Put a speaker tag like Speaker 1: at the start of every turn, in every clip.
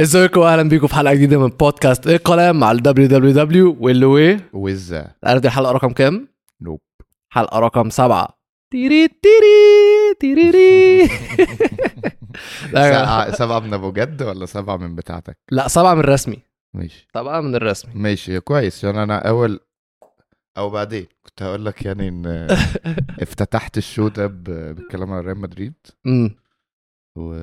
Speaker 1: ازيكم واهلا بيكم في حلقه جديده من بودكاست ايه كلام على www واللي ويه
Speaker 2: وزة
Speaker 1: عارف دي الحلقه رقم كام؟
Speaker 2: نوب
Speaker 1: حلقه رقم سبعه تيري تيري تيري لا
Speaker 2: سبعة سبعة من ابو آه، جد ولا سبعة من بتاعتك
Speaker 1: لا سبعه من الرسمي
Speaker 2: ماشي
Speaker 1: سبعه من الرسمي
Speaker 2: ماشي كويس عشان انا اول او بعدين كنت هقول لك يعني ان افتتحت الشو ده ب- بالكلام عن ريال مدريد
Speaker 1: امم
Speaker 2: و...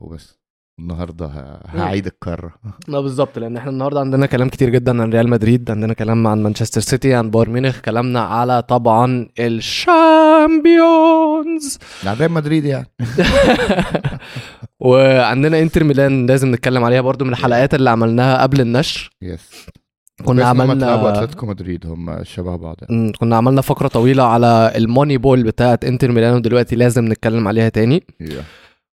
Speaker 2: وبس النهارده ه... هعيد الكرة
Speaker 1: لا بالظبط لان احنا النهارده عندنا كلام كتير جدا عن ريال مدريد عندنا كلام عن مانشستر سيتي عن بايرن ميونخ كلامنا على طبعا الشامبيونز
Speaker 2: عن ريال مدريد يعني
Speaker 1: وعندنا انتر ميلان لازم نتكلم عليها برضو من الحلقات اللي عملناها قبل النشر
Speaker 2: يس
Speaker 1: كنا
Speaker 2: تلعبوا
Speaker 1: عملنا
Speaker 2: اتلتيكو مدريد هم شبه بعض يعني.
Speaker 1: مم، كنا عملنا فقره طويله على الموني بول بتاعه انتر ميلان ودلوقتي لازم نتكلم عليها تاني
Speaker 2: يا.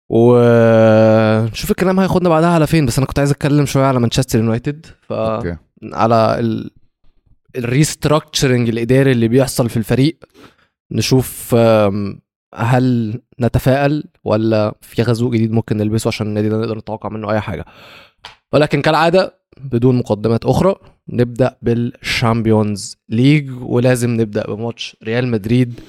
Speaker 1: ونشوف الكلام هياخدنا بعدها على فين بس انا كنت عايز اتكلم شويه على مانشستر يونايتد ف
Speaker 2: اوكي
Speaker 1: على ال... الريستراكتشرنج الاداري اللي بيحصل في الفريق نشوف آم، هل نتفائل ولا في غزو جديد ممكن نلبسه عشان النادي ده نقدر نتوقع منه اي حاجه ولكن كالعاده بدون مقدمات اخرى نبدا بالشامبيونز ليج ولازم نبدا بماتش ريال مدريد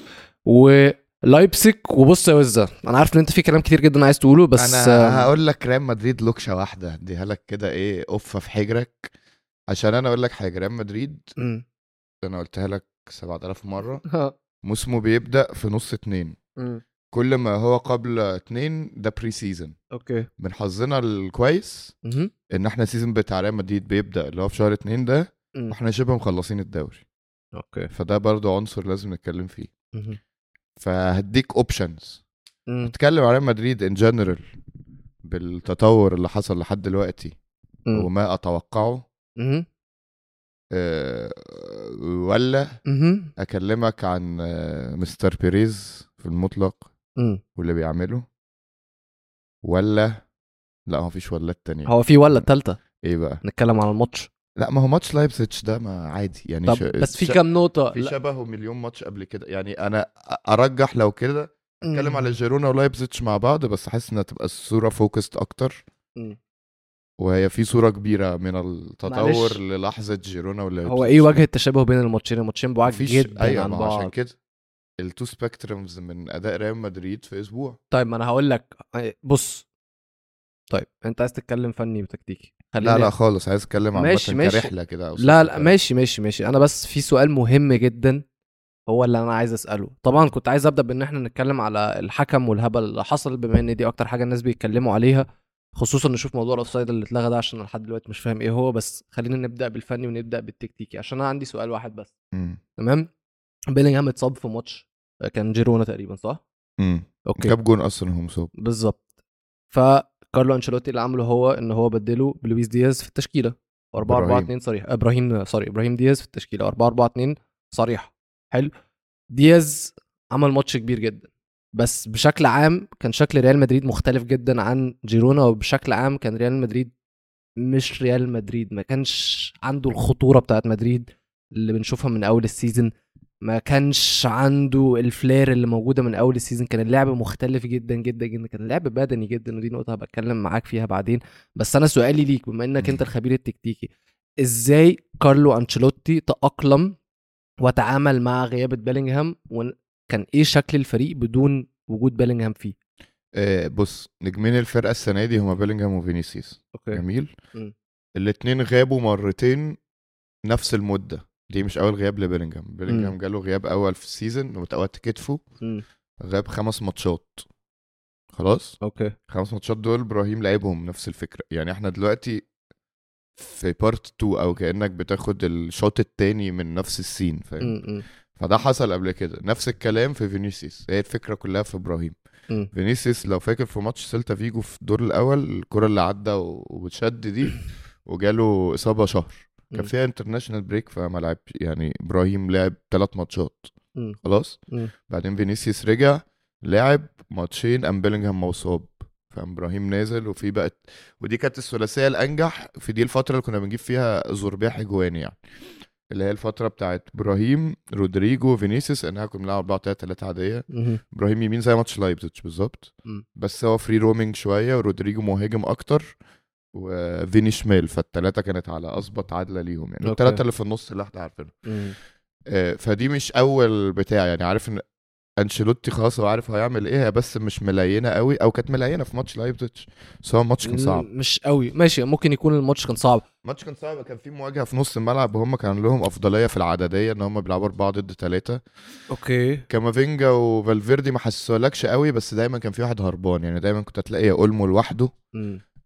Speaker 1: ولايبسك وبص يا وزه انا عارف ان انت في كلام كتير جدا عايز تقوله بس
Speaker 2: انا
Speaker 1: آم،
Speaker 2: هقول لك ريال مدريد لوكشه واحده اديها لك كده ايه قفه في حجرك عشان انا اقول لك حاجه ريال مدريد
Speaker 1: مم.
Speaker 2: انا قلتها لك 7000 مره موسمه بيبدا في نص اتنين
Speaker 1: مم.
Speaker 2: كل ما هو قبل اتنين ده بري سيزون
Speaker 1: اوكي
Speaker 2: من حظنا الكويس
Speaker 1: مهم.
Speaker 2: ان احنا سيزون بتاع ريال مدريد بيبدا اللي هو في شهر اتنين ده
Speaker 1: مم.
Speaker 2: واحنا شبه مخلصين الدوري
Speaker 1: اوكي
Speaker 2: فده برضه عنصر لازم نتكلم فيه
Speaker 1: مهم.
Speaker 2: فهديك اوبشنز
Speaker 1: مم.
Speaker 2: نتكلم على ريال مدريد ان جنرال بالتطور اللي حصل لحد دلوقتي
Speaker 1: مم.
Speaker 2: وما اتوقعه
Speaker 1: مهم.
Speaker 2: آه، ولا
Speaker 1: مهم.
Speaker 2: اكلمك عن آه، مستر بيريز في المطلق
Speaker 1: مم.
Speaker 2: واللي بيعمله ولا لا هو مفيش ولات تانية
Speaker 1: هو في ولا التالتة
Speaker 2: ايه بقى
Speaker 1: نتكلم على الماتش
Speaker 2: لا ما هو ماتش لايبسيتش ده ما عادي يعني
Speaker 1: طب
Speaker 2: ش-
Speaker 1: بس في
Speaker 2: ش-
Speaker 1: كام نقطة
Speaker 2: في
Speaker 1: لا.
Speaker 2: شبهه مليون ماتش قبل كده يعني انا ارجح لو كده اتكلم
Speaker 1: مم.
Speaker 2: على جيرونا ولايبسيتش مع بعض بس حاسس انها تبقى الصوره فوكست اكتر
Speaker 1: مم.
Speaker 2: وهي في صوره كبيره من التطور
Speaker 1: معلش.
Speaker 2: للحظه جيرونا ولايبسيتش
Speaker 1: هو ايه وجه التشابه بين الماتشين الماتشين بعاد
Speaker 2: طيب، مفيش-
Speaker 1: جدا أيوة
Speaker 2: ايوه
Speaker 1: عن
Speaker 2: ما هو عشان
Speaker 1: بعض
Speaker 2: كده التو سبيكترمز من اداء ريال مدريد في اسبوع
Speaker 1: طيب ما انا هقول لك بص طيب انت عايز تتكلم فني وتكتيكي
Speaker 2: لا لا خالص عايز اتكلم عن
Speaker 1: ماشي، ماشي.
Speaker 2: كرحله كده أو
Speaker 1: لا
Speaker 2: سلسلة.
Speaker 1: لا ماشي ماشي ماشي انا بس في سؤال مهم جدا هو اللي انا عايز اساله طبعا كنت عايز ابدا بان احنا نتكلم على الحكم والهبل اللي حصل بما ان دي اكتر حاجه الناس بيتكلموا عليها خصوصا نشوف موضوع الاوفسايد اللي اتلغى ده عشان أنا لحد دلوقتي مش فاهم ايه هو بس خلينا نبدا بالفني ونبدا بالتكتيكي عشان انا عندي سؤال واحد بس
Speaker 2: مم.
Speaker 1: تمام بيلينغهام اتصاب في ماتش آه، كان جيرونا تقريبا صح
Speaker 2: مم.
Speaker 1: اوكي
Speaker 2: جاب جون اصلا هم صوب
Speaker 1: بالظبط فكارلو انشيلوتي اللي عمله هو ان هو بدله بلويس دياز في التشكيله 4 4
Speaker 2: إبراهيم.
Speaker 1: 2 صريح ابراهيم سوري ابراهيم دياز في التشكيله 4 4 2 صريح حلو دياز عمل ماتش كبير جدا بس بشكل عام كان شكل ريال مدريد مختلف جدا عن جيرونا وبشكل عام كان ريال مدريد مش ريال مدريد ما كانش عنده الخطوره بتاعت مدريد اللي بنشوفها من اول السيزون ما كانش عنده الفلير اللي موجوده من اول السيزون كان اللعب مختلف جدا جدا جدا كان اللعب بدني جدا ودي نقطه هبقى اتكلم معاك فيها بعدين بس انا سؤالي ليك بما انك انت
Speaker 2: مم.
Speaker 1: الخبير التكتيكي ازاي كارلو انشيلوتي تاقلم وتعامل مع غيابه بيلينغهام وكان ايه شكل الفريق بدون وجود بيلينغهام فيه
Speaker 2: آه بص نجمين الفرقه السنه دي هما بيلينجهام وفينيسيوس
Speaker 1: اوكي
Speaker 2: جميل
Speaker 1: مم.
Speaker 2: الاتنين غابوا مرتين نفس المده دي مش اول غياب لبيلينجهام بيلينجهام جاله غياب اول في السيزون وتقوت كتفه غاب خمس ماتشات خلاص
Speaker 1: اوكي
Speaker 2: خمس ماتشات دول ابراهيم لعبهم نفس الفكره يعني احنا دلوقتي في بارت 2 او كانك بتاخد الشوط التاني من نفس السين فاهم فده حصل قبل كده نفس الكلام في فينيسيوس هي الفكره كلها في ابراهيم
Speaker 1: مم.
Speaker 2: فينيسيوس لو فاكر في ماتش سيلتا فيجو في الدور الاول الكره اللي عدى و- واتشد دي وجاله اصابه شهر كان
Speaker 1: مم.
Speaker 2: فيها انترناشونال بريك فما لعب يعني ابراهيم لعب ثلاث ماتشات
Speaker 1: مم.
Speaker 2: خلاص
Speaker 1: مم.
Speaker 2: بعدين فينيسيوس رجع لعب ماتشين ام بيلينجهام موصوب فابراهيم نازل وفي بقت ودي كانت الثلاثيه الانجح في دي الفتره اللي كنا بنجيب فيها زربيح اجوان يعني اللي هي الفتره بتاعت ابراهيم رودريجو فينيسيوس انها كنا بنلعب 4 3 3 عاديه
Speaker 1: مم.
Speaker 2: ابراهيم يمين زي ماتش لايبزيتش بالظبط
Speaker 1: مم.
Speaker 2: بس هو فري رومينج شويه ورودريجو مهاجم اكتر وفيني شمال فالتلاتة كانت على أظبط عدلة ليهم يعني
Speaker 1: أوكي.
Speaker 2: التلاتة اللي في النص اللي احنا عارفينهم
Speaker 1: مم.
Speaker 2: آه، فدي مش أول بتاع يعني عارف إن أنشيلوتي خلاص هو عارف هو هيعمل إيه هي بس مش ملينة قوي أو كانت ملينة في ماتش لايبزيتش بس هو الماتش كان صعب
Speaker 1: مش قوي ماشي ممكن يكون الماتش كان صعب
Speaker 2: الماتش كان صعب كان في مواجهة في نص الملعب وهم كان لهم أفضلية في العددية إن هم بيلعبوا أربعة ضد تلاتة
Speaker 1: اوكي
Speaker 2: كامافينجا وفالفيردي ما حسسولكش قوي بس دايما كان في واحد هربان يعني دايما كنت هتلاقي يا اولمو لوحده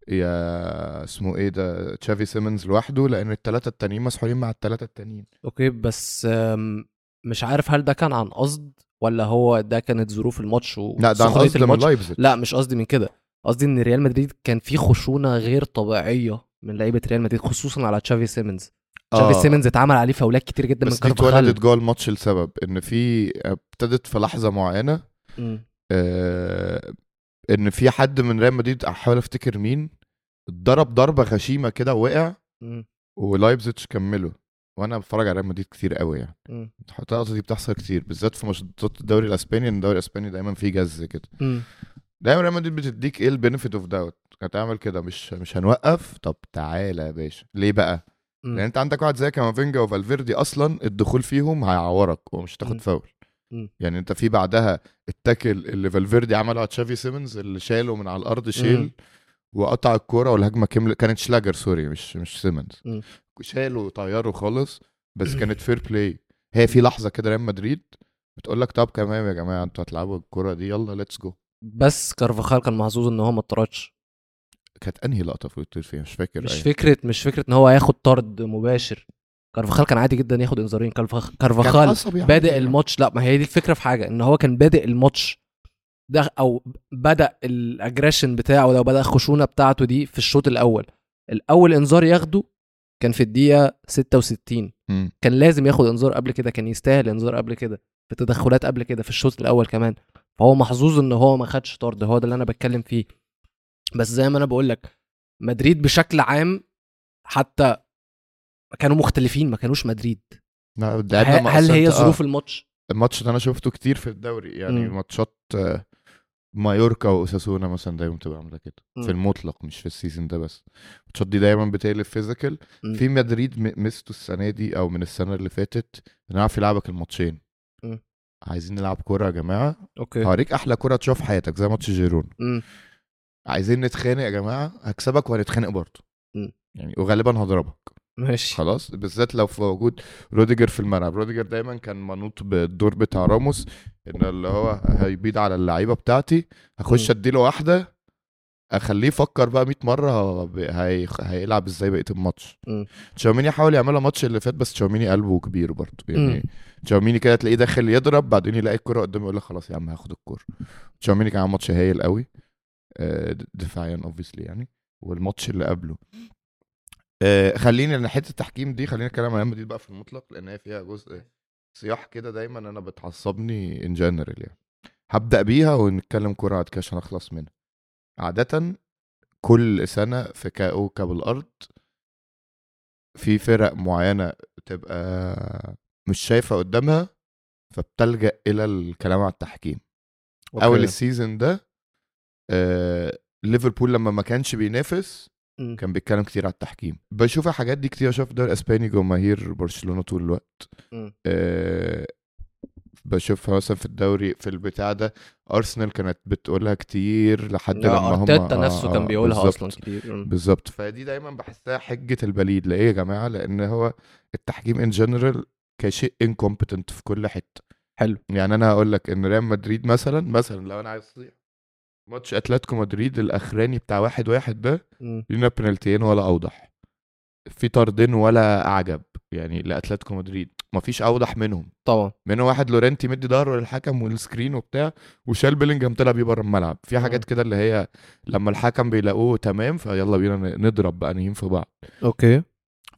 Speaker 2: يا اسمه ايه ده تشافي سيمنز لوحده لان الثلاثه التانيين مسحولين مع الثلاثه التانيين
Speaker 1: اوكي بس آم، مش عارف هل ده كان عن قصد ولا هو ده كانت ظروف الماتش و...
Speaker 2: لا ده
Speaker 1: سخرية
Speaker 2: قصدي من
Speaker 1: الماتش
Speaker 2: لايبزيج
Speaker 1: لا مش قصدي من كده قصدي ان ريال مدريد كان في خشونه غير طبيعيه من لعيبه ريال مدريد خصوصا على تشافي سيمنز تشافي
Speaker 2: آه.
Speaker 1: سيمنز اتعمل عليه فاولات كتير جدا من
Speaker 2: بس دي
Speaker 1: كارفاخال
Speaker 2: اتولدت جوه الماتش لسبب ان في ابتدت في لحظه معينه
Speaker 1: مم.
Speaker 2: آه ان في حد من ريال مدريد احاول افتكر مين اتضرب ضربه غشيمه كده وقع
Speaker 1: مم.
Speaker 2: ولايبزيج كمله وانا بتفرج على ريال مدريد كتير قوي يعني
Speaker 1: مم.
Speaker 2: اللقطه دي بتحصل كتير بالذات في ماتشات الدوري الاسباني ان الدوري الاسباني دايما فيه جز كده
Speaker 1: مم.
Speaker 2: دايما ريال مدريد بتديك ايه البينفيت اوف داوت هتعمل كده مش مش هنوقف طب تعالى يا باشا ليه بقى؟
Speaker 1: مم.
Speaker 2: لان انت عندك واحد زي كامافينجا وفالفيردي اصلا الدخول فيهم هيعورك ومش
Speaker 1: مم.
Speaker 2: هتاخد فاول
Speaker 1: مم.
Speaker 2: يعني انت في بعدها التاكل اللي فالفيردي عمله على تشافي سيمنز اللي شاله من على الارض
Speaker 1: مم.
Speaker 2: شيل وقطع الكوره والهجمه كمل كانت شلاجر سوري مش مش سيمنز
Speaker 1: مم.
Speaker 2: شاله وطيره خالص بس كانت فير بلاي هي في لحظه كده ريال مدريد بتقول لك طب كمان يا جماعه انتوا هتلعبوا الكوره دي يلا ليتس جو
Speaker 1: بس كارفاخال كان محظوظ ان هو ما اتطردش
Speaker 2: كانت انهي لقطه في التويت فيها مش فاكر
Speaker 1: مش
Speaker 2: أيوة.
Speaker 1: فكره مش فكره ان هو هياخد طرد مباشر كارفاخال كان عادي جدا ياخد انذارين كارفاخ-
Speaker 2: كان
Speaker 1: كارفاخال
Speaker 2: عصبي عادي
Speaker 1: بادئ
Speaker 2: يعني.
Speaker 1: الماتش لا ما هي دي الفكره في حاجه ان هو كان بادئ الماتش ده او بدا الاجريشن بتاعه لو بدا الخشونه بتاعته دي في الشوط الاول الاول انذار ياخده كان في الدقيقه 66
Speaker 2: مم.
Speaker 1: كان لازم ياخد انذار قبل كده كان يستاهل انذار قبل كده في تدخلات قبل كده في الشوط الاول كمان فهو محظوظ ان هو ما خدش طرد هو ده اللي انا بتكلم فيه بس زي ما انا بقول لك مدريد بشكل عام حتى كانوا مختلفين ما كانوش مدريد
Speaker 2: لا،
Speaker 1: ه-
Speaker 2: لعبنا مع
Speaker 1: هل هي
Speaker 2: أسينتا، آه.
Speaker 1: ظروف الماتش
Speaker 2: الماتش ده انا شفته كتير في الدوري يعني
Speaker 1: مم.
Speaker 2: ماتشات آه، مايوركا واساسونا مثلا دايما بتبقى عامله كده
Speaker 1: مم.
Speaker 2: في المطلق مش في السيزون ده بس الماتشات دي دايما بتقلب فيزيكال
Speaker 1: مم.
Speaker 2: في مدريد م- ميزته السنه دي او من السنه اللي فاتت انه عارف يلعبك الماتشين
Speaker 1: مم. إيه.
Speaker 2: عايزين نلعب كوره يا جماعه
Speaker 1: اوكي
Speaker 2: هوريك احلى كوره تشوف في حياتك زي ماتش جيرون
Speaker 1: مم.
Speaker 2: عايزين نتخانق يا جماعه هكسبك وهنتخانق برضه
Speaker 1: مم.
Speaker 2: يعني وغالبا هضربك
Speaker 1: ماشي
Speaker 2: خلاص بالذات لو في وجود روديجر في الملعب روديجر دايما كان منوط بالدور بتاع راموس ان اللي هو هيبيض على اللعيبه بتاعتي هخش
Speaker 1: مم.
Speaker 2: اديله واحده اخليه يفكر بقى 100 مره هو ب- هي... هيلعب ازاي بقيه الماتش
Speaker 1: مم.
Speaker 2: تشاوميني حاول يعملها الماتش اللي فات بس تشاوميني قلبه كبير برضه
Speaker 1: مم.
Speaker 2: يعني تشاوميني كده تلاقيه داخل يضرب بعدين يلاقي الكره قدامه يقول لك خلاص يا عم هاخد الكوره تشاوميني كان عامل ماتش هايل قوي آه، د- دفاعيا اوبسلي يعني والماتش اللي قبله آه، خليني لان حته التحكيم دي خلينا نتكلم عن ريال مدريد بقى في المطلق لان هي فيها جزء صياح كده دايما انا بتعصبني ان جنرال يعني هبدا بيها ونتكلم كوره بعد كده عشان اخلص منها عاده كل سنه في كوكب الارض في فرق معينه تبقى مش شايفه قدامها فبتلجا الى الكلام على التحكيم
Speaker 1: أوكي.
Speaker 2: اول السيزون ده آه ليفربول لما ما كانش بينافس
Speaker 1: مم.
Speaker 2: كان بيتكلم كتير على التحكيم بشوف الحاجات دي كتير بشوف الدوري الاسباني جماهير برشلونه طول الوقت
Speaker 1: مم.
Speaker 2: آه بشوفها مثلا في الدوري في البتاع ده ارسنال كانت بتقولها كتير لحد
Speaker 1: لا،
Speaker 2: لما هم
Speaker 1: ارتيتا
Speaker 2: آه،
Speaker 1: نفسه
Speaker 2: آه،
Speaker 1: كان بيقولها
Speaker 2: بالظبط.
Speaker 1: اصلا كتير مم.
Speaker 2: بالظبط فدي دايما بحسها حجه البليد ليه يا جماعه لان هو التحكيم ان جنرال كشيء انكومبتنت في كل حته
Speaker 1: حلو
Speaker 2: يعني انا هقول لك ان ريال مدريد مثلا مثلا لو انا عايز اصيح ماتش اتلتيكو مدريد الاخراني بتاع واحد واحد ده
Speaker 1: مم.
Speaker 2: لينا بنالتيين ولا اوضح في طردين ولا اعجب يعني لاتلتيكو مدريد مفيش اوضح منهم
Speaker 1: طبعا
Speaker 2: منه واحد لورنتي مدي ظهره للحكم والسكرين وبتاع وشال بيلينجهام طلع بيه بره الملعب في
Speaker 1: مم.
Speaker 2: حاجات كده اللي هي لما الحكم بيلاقوه تمام فيلا بينا نضرب بقى نهيم في بعض
Speaker 1: اوكي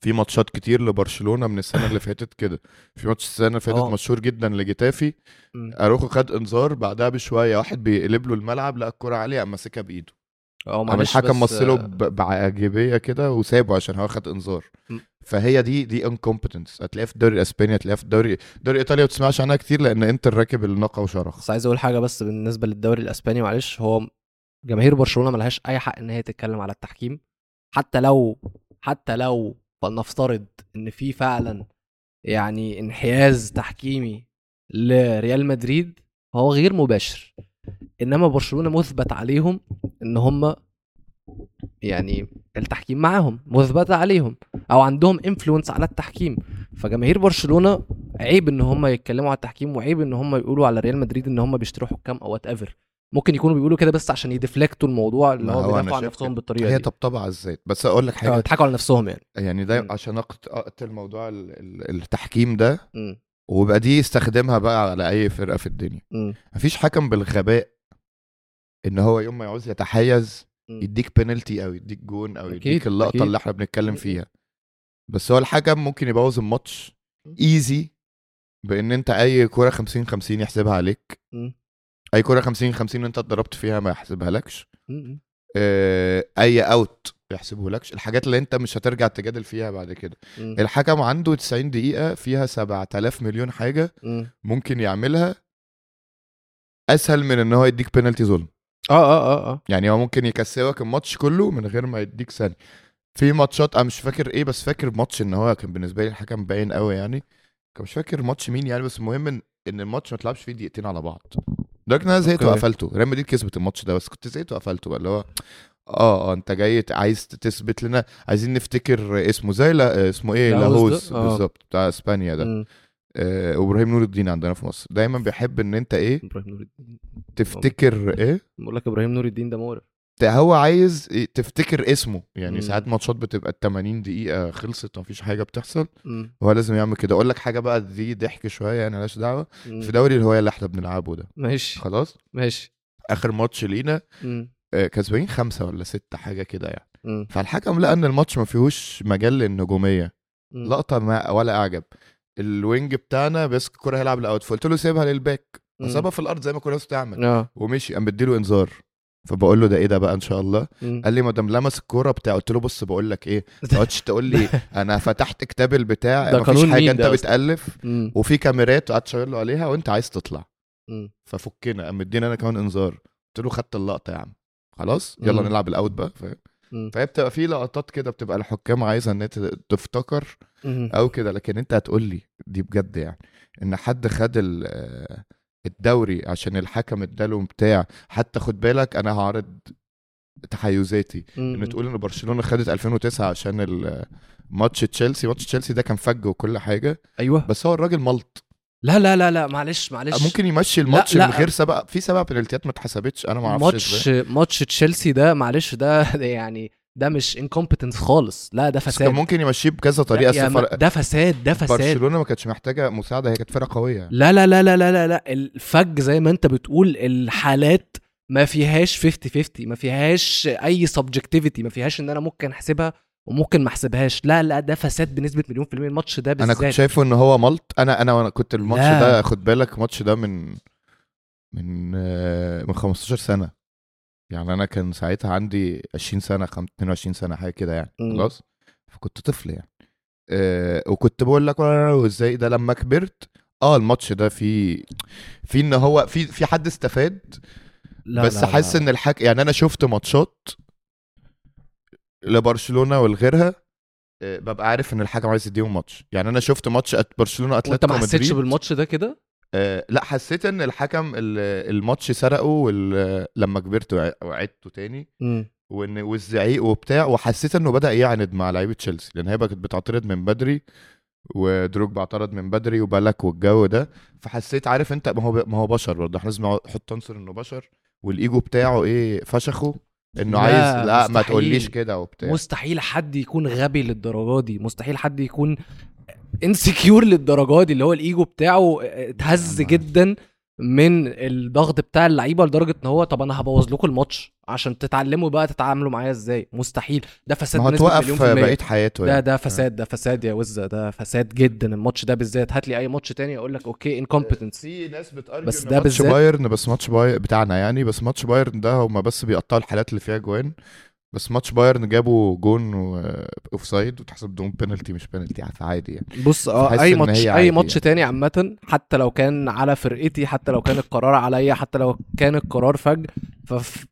Speaker 2: في ماتشات كتير لبرشلونه من السنه اللي فاتت كده في ماتش السنه اللي فاتت
Speaker 1: آه.
Speaker 2: مشهور جدا لجيتافي
Speaker 1: مم.
Speaker 2: اروخو خد انذار بعدها بشويه واحد بيقلب له الملعب لقى الكره عاليه قام ماسكها بايده
Speaker 1: اه
Speaker 2: قام
Speaker 1: معلش
Speaker 2: الحكم
Speaker 1: بس-
Speaker 2: مصله ب- بعجيبيه كده وسابه عشان هو خد انذار
Speaker 1: م.
Speaker 2: فهي دي دي انكومبتنس هتلاقيها في الدوري الاسباني هتلاقيها في الدوري الدوري الايطالي ما بتسمعش عنها كتير لان انت راكب الناقه وشرخ
Speaker 1: بس عايز اقول حاجه بس بالنسبه للدوري الاسباني معلش هو جماهير برشلونه ملهاش اي حق ان هي تتكلم على التحكيم حتى لو حتى لو فلنفترض ان في فعلا يعني انحياز تحكيمي لريال مدريد فهو غير مباشر انما برشلونه مثبت عليهم ان هم يعني التحكيم معاهم مثبتة عليهم او عندهم انفلونس على التحكيم فجماهير برشلونه عيب ان هم يتكلموا على التحكيم وعيب ان هم يقولوا على ريال مدريد ان هم بيشتروا حكام او وات ايفر ممكن يكونوا بيقولوا كده بس عشان يدفلكتوا الموضوع اللي
Speaker 2: ما
Speaker 1: هو
Speaker 2: هو أنا
Speaker 1: بيدافعوا عن
Speaker 2: شايف
Speaker 1: نفسهم
Speaker 2: كده.
Speaker 1: بالطريقه
Speaker 2: هي
Speaker 1: دي
Speaker 2: طبطبه على الذات بس اقول لك
Speaker 1: آه،
Speaker 2: حاجه
Speaker 1: يضحكوا على نفسهم يعني
Speaker 2: يعني ده
Speaker 1: مم.
Speaker 2: عشان أقت- اقتل موضوع ال- ال- التحكيم ده
Speaker 1: مم.
Speaker 2: وبقى دي استخدمها بقى على اي فرقه في الدنيا
Speaker 1: مم.
Speaker 2: مفيش حكم بالغباء ان هو يوم ما يعوز يتحيز
Speaker 1: مم.
Speaker 2: يديك بينالتي او يديك جون او
Speaker 1: أكيد،
Speaker 2: يديك اللقطه
Speaker 1: أكيد.
Speaker 2: اللي احنا بنتكلم
Speaker 1: مم.
Speaker 2: فيها بس هو الحكم ممكن يبوظ الماتش ايزي بان انت اي كوره 50 50 يحسبها عليك
Speaker 1: مم.
Speaker 2: اي كوره 50 50 انت اتضربت فيها ما يحسبها لكش
Speaker 1: مم.
Speaker 2: آه، اي اوت ما يحسبهولكش الحاجات اللي انت مش هترجع تجادل فيها بعد كده
Speaker 1: مم.
Speaker 2: الحكم عنده 90 دقيقه فيها 7000 مليون حاجه
Speaker 1: مم.
Speaker 2: ممكن يعملها اسهل من ان هو يديك بينالتي ظلم
Speaker 1: اه اه اه اه
Speaker 2: يعني هو ممكن يكسبك الماتش كله من غير ما يديك ثانيه في ماتشات انا مش فاكر ايه بس فاكر ماتش ان هو كان بالنسبه لي الحكم باين قوي يعني كان مش فاكر ماتش مين يعني بس المهم ان إن الماتش ما اتلعبش فيه دقيقتين على بعض لدرجه ان انا زهقت
Speaker 1: أوكي.
Speaker 2: وقفلته ريال مدريد كسبت الماتش ده بس كنت زهقت وقفلته بقى اللي هو اه اه انت جاي ت- عايز تثبت لنا عايزين نفتكر اسمه زي لا اسمه ايه
Speaker 1: لاهوز ده؟
Speaker 2: لاهوز
Speaker 1: آه.
Speaker 2: بالظبط بتاع اسبانيا ده
Speaker 1: مم.
Speaker 2: آه وابراهيم نور الدين عندنا في مصر دايما بيحب ان انت ايه
Speaker 1: ابراهيم نور الدين
Speaker 2: تفتكر ايه
Speaker 1: بقول لك ابراهيم نور الدين ده مقرف
Speaker 2: ت- هو عايز ي- تفتكر اسمه يعني
Speaker 1: مم.
Speaker 2: ساعات ماتشات بتبقى ال 80 دقيقة خلصت مفيش حاجة بتحصل
Speaker 1: مم.
Speaker 2: هو لازم يعمل كده أقول لك حاجة بقى دي ضحك شوية يعني مالهاش دعوة
Speaker 1: مم.
Speaker 2: في دوري الهواية اللي احنا بنلعبه ده
Speaker 1: ماشي
Speaker 2: خلاص
Speaker 1: ماشي
Speaker 2: آخر ماتش لينا
Speaker 1: مم.
Speaker 2: آه، كسبانين خمسة ولا ستة حاجة كده يعني
Speaker 1: مم.
Speaker 2: فالحكم لقى إن الماتش ما فيهوش مجال للنجومية
Speaker 1: مم.
Speaker 2: لقطة ما ولا أعجب الوينج بتاعنا بيسك الكورة هيلعب الأوت فقلت له سيبها للباك
Speaker 1: مم.
Speaker 2: فسابها في الأرض زي ما كنا بتعمل
Speaker 1: اه
Speaker 2: ومشي قام بديله إنذار فبقول له ده إيه ده بقى إن شاء الله
Speaker 1: مم.
Speaker 2: قال لي ما دام لمس الكوره بتاع قلت له بص بقول لك ايه ما تقعدش تقول لي انا فتحت كتاب البتاع
Speaker 1: ده
Speaker 2: ما فيش
Speaker 1: قانون مين
Speaker 2: حاجه انت
Speaker 1: ده أصلاً؟
Speaker 2: بتالف
Speaker 1: مم.
Speaker 2: وفي كاميرات قعدت شاور له عليها وانت عايز تطلع
Speaker 1: مم.
Speaker 2: ففكنا قام مدينا انا كمان انذار قلت له خدت اللقطه يا عم خلاص يلا
Speaker 1: مم.
Speaker 2: نلعب الاوت بقى فاهم
Speaker 1: مم.
Speaker 2: فهي بتبقى في لقطات كده بتبقى الحكام عايزه ان انت تفتكر
Speaker 1: مم.
Speaker 2: او كده لكن انت هتقول لي دي بجد يعني ان حد خد ال- آه، الدوري عشان الحكم اداله بتاع حتى خد بالك انا هعرض تحيزاتي
Speaker 1: مم.
Speaker 2: ان تقول ان برشلونه خدت 2009 عشان ال- ماتش تشيلسي ماتش تشيلسي ده كان فج وكل حاجه
Speaker 1: ايوه
Speaker 2: بس هو الراجل ملط
Speaker 1: لا لا لا لا معلش معلش
Speaker 2: ممكن يمشي الماتش
Speaker 1: لا.
Speaker 2: من غير سبق في سبع بلالتيات ما اتحسبتش انا ما اعرفش
Speaker 1: ماتش
Speaker 2: ازاي
Speaker 1: ماتش تشيلسي ده معلش ده, ده يعني ده مش انكومبتنس خالص لا ده
Speaker 2: بس كان
Speaker 1: فساد
Speaker 2: ممكن يمشيه بكذا
Speaker 1: ده,
Speaker 2: طريقه
Speaker 1: يا
Speaker 2: السفر
Speaker 1: ما- ده فساد ده فساد
Speaker 2: برشلونه ما كانتش محتاجه مساعده هي كانت فرقه قويه
Speaker 1: لا لا لا لا لا لا لا الفج زي ما انت بتقول الحالات ما فيهاش 50 50 ما فيهاش اي سبجكتيفيتي ما فيهاش ان انا ممكن احسبها وممكن ما احسبهاش لا لا ده فساد بنسبه مليون في الميه الماتش ده
Speaker 2: انا كنت
Speaker 1: بالذات
Speaker 2: شايفه ان هو ملط انا انا وانا كنت الماتش
Speaker 1: لا.
Speaker 2: ده خد بالك الماتش ده من من آه، من 15 سنه يعني انا كان ساعتها عندي 20 سنه خم- 22 سنه حاجه كده يعني
Speaker 1: مم.
Speaker 2: خلاص فكنت طفل يعني أه وكنت بقول لك آه، وازاي ده لما كبرت اه الماتش ده في في ان هو في في حد استفاد
Speaker 1: لا
Speaker 2: بس
Speaker 1: لا
Speaker 2: حاسس
Speaker 1: لا.
Speaker 2: ان الحك يعني انا شفت ماتشات لبرشلونه ولغيرها آه، ببقى عارف ان الحكم عايز يديهم ماتش يعني انا شفت ماتش أت- برشلونه
Speaker 1: وانت
Speaker 2: اتلتيكو
Speaker 1: ما حسيتش
Speaker 2: مدريد
Speaker 1: بالماتش ده كده
Speaker 2: آه لا حسيت ان الحكم ال- الماتش سرقه وال- لما كبرت وع- وعدته تاني
Speaker 1: مم.
Speaker 2: وان والزعيق وبتاع وحسيت انه بدا يعند مع لعيبه تشيلسي لان هي بقت بتعترض من بدري ودروج بعترض من بدري وبالك والجو ده فحسيت عارف انت ما هو ما هو بشر برضه احنا لازم نحط عنصر انه بشر والايجو بتاعه ايه فشخه انه
Speaker 1: لا،
Speaker 2: عايز لا ما
Speaker 1: مستحيل.
Speaker 2: تقوليش كده وبتاع
Speaker 1: مستحيل حد يكون غبي للدرجه دي مستحيل حد يكون انسكيور للدرجه دي اللي هو الايجو بتاعه آه، اتهز
Speaker 2: نعم.
Speaker 1: جدا من الضغط بتاع اللعيبه لدرجه ان هو طب انا هبوظ لكم الماتش عشان تتعلموا بقى تتعاملوا معايا ازاي مستحيل ده فساد
Speaker 2: ما هو
Speaker 1: بنسبه مليون
Speaker 2: توقف
Speaker 1: في المية.
Speaker 2: بقيه حياته
Speaker 1: ده
Speaker 2: يعني.
Speaker 1: ده فساد ده فساد يا وزه ده فساد جدا الماتش ده بالذات هات لي اي ماتش تاني اقول لك اوكي انكومبتنس
Speaker 2: في ناس بتارجو
Speaker 1: بس
Speaker 2: إن
Speaker 1: ده
Speaker 2: ماتش
Speaker 1: بالذات-
Speaker 2: بايرن بس ماتش بايرن بتاعنا يعني بس ماتش بايرن ده هما بس بيقطعوا الحالات اللي فيها جوان بس ماتش بايرن جابوا جون اوف سايد وتحسب دون بينالتي مش بينالتي عادي يعني
Speaker 1: بص
Speaker 2: فحس
Speaker 1: اه اي
Speaker 2: إن
Speaker 1: ماتش
Speaker 2: هي
Speaker 1: اي
Speaker 2: عادي
Speaker 1: ماتش
Speaker 2: يعني.
Speaker 1: تاني عامه حتى لو كان على فرقتي حتى لو كان القرار عليا حتى لو كان القرار فج ف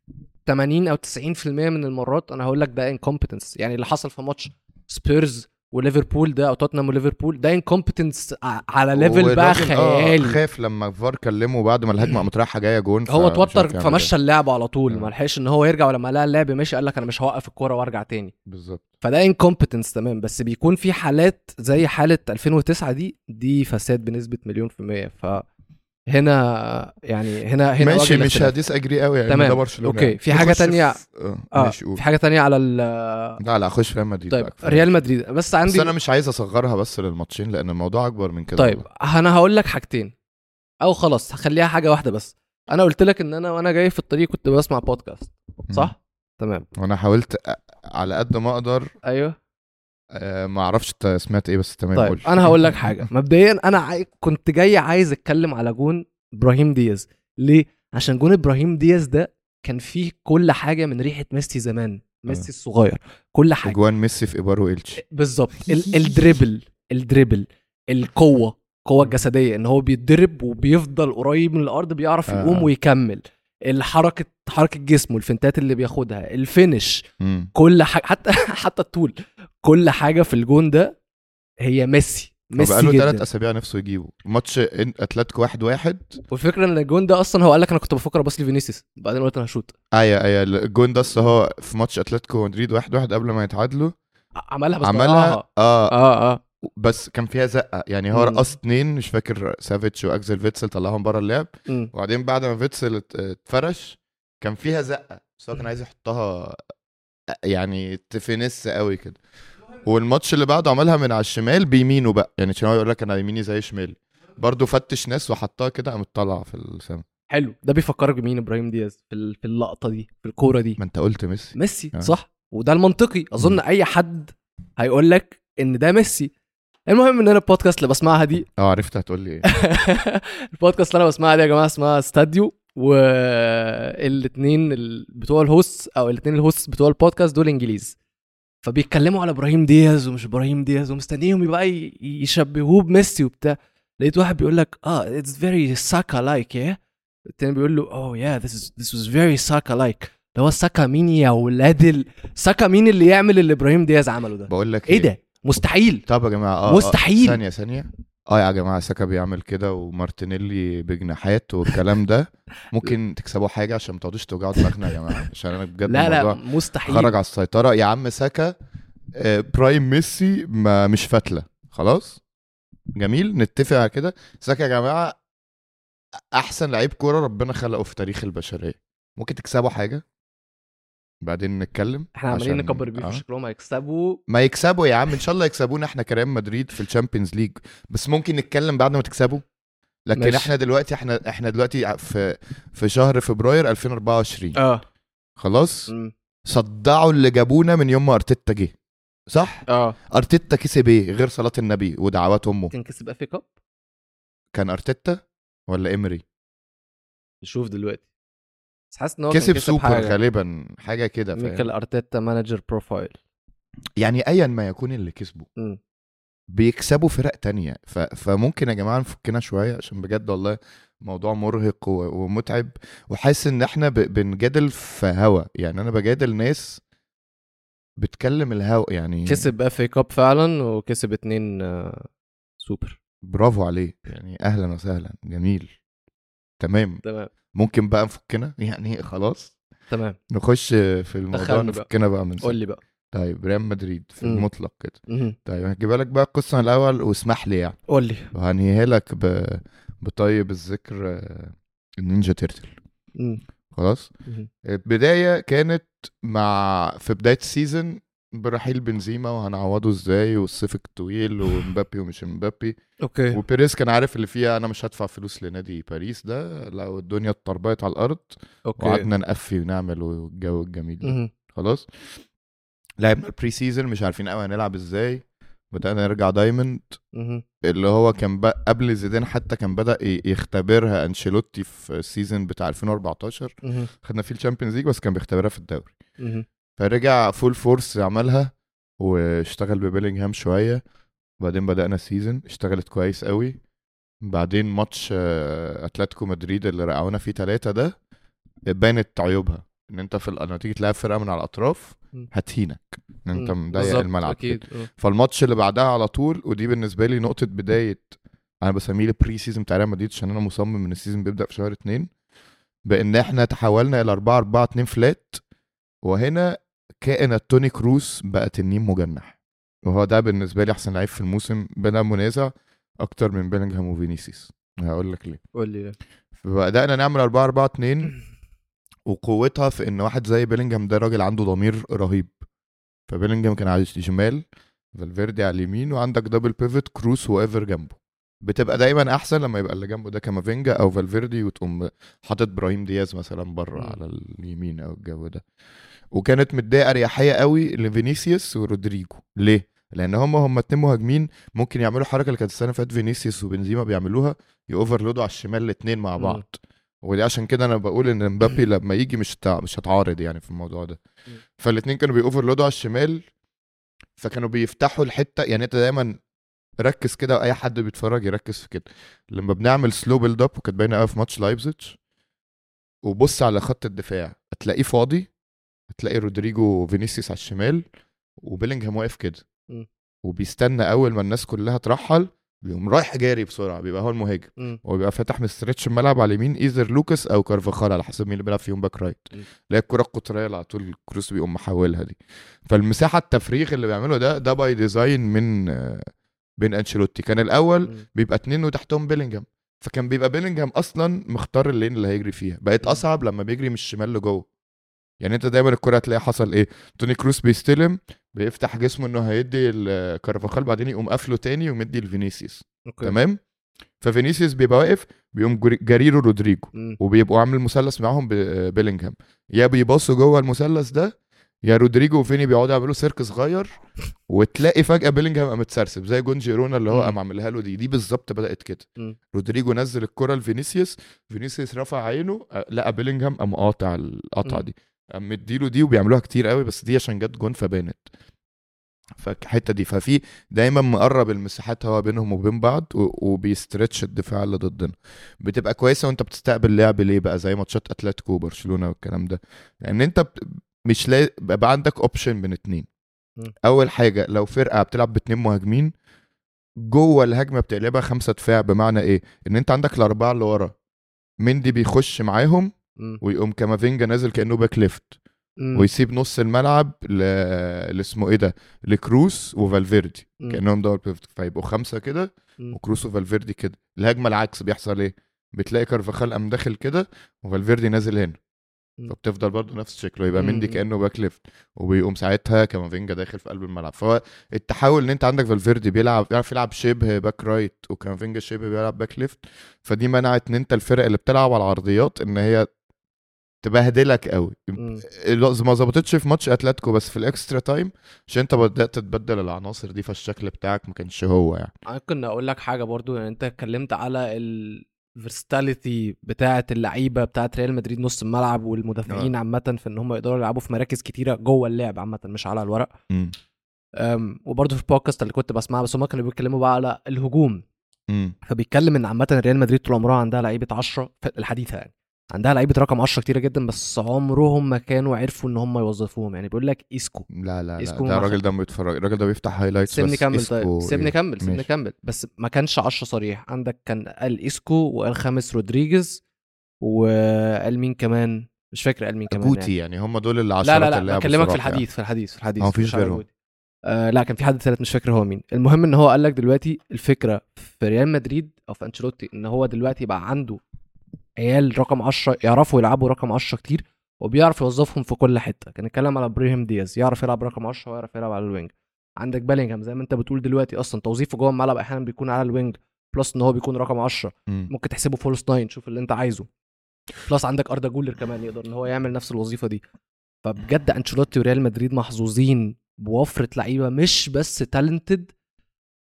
Speaker 1: 80 او 90% من المرات انا هقول لك ده انكومبتنس يعني اللي حصل في ماتش سبيرز وليفربول ده او توتنهام وليفربول ده انكومبتنس على ليفل بقى
Speaker 2: والراجل- آه،
Speaker 1: خيالي
Speaker 2: خاف لما فار كلمه بعد ما الهجمه قامت رايحه جايه جون
Speaker 1: هو
Speaker 2: فمش عارف
Speaker 1: اتوتر
Speaker 2: يعمل إيه. آه.
Speaker 1: فمشى اللعب على طول
Speaker 2: مم.
Speaker 1: ما لحقش ان هو يرجع ولما لقى اللعب ماشي قال لك انا مش هوقف الكوره وارجع تاني
Speaker 2: إيه. بالظبط
Speaker 1: فده انكومبتنس تمام بس بيكون في حالات زي حاله 2009 دي دي فساد بنسبه مليون في الميه فهنا يعني هنا هنا
Speaker 2: ماشي
Speaker 1: وجه
Speaker 2: مش
Speaker 1: الاختلاف.
Speaker 2: هديس اجري قوي يعني
Speaker 1: تمام.
Speaker 2: ده برشلونه
Speaker 1: أوكي،
Speaker 2: يعني.
Speaker 1: في حاجة
Speaker 2: نخش في-
Speaker 1: تانية-
Speaker 2: اه
Speaker 1: آه،
Speaker 2: ماشي قول
Speaker 1: في حاجه تانية على ال
Speaker 2: لا لا اخش ريال مدريد
Speaker 1: طيب
Speaker 2: بقى، كفاية.
Speaker 1: ريال مدريد بس عندي
Speaker 2: بس انا مش عايز اصغرها بس للماتشين لان الموضوع اكبر من كده
Speaker 1: طيب
Speaker 2: والله.
Speaker 1: انا هقول لك حاجتين او خلاص هخليها حاجه واحده بس انا قلت لك ان انا وانا جاي في الطريق كنت بسمع بودكاست صح تمام
Speaker 2: وانا حاولت أ- على قد ما اقدر
Speaker 1: ايوه
Speaker 2: آه، ما اعرفش إنت سمعت ايه بس تمام
Speaker 1: طيب
Speaker 2: قول.
Speaker 1: انا هقول لك حاجه مبدئيا انا عاي... كنت جاي عايز اتكلم على جون ابراهيم دياز ليه عشان جون ابراهيم دياز ده كان فيه كل حاجه من ريحه ميسي زمان ميسي الصغير كل حاجه
Speaker 2: اجوان ميسي في ايبارو التش
Speaker 1: بالظبط ال- الدريبل الدريبل القوه القوه الجسديه ان هو بيتدرب وبيفضل قريب من الارض بيعرف
Speaker 2: آه.
Speaker 1: يقوم ويكمل الحركه حركه جسمه الفنتات اللي بياخدها الفينش
Speaker 2: مم.
Speaker 1: كل حاجه حتى حتى الطول كل حاجه في الجون ده هي ميسي ميسي
Speaker 2: بقاله ثلاث
Speaker 1: جدا
Speaker 2: اسابيع نفسه يجيبه ماتش إن- اتلتيكو واحد واحد
Speaker 1: والفكره ان الجون ده اصلا هو قال لك انا كنت بفكر ابص لفينيسيوس بعدين قلت انا هشوط
Speaker 2: ايوه ايوه الجون ده اصل هو في ماتش اتلتيكو مدريد واحد واحد قبل ما يتعادلوا
Speaker 1: عملها بس
Speaker 2: عملها
Speaker 1: ضيعها.
Speaker 2: اه
Speaker 1: اه اه
Speaker 2: بس كان فيها زقه يعني هو
Speaker 1: مم.
Speaker 2: رقص اتنين مش فاكر سافيتش واكزل فيتسل طلعهم بره اللعب
Speaker 1: مم.
Speaker 2: وبعدين بعد ما فيتسل ات- اتفرش كان فيها زقه بس هو كان عايز يحطها يعني تفنس قوي كده والماتش اللي بعده عملها من على الشمال بيمينه بقى يعني عشان هو يقول لك انا يميني زي شمالي برضه فتش ناس وحطها كده قامت طالعه في السما
Speaker 1: حلو ده بيفكرك بمين ابراهيم دياز في ال- في اللقطه دي في الكوره دي
Speaker 2: ما انت قلت ميسي
Speaker 1: ميسي
Speaker 2: آه.
Speaker 1: صح وده المنطقي اظن
Speaker 2: مم.
Speaker 1: اي حد هيقول لك ان ده ميسي المهم ان انا البودكاست اللي بسمعها دي
Speaker 2: اه عرفت هتقول لي ايه
Speaker 1: البودكاست اللي انا بسمعها دي يا جماعه اسمها استاديو والاثنين بتوع الهوست او الاثنين الهوست بتوع البودكاست دول انجليز فبيتكلموا على ابراهيم دياز ومش ابراهيم دياز ومستنيهم يبقى ي- يشبهوه بميسي وبتاع لقيت واحد بيقول لك اه اتس فيري ساكا لايك يا eh?" التاني بيقول له "Oh اوه يا ذس از ذس واز فيري ساكا لايك اللي هو ساكا مين يا ولاد ال... ساكا مين اللي يعمل اللي ابراهيم دياز عمله ده
Speaker 2: بقول لك إيه.
Speaker 1: ايه ده مستحيل
Speaker 2: طب يا جماعه اه آه،
Speaker 1: مستحيل.
Speaker 2: ثانيه ثانيه اه يا جماعه ساكا بيعمل كده ومارتينيلي بجناحات والكلام ده ممكن تكسبوا حاجه عشان ما تقعدوش توجعوا دماغنا يا جماعه عشان انا بجد
Speaker 1: لا لا
Speaker 2: الموضوع
Speaker 1: مستحيل
Speaker 2: خرج على السيطره يا عم ساكا آه، برايم ميسي ما مش فاتله خلاص جميل نتفق على كده ساكا يا جماعه احسن لعيب كوره ربنا خلقه في تاريخ البشريه ممكن تكسبوا حاجه بعدين نتكلم
Speaker 1: احنا عمالين
Speaker 2: عشان-
Speaker 1: نكبر بيه
Speaker 2: آه.
Speaker 1: في شكلهم هيكسبوا
Speaker 2: ما يكسبوا يا عم ان شاء الله يكسبونا احنا كريال مدريد في الشامبيونز ليج بس ممكن نتكلم بعد ما تكسبوا لكن
Speaker 1: ماشي.
Speaker 2: ماشي. احنا دلوقتي احنا احنا دلوقتي في في شهر فبراير 2024
Speaker 1: اه
Speaker 2: خلاص صدعوا اللي جابونا من يوم ما ارتيتا جه صح
Speaker 1: اه
Speaker 2: ارتيتا كسب ايه غير صلاه النبي ودعوات امه
Speaker 1: تنكسب افي كاب
Speaker 2: كان ارتيتا ولا امري
Speaker 1: نشوف دلوقتي بس حاسس ان هو كان
Speaker 2: كسب سوبر يعني.
Speaker 1: حاجة.
Speaker 2: غالبا حاجه كده
Speaker 1: ميكل
Speaker 2: فاهم؟
Speaker 1: ارتيتا مانجر بروفايل
Speaker 2: يعني ايا ما يكون اللي كسبه
Speaker 1: مم.
Speaker 2: بيكسبوا فرق تانية ف... فممكن يا جماعة نفكنا شوية عشان بجد والله موضوع مرهق و... ومتعب وحاسس ان احنا ب... بنجادل في هوا يعني انا بجادل ناس بتكلم الهوا يعني
Speaker 1: كسب افي كاب فعلا وكسب اتنين آه، سوبر
Speaker 2: برافو عليه يعني اهلا وسهلا جميل تمام
Speaker 1: تمام
Speaker 2: ممكن بقى نفكنا يعني خلاص
Speaker 1: تمام
Speaker 2: نخش في الموضوع
Speaker 1: دخلني بقى.
Speaker 2: نفكنا بقى من
Speaker 1: قول
Speaker 2: سنة.
Speaker 1: لي بقى
Speaker 2: طيب ريال مدريد في
Speaker 1: مم.
Speaker 2: المطلق كده
Speaker 1: مهم.
Speaker 2: طيب هجيبها لك بقى القصة الاول واسمح لي يعني
Speaker 1: قول لي
Speaker 2: وهنهيها لك ب... بطيب الذكر آه، النينجا تيرتل
Speaker 1: مم.
Speaker 2: خلاص
Speaker 1: مهم.
Speaker 2: البداية كانت مع في بداية السيزون برحيل بنزيما وهنعوضه ازاي والصيف الطويل ومبابي ومش مبابي
Speaker 1: اوكي
Speaker 2: وبيريز كان عارف اللي فيها انا مش هدفع فلوس لنادي باريس ده لو الدنيا اتطربقت على الارض
Speaker 1: اوكي
Speaker 2: وقعدنا نقفي ونعمل والجو الجميل ده
Speaker 1: مهم.
Speaker 2: خلاص لعبنا البري سيزون مش عارفين قوي هنلعب ازاي بدأنا نرجع دايموند
Speaker 1: مهم.
Speaker 2: اللي هو كان بق... قبل زيدان حتى كان بدأ ي- يختبرها انشيلوتي في السيزون بتاع 2014
Speaker 1: مهم.
Speaker 2: خدنا فيه الشامبيونز ليج بس كان بيختبرها في الدوري
Speaker 1: مهم.
Speaker 2: فرجع فول فورس عملها واشتغل ببيلينغهام شويه وبعدين بدأنا السيزون اشتغلت كويس قوي بعدين ماتش آه، اتلتيكو مدريد اللي رقعونا فيه ثلاثة ده بانت عيوبها ان انت في ال- لما تيجي تلعب فرقه من على الاطراف
Speaker 1: م.
Speaker 2: هتهينك ان انت
Speaker 1: مم.
Speaker 2: مضيق
Speaker 1: بالظبط،
Speaker 2: الملعب كده.
Speaker 1: اكيد آه.
Speaker 2: فالماتش اللي بعدها على طول ودي بالنسبه لي نقطه بدايه انا بسميه البري سيزون بتاع ريال مدريد عشان انا مصمم ان السيزون بيبدا في شهر اتنين بان احنا تحولنا الى 4 4 2 فلات وهنا كائن توني كروس بقى تنين مجنح وهو ده بالنسبه لي احسن لعيب في الموسم بلا منازع اكتر من بيلينجهام وفينيسيوس هقول لك ليه
Speaker 1: قول لي
Speaker 2: فبدانا نعمل 4 4 2 وقوتها في ان واحد زي بيلينجهام ده راجل عنده ضمير رهيب فبيلينجهام كان على الشمال فالفيردي على اليمين وعندك دبل بيفت كروس وايفر جنبه بتبقى دايما احسن لما يبقى اللي جنبه ده كامافينجا او فالفيردي وتقوم حاطط ابراهيم دياز مثلا بره
Speaker 1: مم.
Speaker 2: على اليمين او الجو ده وكانت مديه اريحيه قوي لفينيسيوس ورودريجو ليه لان هم هم اتنين مهاجمين ممكن يعملوا الحركه اللي كانت السنه اللي فاتت فينيسيوس وبنزيما بيعملوها يوفرلودوا على الشمال الاثنين مع
Speaker 1: مم.
Speaker 2: بعض ودي عشان كده انا بقول ان مبابي لما يجي مش تع... مش هتعارض يعني في الموضوع ده
Speaker 1: مم.
Speaker 2: فالاثنين كانوا بيوفرلودوا على الشمال فكانوا بيفتحوا الحته يعني انت دايما ركز كده واي حد بيتفرج يركز في كده لما بنعمل سلو بيلد اب وكانت باينه قوي في ماتش لايبزيتش وبص على خط الدفاع هتلاقيه فاضي هتلاقي رودريجو وفينيسيوس على الشمال وبيلينجهام واقف كده
Speaker 1: مم.
Speaker 2: وبيستنى اول ما الناس كلها ترحل بيقوم رايح جاري بسرعه بيبقى هو المهاجم
Speaker 1: مم.
Speaker 2: وبيبقى فاتح من ستريتش الملعب على اليمين ايزر لوكاس او كارفاخال على حسب مين اللي بيلعب فيهم باك رايت
Speaker 1: م.
Speaker 2: اللي هي الكره القطريه اللي على طول كروس بيقوم محولها دي فالمساحه التفريغ اللي بيعمله ده ده باي ديزاين من آه، بين انشيلوتي كان الاول
Speaker 1: مم.
Speaker 2: بيبقى اتنين وتحتهم بيلينجهام فكان بيبقى بيلينجهام اصلا مختار اللين اللي هيجري فيها بقت
Speaker 1: م.
Speaker 2: اصعب لما بيجري من الشمال لجوه يعني انت دايما الكره هتلاقي حصل ايه توني كروس بيستلم بيفتح جسمه انه هيدي لكارفاخال بعدين يقوم قافله تاني ومدي لفينيسيوس
Speaker 1: أوكي.
Speaker 2: تمام ففينيسيوس بيبقى واقف بيقوم جري- جريرو رودريجو
Speaker 1: مم.
Speaker 2: وبيبقوا عامل مثلث معاهم ب- بيلينجهام يا بيباصوا جوه المثلث ده يا رودريجو وفيني بيقعدوا يعملوا سيرك صغير وتلاقي فجاه بيلينجهام قام متسرسب زي جون جيرونا اللي هو
Speaker 1: مم.
Speaker 2: قام عاملها له دي دي بالظبط بدات كده
Speaker 1: مم.
Speaker 2: رودريجو نزل الكره لفينيسيوس فينيسيوس رفع عينه أ- لقى بيلينجهام قام قاطع القطعه
Speaker 1: مم.
Speaker 2: دي قام مديله دي وبيعملوها كتير قوي بس دي عشان جت جون فبانت فالحته دي ففي دايما مقرب المساحات هوا بينهم وبين بعض و- وبيسترتش الدفاع اللي ضدنا بتبقى كويسه وانت بتستقبل لعب ليه بقى زي ماتشات اتلتيكو وبرشلونه والكلام ده لان انت بت- مش لا بقى عندك اوبشن من اتنين
Speaker 1: مم.
Speaker 2: اول حاجه لو فرقه بتلعب باتنين مهاجمين جوه الهجمه بتقلبها خمسه دفاع بمعنى ايه ان انت عندك الاربعه اللي ورا مندي بيخش معاهم
Speaker 1: مم.
Speaker 2: ويقوم كامافينجا نازل كانه باك ليفت
Speaker 1: مم.
Speaker 2: ويسيب نص الملعب ل... لاسمه ايه ده لكروس وفالفيردي
Speaker 1: مم.
Speaker 2: كانهم دبل بيفت فيبقوا خمسه كده
Speaker 1: مم.
Speaker 2: وكروس وفالفيردي كده الهجمه العكس بيحصل ايه بتلاقي كارفاخال قام داخل كده وفالفيردي نازل هنا
Speaker 1: مم.
Speaker 2: فبتفضل برضه نفس شكله يبقى
Speaker 1: مم.
Speaker 2: مندي كانه باك ليفت وبيقوم ساعتها كامافينجا داخل في قلب الملعب فهو التحول ان انت عندك فالفيردي بيلعب بيعرف يلعب شبه باك رايت وكامافينجا شبه بيلعب باك ليفت فدي منعت ان انت الفرق اللي بتلعب على العرضيات ان هي تبهدلك قوي
Speaker 1: مم.
Speaker 2: ال- ما ظبطتش في ماتش اتلتيكو بس في الاكسترا تايم عشان انت بدات تتبدل العناصر دي فالشكل بتاعك ما كانش هو يعني
Speaker 1: ممكن اقول لك حاجه برضو يعني انت اتكلمت على الفيرستاليتي بتاعه اللعيبه بتاعه ريال مدريد نص الملعب والمدافعين
Speaker 2: آه.
Speaker 1: عامه في ان هم يقدروا يلعبوا في مراكز كتيره جوه اللعب عامه مش على الورق
Speaker 2: امم
Speaker 1: أم، وبرضو في البودكاست اللي كنت بسمعها بس هم كانوا بيتكلموا بقى على الهجوم فبيتكلم ان عامه ريال مدريد طول عمرها عندها لعيبه 10 في الحديثه يعني عندها لعيبه رقم 10 كتيره جدا بس عمرهم ما كانوا عرفوا ان هم يوظفوهم يعني بيقول لك ايسكو
Speaker 2: لا لا لا
Speaker 1: اسكو
Speaker 2: ده
Speaker 1: مع-
Speaker 2: الراجل ده ما بيتفرج الراجل ده بيفتح هايلايتس
Speaker 1: سيبني
Speaker 2: بس
Speaker 1: كمل
Speaker 2: اسكو
Speaker 1: طيب سيبني
Speaker 2: إيه.
Speaker 1: كمل سيبني
Speaker 2: ماشي.
Speaker 1: كمل بس ما كانش 10 صريح عندك كان قال اسكو وقال خامس رودريجيز وقال مين كمان مش فاكر قال مين كمان
Speaker 2: جوتي يعني هم دول اللي
Speaker 1: يعني. لا
Speaker 2: عشرات
Speaker 1: لا
Speaker 2: اللي
Speaker 1: لا
Speaker 2: لعبوا
Speaker 1: بكلمك في
Speaker 2: صراحة يعني.
Speaker 1: الحديث في الحديث في الحديث
Speaker 2: هو مفيش
Speaker 1: مش على
Speaker 2: غيرهم.
Speaker 1: جوتي. آه لا كان في حد ثالث مش فاكر هو مين المهم ان هو قال لك دلوقتي الفكره في ريال مدريد او في انشيلوتي ان هو دلوقتي بقى عنده عيال رقم 10 يعرفوا يلعبوا رقم 10 كتير وبيعرف يوظفهم في كل حته كان اتكلم على ابراهيم دياز يعرف يلعب رقم 10 ويعرف يلعب على الوينج عندك بالينجهام زي ما انت بتقول دلوقتي اصلا توظيفه جوه الملعب احيانا بيكون على الوينج بلس ان هو بيكون رقم 10
Speaker 2: مم.
Speaker 1: ممكن تحسبه فولس ناين شوف اللي انت عايزه بلس عندك اردا جولر كمان يقدر ان هو يعمل نفس الوظيفه دي فبجد انشيلوتي وريال مدريد محظوظين بوفره لعيبه مش بس تالنتد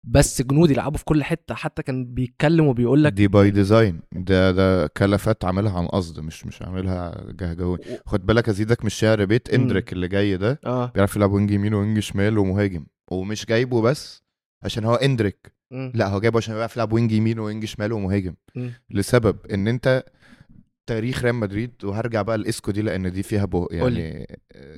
Speaker 1: بس جنود يلعبوا في كل حته حتى كان بيتكلم وبيقول لك
Speaker 2: دي باي ديزاين ده ده كلفات عاملها عن قصد مش مش عاملها جهجوي خد بالك ازيدك مش شعر بيت
Speaker 1: مم.
Speaker 2: اندريك اللي جاي ده
Speaker 1: اه
Speaker 2: بيعرف يلعب وينج يمين وينج شمال ومهاجم ومش جايبه بس عشان هو اندريك
Speaker 1: مم.
Speaker 2: لا هو جايبه عشان بيعرف يلعب وينج يمين وينج شمال ومهاجم
Speaker 1: مم.
Speaker 2: لسبب ان انت تاريخ ريال مدريد وهرجع بقى لاسكو دي لان دي فيها بو يعني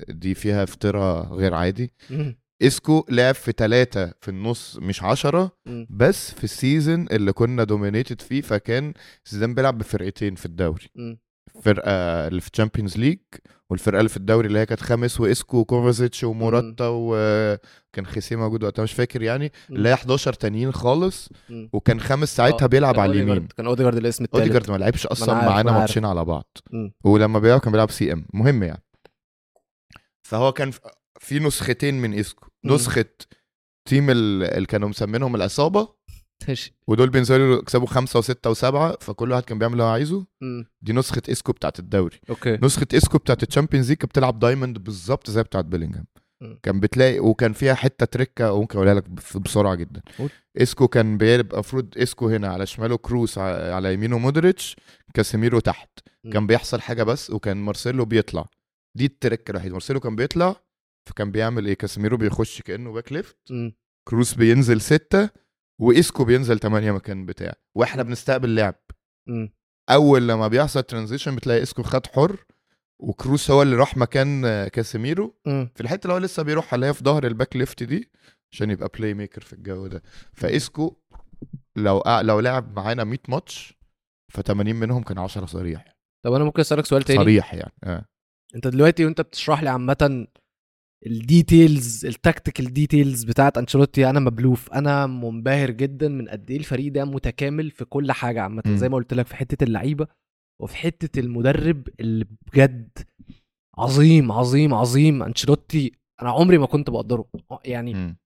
Speaker 2: دي فيها افتراء غير عادي
Speaker 1: مم.
Speaker 2: اسكو لعب في ثلاثة في النص مش عشرة
Speaker 1: مم.
Speaker 2: بس في السيزون اللي كنا دومينيتد فيه فكان زيدان بيلعب بفرقتين في الدوري
Speaker 1: مم.
Speaker 2: الفرقه اللي في تشامبيونز ليج والفرقه اللي في الدوري اللي هي كانت خامس واسكو وكوفازيتش وموراتا وكان خيسيه موجود وقتها مش فاكر يعني
Speaker 1: مم.
Speaker 2: اللي هي 11 تانيين خالص
Speaker 1: مم.
Speaker 2: وكان خامس ساعتها
Speaker 1: آه،
Speaker 2: بيلعب
Speaker 1: كان
Speaker 2: على
Speaker 1: أوديجارد-
Speaker 2: اليمين
Speaker 1: كان اوديجارد الاسم التالت
Speaker 2: اوديجارد ما لعبش اصلا
Speaker 1: أنا عارف،
Speaker 2: معانا
Speaker 1: أنا عارف.
Speaker 2: ماتشين على بعض
Speaker 1: مم.
Speaker 2: ولما بيلعب كان بيلعب سي ام مهم يعني فهو كان ف- في نسختين من اسكو
Speaker 1: مم.
Speaker 2: نسخه تيم ال- اللي كانوا مسمينهم العصابه
Speaker 1: ماشي
Speaker 2: ودول بينزلوا يكسبوا خمسه وسته وسبعه فكل واحد كان بيعمل اللي هو عايزه
Speaker 1: مم.
Speaker 2: دي نسخه اسكو بتاعت الدوري
Speaker 1: اوكي
Speaker 2: نسخه اسكو بتاعت الشامبيونز ليج كانت بتلعب دايموند بالظبط زي بتاعت بيلينجهام
Speaker 1: مم.
Speaker 2: كان بتلاقي وكان فيها حته تركه وممكن اقولها لك بف- بسرعه جدا
Speaker 1: قول.
Speaker 2: اسكو كان بيبقى المفروض اسكو هنا على شماله كروس ع- على يمينه مودريتش كاسيميرو تحت
Speaker 1: مم.
Speaker 2: كان بيحصل حاجه بس وكان مارسيلو بيطلع دي التركه الوحيده مارسيلو كان بيطلع فكان بيعمل ايه كاسيميرو بيخش كانه باك ليفت
Speaker 1: مم.
Speaker 2: كروس بينزل ستة واسكو بينزل تمانية مكان بتاعه واحنا بنستقبل لعب
Speaker 1: مم.
Speaker 2: اول لما بيحصل ترانزيشن بتلاقي اسكو خد حر وكروس هو اللي راح مكان آه، كاسيميرو
Speaker 1: مم.
Speaker 2: في الحته اللي هو لسه بيروح اللي هي في ظهر الباك ليفت دي عشان يبقى بلاي ميكر في الجو ده فاسكو لو قع- لو لعب معانا 100 ماتش ف 80 منهم كان 10 صريح
Speaker 1: طب انا ممكن اسالك سؤال تاني
Speaker 2: صريح يعني اه
Speaker 1: انت دلوقتي وانت بتشرح لي عامه الديتيلز التكتيكال ديتيلز بتاعت انشيلوتي انا مبلوف انا منبهر جدا من قد ايه الفريق ده متكامل في كل حاجه عامه
Speaker 2: مم.
Speaker 1: زي ما قلت لك في حته اللعيبه وفي حته المدرب اللي بجد عظيم عظيم عظيم انشيلوتي انا عمري ما كنت بقدره يعني
Speaker 2: مم.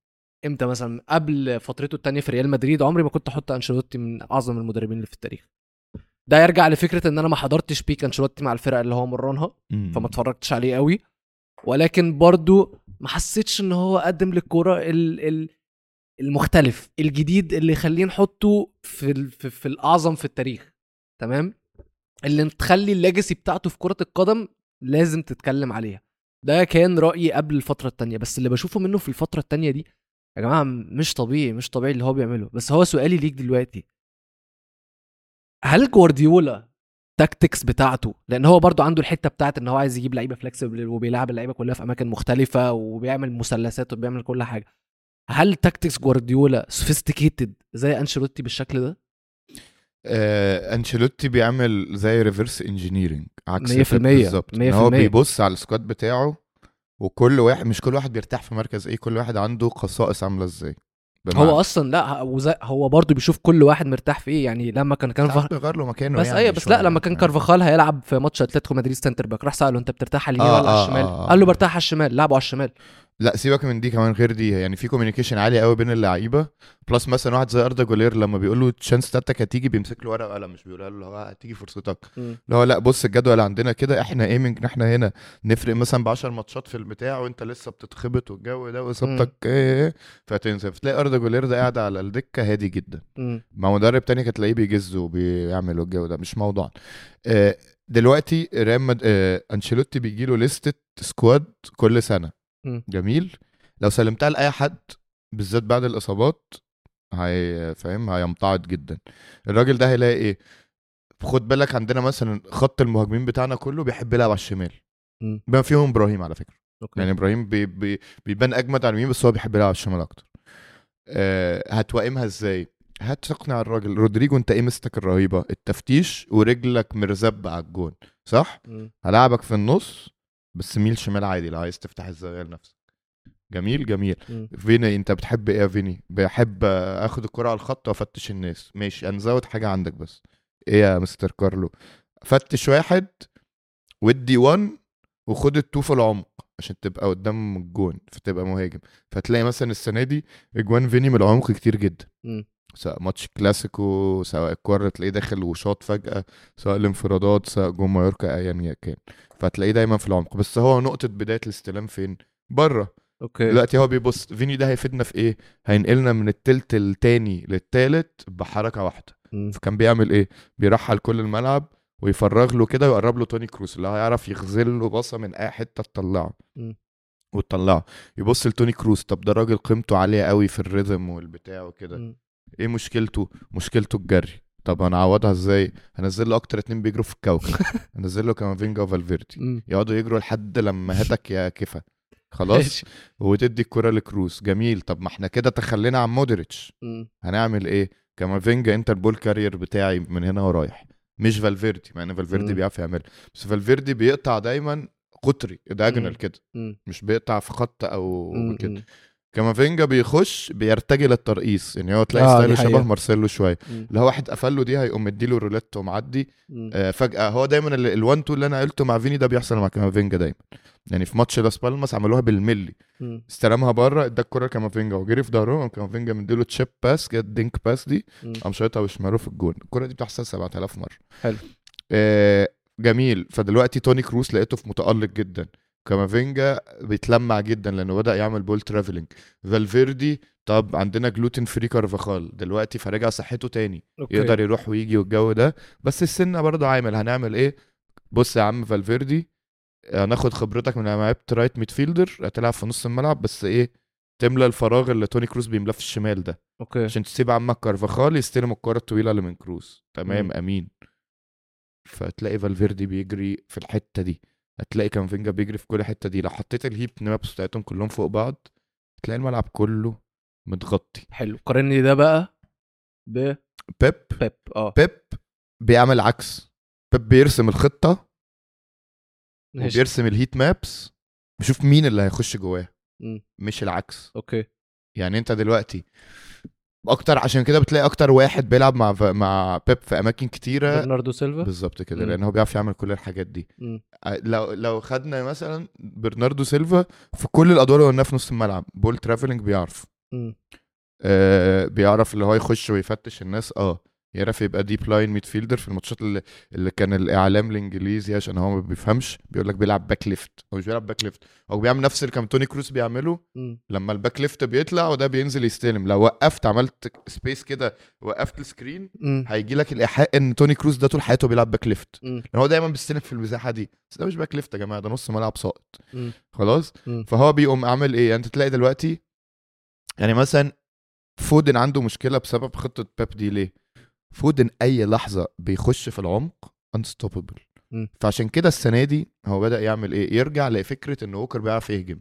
Speaker 1: امتى مثلا قبل فترته التانية في ريال مدريد عمري ما كنت احط انشيلوتي من اعظم المدربين اللي في التاريخ ده يرجع لفكره ان انا ما حضرتش بيك انشيلوتي مع الفرق اللي هو مرنها
Speaker 2: مم.
Speaker 1: فما اتفرجتش عليه قوي ولكن برضو ما حسيتش ان هو قدم للكوره ال- ال- المختلف الجديد اللي يخليه نحطه في, ال- في في الاعظم في التاريخ تمام اللي تخلي الليجاسي بتاعته في كره القدم لازم تتكلم عليها ده كان رايي قبل الفتره التانية بس اللي بشوفه منه في الفتره التانية دي يا جماعه مش طبيعي مش طبيعي اللي هو بيعمله بس هو سؤالي ليك دلوقتي هل جوارديولا التاكتكس بتاعته لان هو برضو عنده الحته بتاعت ان هو عايز يجيب لعيبه فلكسبل وبيلعب اللعيبه كلها في اماكن مختلفه وبيعمل مثلثات وبيعمل كل حاجه هل تاكتكس جوارديولا سوفيستيكيتد زي انشيلوتي بالشكل ده
Speaker 2: آه، انشيلوتي بيعمل زي ريفرس انجينيرنج عكس
Speaker 1: 100%
Speaker 2: فيب بالظبط إن هو
Speaker 1: 100%
Speaker 2: بيبص على السكواد بتاعه وكل واحد مش كل واحد بيرتاح في مركز ايه كل واحد عنده خصائص عامله ازاي بمعنى
Speaker 1: هو اصلا لا هو زي- هو برضو بيشوف كل واحد مرتاح في ايه يعني لما كان كان
Speaker 2: ساعات بيغير له مكانه
Speaker 1: بس
Speaker 2: يعني
Speaker 1: ايوه بس لا
Speaker 2: شوية.
Speaker 1: لما كان كارفاخال هيلعب في ماتش اتلتيكو مدريد سنتر باك راح ساله انت بترتاح على اليمين
Speaker 2: آه،
Speaker 1: ولا على
Speaker 2: آه،
Speaker 1: الشمال
Speaker 2: آه، آه.
Speaker 1: قال له برتاح على الشمال لعبه على الشمال
Speaker 2: لا سيبك من دي كمان غير دي يعني في كوميونيكيشن عالي قوي بين اللعيبه بلس مثلا واحد زي اردا جولير لما بيقول له الشانس بتاعتك هتيجي بيمسك له ورقه وقلم مش بيقولها له هو هتيجي فرصتك
Speaker 1: مم.
Speaker 2: اللي هو لا بص الجدول عندنا كده احنا ايمنج إن احنا هنا نفرق مثلا ب 10 ماتشات في البتاع وانت لسه بتتخبط والجو ده واصابتك ايه ايه فتنزل فتلاقي اردا جولير ده قاعد على الدكه هادي جدا
Speaker 1: مم.
Speaker 2: مع مدرب تاني كانت تلاقيه بيجز وبيعمل الجو ده مش موضوع آه، دلوقتي ريال مد... آه، انشيلوتي بيجي له ليستة سكواد كل سنه
Speaker 1: مم.
Speaker 2: جميل لو سلمتها لاي حد بالذات بعد الاصابات هي فاهم هيمتعض جدا الراجل ده هيلاقي ايه خد بالك عندنا مثلا خط المهاجمين بتاعنا كله بيحب يلعب على الشمال
Speaker 1: مم.
Speaker 2: بما فيهم ابراهيم على فكره
Speaker 1: اوكي
Speaker 2: يعني ابراهيم بي بي بيبان اجمد على اليمين بس هو بيحب يلعب على الشمال اكتر أه هتوائمها ازاي هتقنع الراجل رودريجو انت ايه مستك الرهيبه التفتيش ورجلك مرزبه على الجون صح
Speaker 1: مم.
Speaker 2: هلاعبك في النص بس ميل شمال عادي لو عايز تفتح الزاويه لنفسك جميل جميل
Speaker 1: مم.
Speaker 2: فيني انت بتحب ايه يا فيني بحب آه، اخد الكره على الخط وافتش الناس ماشي انا زود حاجه عندك بس ايه يا مستر كارلو فتش واحد ودي 1 وخد التو في العمق عشان تبقى قدام الجون فتبقى مهاجم فتلاقي مثلا السنه دي اجوان فيني من العمق كتير جدا
Speaker 1: مم.
Speaker 2: سواء ماتش كلاسيكو سواء الكورة تلاقيه داخل وشاط فجأة سواء الانفرادات سواء جون مايوركا ايا كان فتلاقيه دايما في العمق بس هو نقطة بداية الاستلام فين؟ بره
Speaker 1: اوكي
Speaker 2: دلوقتي هو بيبص فيني ده هيفيدنا في ايه؟ هينقلنا من التلت التاني للتالت بحركة واحدة
Speaker 1: مم.
Speaker 2: فكان بيعمل ايه؟ بيرحل كل الملعب ويفرغ له كده ويقرب له توني كروس اللي هو هيعرف يغزل له باصة من اي حتة تطلعه
Speaker 1: مم.
Speaker 2: وتطلعه يبص لتوني كروس طب ده راجل قيمته عالية قوي في الريزم والبتاع وكده
Speaker 1: مم.
Speaker 2: ايه مشكلته مشكلته الجري طب هنعوضها ازاي هنزل له اكتر اتنين بيجروا في الكوكب هنزل له كامافينجا وفالفيردي
Speaker 1: مم.
Speaker 2: يقعدوا يجروا لحد لما هاتك يا كفا خلاص وتدي الكرة لكروس جميل طب ما احنا كده تخلينا عن مودريتش
Speaker 1: مم.
Speaker 2: هنعمل ايه كامافينجا انت البول كارير بتاعي من هنا ورايح مش فالفيردي مع ان فالفيردي
Speaker 1: مم.
Speaker 2: بيعرف يعملها بس فالفيردي بيقطع دايما قطري
Speaker 1: مم.
Speaker 2: داجنال كده
Speaker 1: مم.
Speaker 2: مش بيقطع في خط او
Speaker 1: مم.
Speaker 2: كده كامافينجا بيخش بيرتجل الترقيص يعني هو تلاقي
Speaker 1: آه، دي
Speaker 2: ستايله شبه
Speaker 1: حقيقة.
Speaker 2: مارسيلو شويه
Speaker 1: مم.
Speaker 2: اللي هو واحد قفل له دي هيقوم مديله روليت ومعدي
Speaker 1: مم.
Speaker 2: آه، فجاه هو دايما ال- الوان تو اللي انا قلته مع فيني ده بيحصل مع كامافينجا دايما يعني في ماتش لاس بالماس عملوها بالملي
Speaker 1: مم.
Speaker 2: استلمها بره ادى الكره لكامافينجا وجري في ظهرهم قام كامافينجا مديله تشيب باس كده دينك باس دي
Speaker 1: مم.
Speaker 2: قام شايطها وشماله في الجون الكره دي بتحصل 7000 مره
Speaker 1: حلو.
Speaker 2: آه جميل فدلوقتي توني كروس لقيته في متالق جدا كامافينجا بيتلمع جدا لانه بدا يعمل بول ترافلنج فالفيردي طب عندنا جلوتين فري كارفاخال دلوقتي فرجع صحته تاني
Speaker 1: أوكي.
Speaker 2: يقدر يروح ويجي والجو ده بس السن برضه عامل هنعمل ايه بص يا عم فالفيردي هناخد خبرتك من لما لعبت رايت ميدفيلدر هتلعب في نص الملعب بس ايه تملى الفراغ اللي توني كروس بيملاه في الشمال ده
Speaker 1: اوكي
Speaker 2: عشان تسيب عمك كارفاخال يستلم الكرة الطويلة اللي من كروس تمام
Speaker 1: مم.
Speaker 2: امين فتلاقي فالفيردي بيجري في الحتة دي هتلاقي كامافينجا بيجري في كل حتة دي لو حطيت الهيب مابس بتاعتهم كلهم فوق بعض تلاقي الملعب كله متغطي
Speaker 1: حلو قارني ده بقى ب
Speaker 2: بيب
Speaker 1: بيب اه
Speaker 2: بيب بيعمل عكس بيب بيرسم الخطة
Speaker 1: ماشي.
Speaker 2: وبيرسم الهيت مابس بيشوف مين اللي هيخش جواه
Speaker 1: مم.
Speaker 2: مش العكس
Speaker 1: اوكي
Speaker 2: يعني انت دلوقتي اكتر عشان كده بتلاقي اكتر واحد بيلعب مع مع بيب في اماكن كتيره
Speaker 1: برناردو سيلفا
Speaker 2: بالظبط كده
Speaker 1: مم.
Speaker 2: لان هو بيعرف يعمل كل الحاجات دي
Speaker 1: مم.
Speaker 2: ع- لو لو خدنا مثلا برناردو سيلفا في كل الادوار اللي قلناها في نص الملعب بول ترافلنج بيعرف
Speaker 1: مم.
Speaker 2: آه بيعرف اللي هو يخش ويفتش الناس اه يعرف يبقى ديب لاين ميد فيلدر في الماتشات اللي, اللي كان الاعلام الانجليزي عشان هو ما بيفهمش بيقول لك بيلعب باك ليفت هو مش بيلعب باك ليفت هو بيعمل نفس اللي كان توني كروس بيعمله
Speaker 1: مم.
Speaker 2: لما الباك ليفت بيطلع وده بينزل يستلم لو وقفت عملت سبيس كده وقفت السكرين
Speaker 1: مم.
Speaker 2: هيجي لك الايحاء ان توني كروس ده طول حياته بيلعب باك ليفت
Speaker 1: مم.
Speaker 2: لان هو دايما بيستلم في المساحه دي بس ده مش باك ليفت يا جماعه ده نص ملعب ساقط
Speaker 1: مم.
Speaker 2: خلاص
Speaker 1: مم.
Speaker 2: فهو بيقوم عامل ايه يعني انت تلاقي دلوقتي يعني مثلا فودن عنده مشكله بسبب خطه بيب دي ليه فودن اي لحظه بيخش في العمق انستوببل
Speaker 1: مم.
Speaker 2: فعشان كده السنه دي هو بدا يعمل ايه يرجع لفكره ان ووكر بيعرف يهجم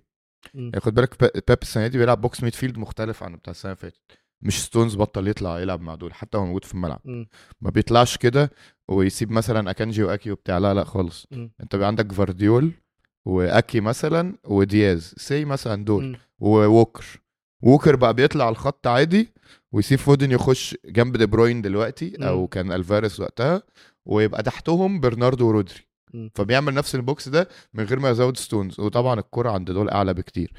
Speaker 1: مم.
Speaker 2: يعني خد بالك ب- بيب السنه دي بيلعب بوكس ميد فيلد مختلف عن بتاع السنه اللي فاتت مش ستونز بطل يطلع يلعب مع دول حتى هو موجود في الملعب
Speaker 1: مم.
Speaker 2: ما بيطلعش كده ويسيب مثلا اكانجي واكي وبتاع لا لا خالص
Speaker 1: مم.
Speaker 2: انت بقى عندك فارديول واكي مثلا ودياز سي مثلا دول
Speaker 1: مم.
Speaker 2: ووكر ووكر بقى بيطلع على الخط عادي ويسيب فودن يخش جنب دي بروين دلوقتي
Speaker 1: مم.
Speaker 2: او كان الفاريز وقتها ويبقى تحتهم برناردو ورودري
Speaker 1: مم.
Speaker 2: فبيعمل نفس البوكس ده من غير ما يزود ستونز وطبعا الكرة عند دول اعلى بكتير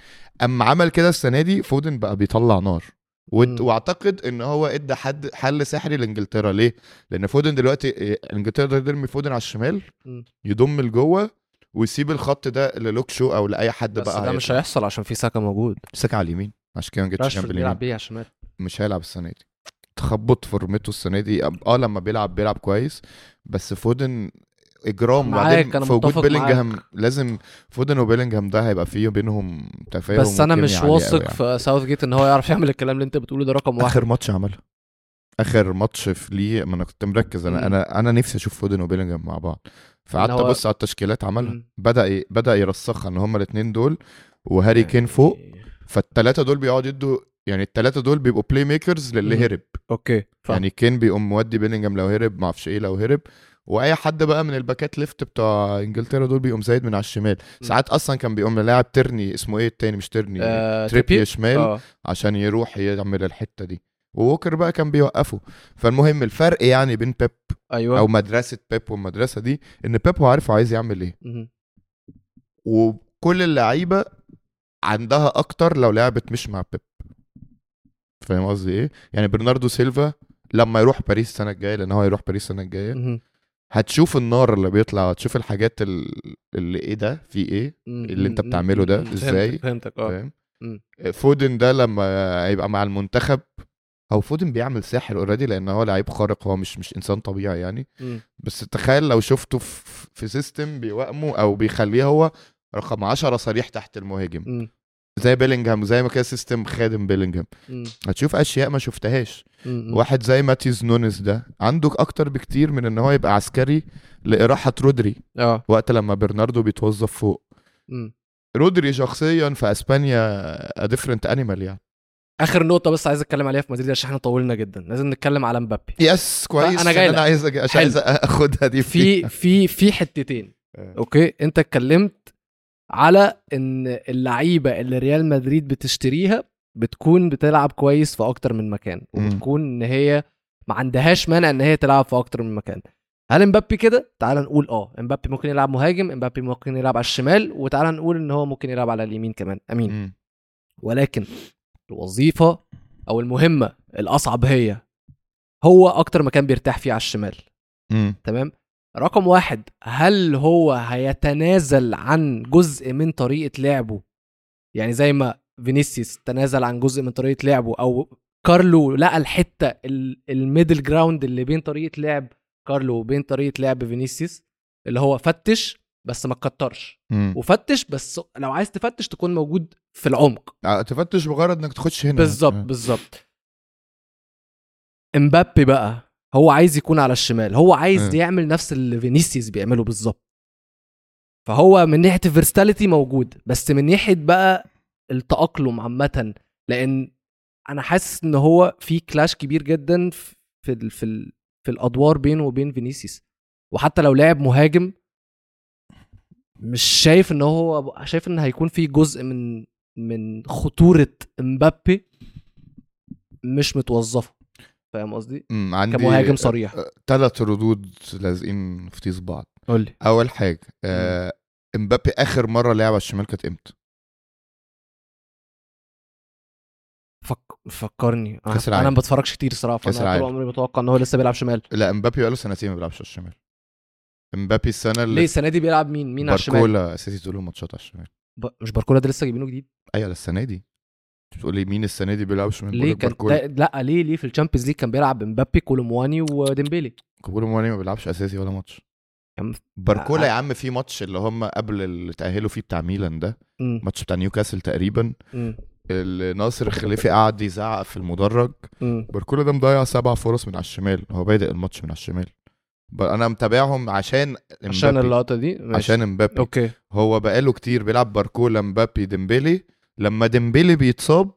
Speaker 2: اما عمل كده السنه دي فودن بقى بيطلع نار واد-
Speaker 1: مم.
Speaker 2: واعتقد ان هو ادى حد حل سحري لانجلترا ليه؟ لان فودن دلوقتي إيه، انجلترا تقدر ترمي فودن على الشمال
Speaker 1: مم.
Speaker 2: يضم لجوه ويسيب الخط ده للوك شو او لاي حد
Speaker 1: بس
Speaker 2: بقى
Speaker 1: ده مش
Speaker 2: هيطلع.
Speaker 1: هيحصل عشان في ساكا موجود
Speaker 2: ساكا على اليمين عشان كده ما جبتش جنب
Speaker 1: راشفورد
Speaker 2: اليمين
Speaker 1: بيلعب بيه على الشمال
Speaker 2: مش هيلعب السنه دي تخبط فورمته السنه دي أم- اه لما بيلعب بيلعب كويس بس فودن اجرام
Speaker 1: معاك،
Speaker 2: بعدين
Speaker 1: أنا
Speaker 2: في وجود
Speaker 1: متفق
Speaker 2: بيلينجهام لازم فودن وبيلينجهام ده هيبقى فيه بينهم تفاهم
Speaker 1: بس انا
Speaker 2: وكيميا
Speaker 1: مش
Speaker 2: عالية
Speaker 1: واثق
Speaker 2: قوي يعني.
Speaker 1: في ساوث جيت ان هو يعرف يعمل الكلام اللي انت بتقوله ده رقم واحد
Speaker 2: اخر ماتش عملها اخر ماتش في ليه ما انا كنت مركز انا
Speaker 1: مم.
Speaker 2: انا انا نفسي اشوف فودن وبيلينجهام مع بعض فقعدت
Speaker 1: هو-
Speaker 2: ابص على التشكيلات عملها
Speaker 1: مم.
Speaker 2: بدا ي- بدا يرسخها ان هما الاثنين دول وهاري كين فوق
Speaker 1: يعني،
Speaker 2: فالثلاثه دول بيقعدوا يدوا يعني الثلاثه دول بيبقوا بلاي ميكرز للي
Speaker 1: مم.
Speaker 2: هرب
Speaker 1: اوكي فاهم.
Speaker 2: يعني كين بيقوم مودي بيلينجهام لو هرب ما اعرفش ايه لو هرب واي حد بقى من الباكات ليفت بتوع انجلترا دول بيقوم زايد من على الشمال
Speaker 1: مم.
Speaker 2: ساعات اصلا كان بيقوم لاعب ترني اسمه ايه التاني مش ترني آه
Speaker 1: آه،
Speaker 2: تريبيه
Speaker 1: تريبير؟
Speaker 2: شمال
Speaker 1: اه
Speaker 2: عشان يروح يعمل الحته دي ووكر بقى كان بيوقفه فالمهم الفرق يعني بين بيب
Speaker 1: ايوه
Speaker 2: او مدرسه بيب والمدرسه دي ان بيب هو عارف هو عايز يعمل ايه
Speaker 1: مم.
Speaker 2: وكل اللعيبه عندها اكتر لو لعبت مش مع بيب فاهم قصدي ايه يعني برناردو سيلفا لما يروح باريس السنه الجايه لان هو هيروح باريس السنه الجايه
Speaker 1: مم.
Speaker 2: هتشوف النار اللي بيطلع هتشوف الحاجات ال- اللي ايه ده في ايه
Speaker 1: مم.
Speaker 2: اللي أنت
Speaker 1: مم.
Speaker 2: بتعمله ده
Speaker 1: مم.
Speaker 2: إزاي؟
Speaker 1: فهمتك فهمتك اه
Speaker 2: فاهم
Speaker 1: مم.
Speaker 2: فودن ده لما هيبقى مع المنتخب هو فودن بيعمل ساحر اوريدي لان هو لعيب خارق هو مش مش انسان طبيعي يعني
Speaker 1: مم.
Speaker 2: بس تخيل لو شفته في, في سيستم بيوائمه او بيخليه هو رقم 10 صريح تحت المهاجم
Speaker 1: مم.
Speaker 2: زي بيلينجهام زي ما كده سيستم خادم بيلينجهام
Speaker 1: مم.
Speaker 2: هتشوف اشياء ما شفتهاش
Speaker 1: مم.
Speaker 2: واحد زي ماتيز نونس ده عندك اكتر بكتير من ان هو يبقى عسكري لاراحه رودري
Speaker 1: اه
Speaker 2: وقت لما برناردو بيتوظف فوق
Speaker 1: مم.
Speaker 2: رودري شخصيا في اسبانيا ديفرنت انيمال يعني
Speaker 1: اخر نقطه بس عايز اتكلم عليها في مدريد عشان احنا طولنا جدا لازم نتكلم على مبابي
Speaker 2: يس كويس
Speaker 1: أنا
Speaker 2: إن
Speaker 1: جاي لك.
Speaker 2: انا عايز أج- عشان
Speaker 1: حلو.
Speaker 2: عايز اخدها دي
Speaker 1: في في في حتتين اوكي انت اتكلمت على ان اللعيبه اللي ريال مدريد بتشتريها بتكون بتلعب كويس في اكتر من مكان
Speaker 2: مم.
Speaker 1: وبتكون ان هي ما عندهاش مانع ان هي تلعب في اكتر من مكان هل امبابي كده تعال نقول اه امبابي ممكن يلعب مهاجم امبابي ممكن يلعب على الشمال وتعال نقول ان هو ممكن يلعب على اليمين كمان امين
Speaker 2: مم.
Speaker 1: ولكن الوظيفه او المهمه الاصعب هي هو اكتر مكان بيرتاح فيه على الشمال
Speaker 2: مم.
Speaker 1: تمام رقم واحد هل هو هيتنازل عن جزء من طريقة لعبه يعني زي ما فينيسيوس تنازل عن جزء من طريقة لعبه أو كارلو لقى الحتة ال- الميدل جراوند اللي بين طريقة لعب كارلو وبين طريقة لعب فينيسيوس اللي هو فتش بس ما تكترش
Speaker 2: مم.
Speaker 1: وفتش بس لو عايز تفتش تكون موجود في العمق
Speaker 2: آه، تفتش مجرد انك تخش هنا
Speaker 1: بالظبط
Speaker 2: آه.
Speaker 1: بالظبط امبابي بقى هو عايز يكون على الشمال هو عايز
Speaker 2: م.
Speaker 1: يعمل نفس اللي فينيسيوس بيعمله بالظبط فهو من ناحيه الفيرستاليتي موجود بس من ناحيه بقى التاقلم عامه لان انا حاسس ان هو في كلاش كبير جدا في ال في ال في الادوار بينه وبين فينيسيوس وحتى لو لاعب مهاجم مش شايف ان هو شايف ان هيكون في جزء من من خطوره امبابي مش متوظفه فاهم قصدي
Speaker 2: مم. عندي
Speaker 1: كمهاجم صريح
Speaker 2: ثلاث ردود لازقين في تيس بعض
Speaker 1: قول لي
Speaker 2: اول حاجه آه، امبابي اخر مره لعب على الشمال كانت امتى
Speaker 1: فك... فكرني أنا-
Speaker 2: كأس
Speaker 1: انا
Speaker 2: العالم.
Speaker 1: ما بتفرجش كتير صراحه
Speaker 2: كأس
Speaker 1: فانا
Speaker 2: العالم.
Speaker 1: طول عمري متوقع ان هو لسه بيلعب شمال
Speaker 2: لا امبابي بقاله سنتين ما بيلعبش على الشمال امبابي السنه
Speaker 1: ليه
Speaker 2: اللي
Speaker 1: السنه دي بيلعب مين مين على الشمال
Speaker 2: باركولا اساسي طول الماتشات على الشمال
Speaker 1: ب... مش باركولا ده لسه جايبينه جديد
Speaker 2: ايوه لا السنه دي بتقول لي مين السنه دي بيلعب شمال
Speaker 1: ليه
Speaker 2: بقولك
Speaker 1: كان
Speaker 2: باركولا
Speaker 1: ده... لا ليه ليه في الشامبيونز ليج كان بيلعب امبابي كولومواني وديمبيلي
Speaker 2: كوبولو مواني ما بيلعبش اساسي ولا ماتش
Speaker 1: يا عم-
Speaker 2: باركولا يا
Speaker 1: آه.
Speaker 2: عم في ماتش اللي هم قبل اللي تاهلوا فيه بتاع ميلان ده
Speaker 1: مم.
Speaker 2: ماتش بتاع نيوكاسل تقريبا
Speaker 1: مم.
Speaker 2: اللي ناصر الخليفي قعد يزعق في المدرج
Speaker 1: مم.
Speaker 2: باركولا ده مضيع سبع فرص من على الشمال هو بادئ الماتش من على الشمال ب- انا متابعهم عشان
Speaker 1: عشان
Speaker 2: مبابي.
Speaker 1: اللقطه دي ماشي.
Speaker 2: عشان امبابي
Speaker 1: اوكي
Speaker 2: هو بقاله كتير بيلعب باركولا مبابي ديمبلي لما ديمبلي بيتصاب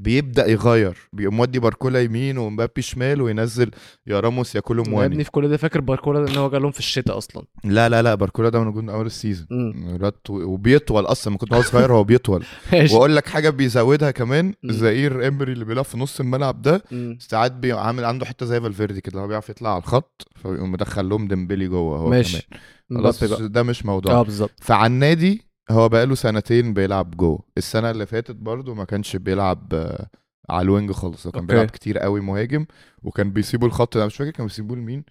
Speaker 2: بيبدا يغير بيقوم مودي باركولا يمين ومبابي شمال وينزل يا راموس يا كولو
Speaker 1: يا ابني
Speaker 2: مواني
Speaker 1: في كل ده فاكر باركولا ده ان هو جالهم في الشتاء اصلا
Speaker 2: لا لا لا باركولا ده موجود من اول السيزون
Speaker 1: مم.
Speaker 2: الواد طو- وبيطول اصلا ما كنت هو صغير هو بيطول
Speaker 1: ماشي.
Speaker 2: واقول لك حاجه بيزودها كمان
Speaker 1: مم.
Speaker 2: زائير امري اللي بيلعب في نص الملعب ده
Speaker 1: مم.
Speaker 2: ساعات بيعمل عنده حته زي فالفيردي كده هو بيعرف يطلع على الخط فبيقوم مدخل لهم ديمبلي جوه هو
Speaker 1: ماشي
Speaker 2: كمان خلاص
Speaker 1: مبابي بقى
Speaker 2: ده مش موضوع
Speaker 1: اه بالظبط
Speaker 2: فعلى النادي هو بقاله سنتين بيلعب جوه السنه اللي فاتت برضه ما كانش بيلعب آه، على الوينج خالص هو كان
Speaker 1: أوكي.
Speaker 2: بيلعب كتير قوي مهاجم وكان بيسيبوا الخط ده مش فاكر كان بيسيبوه لمين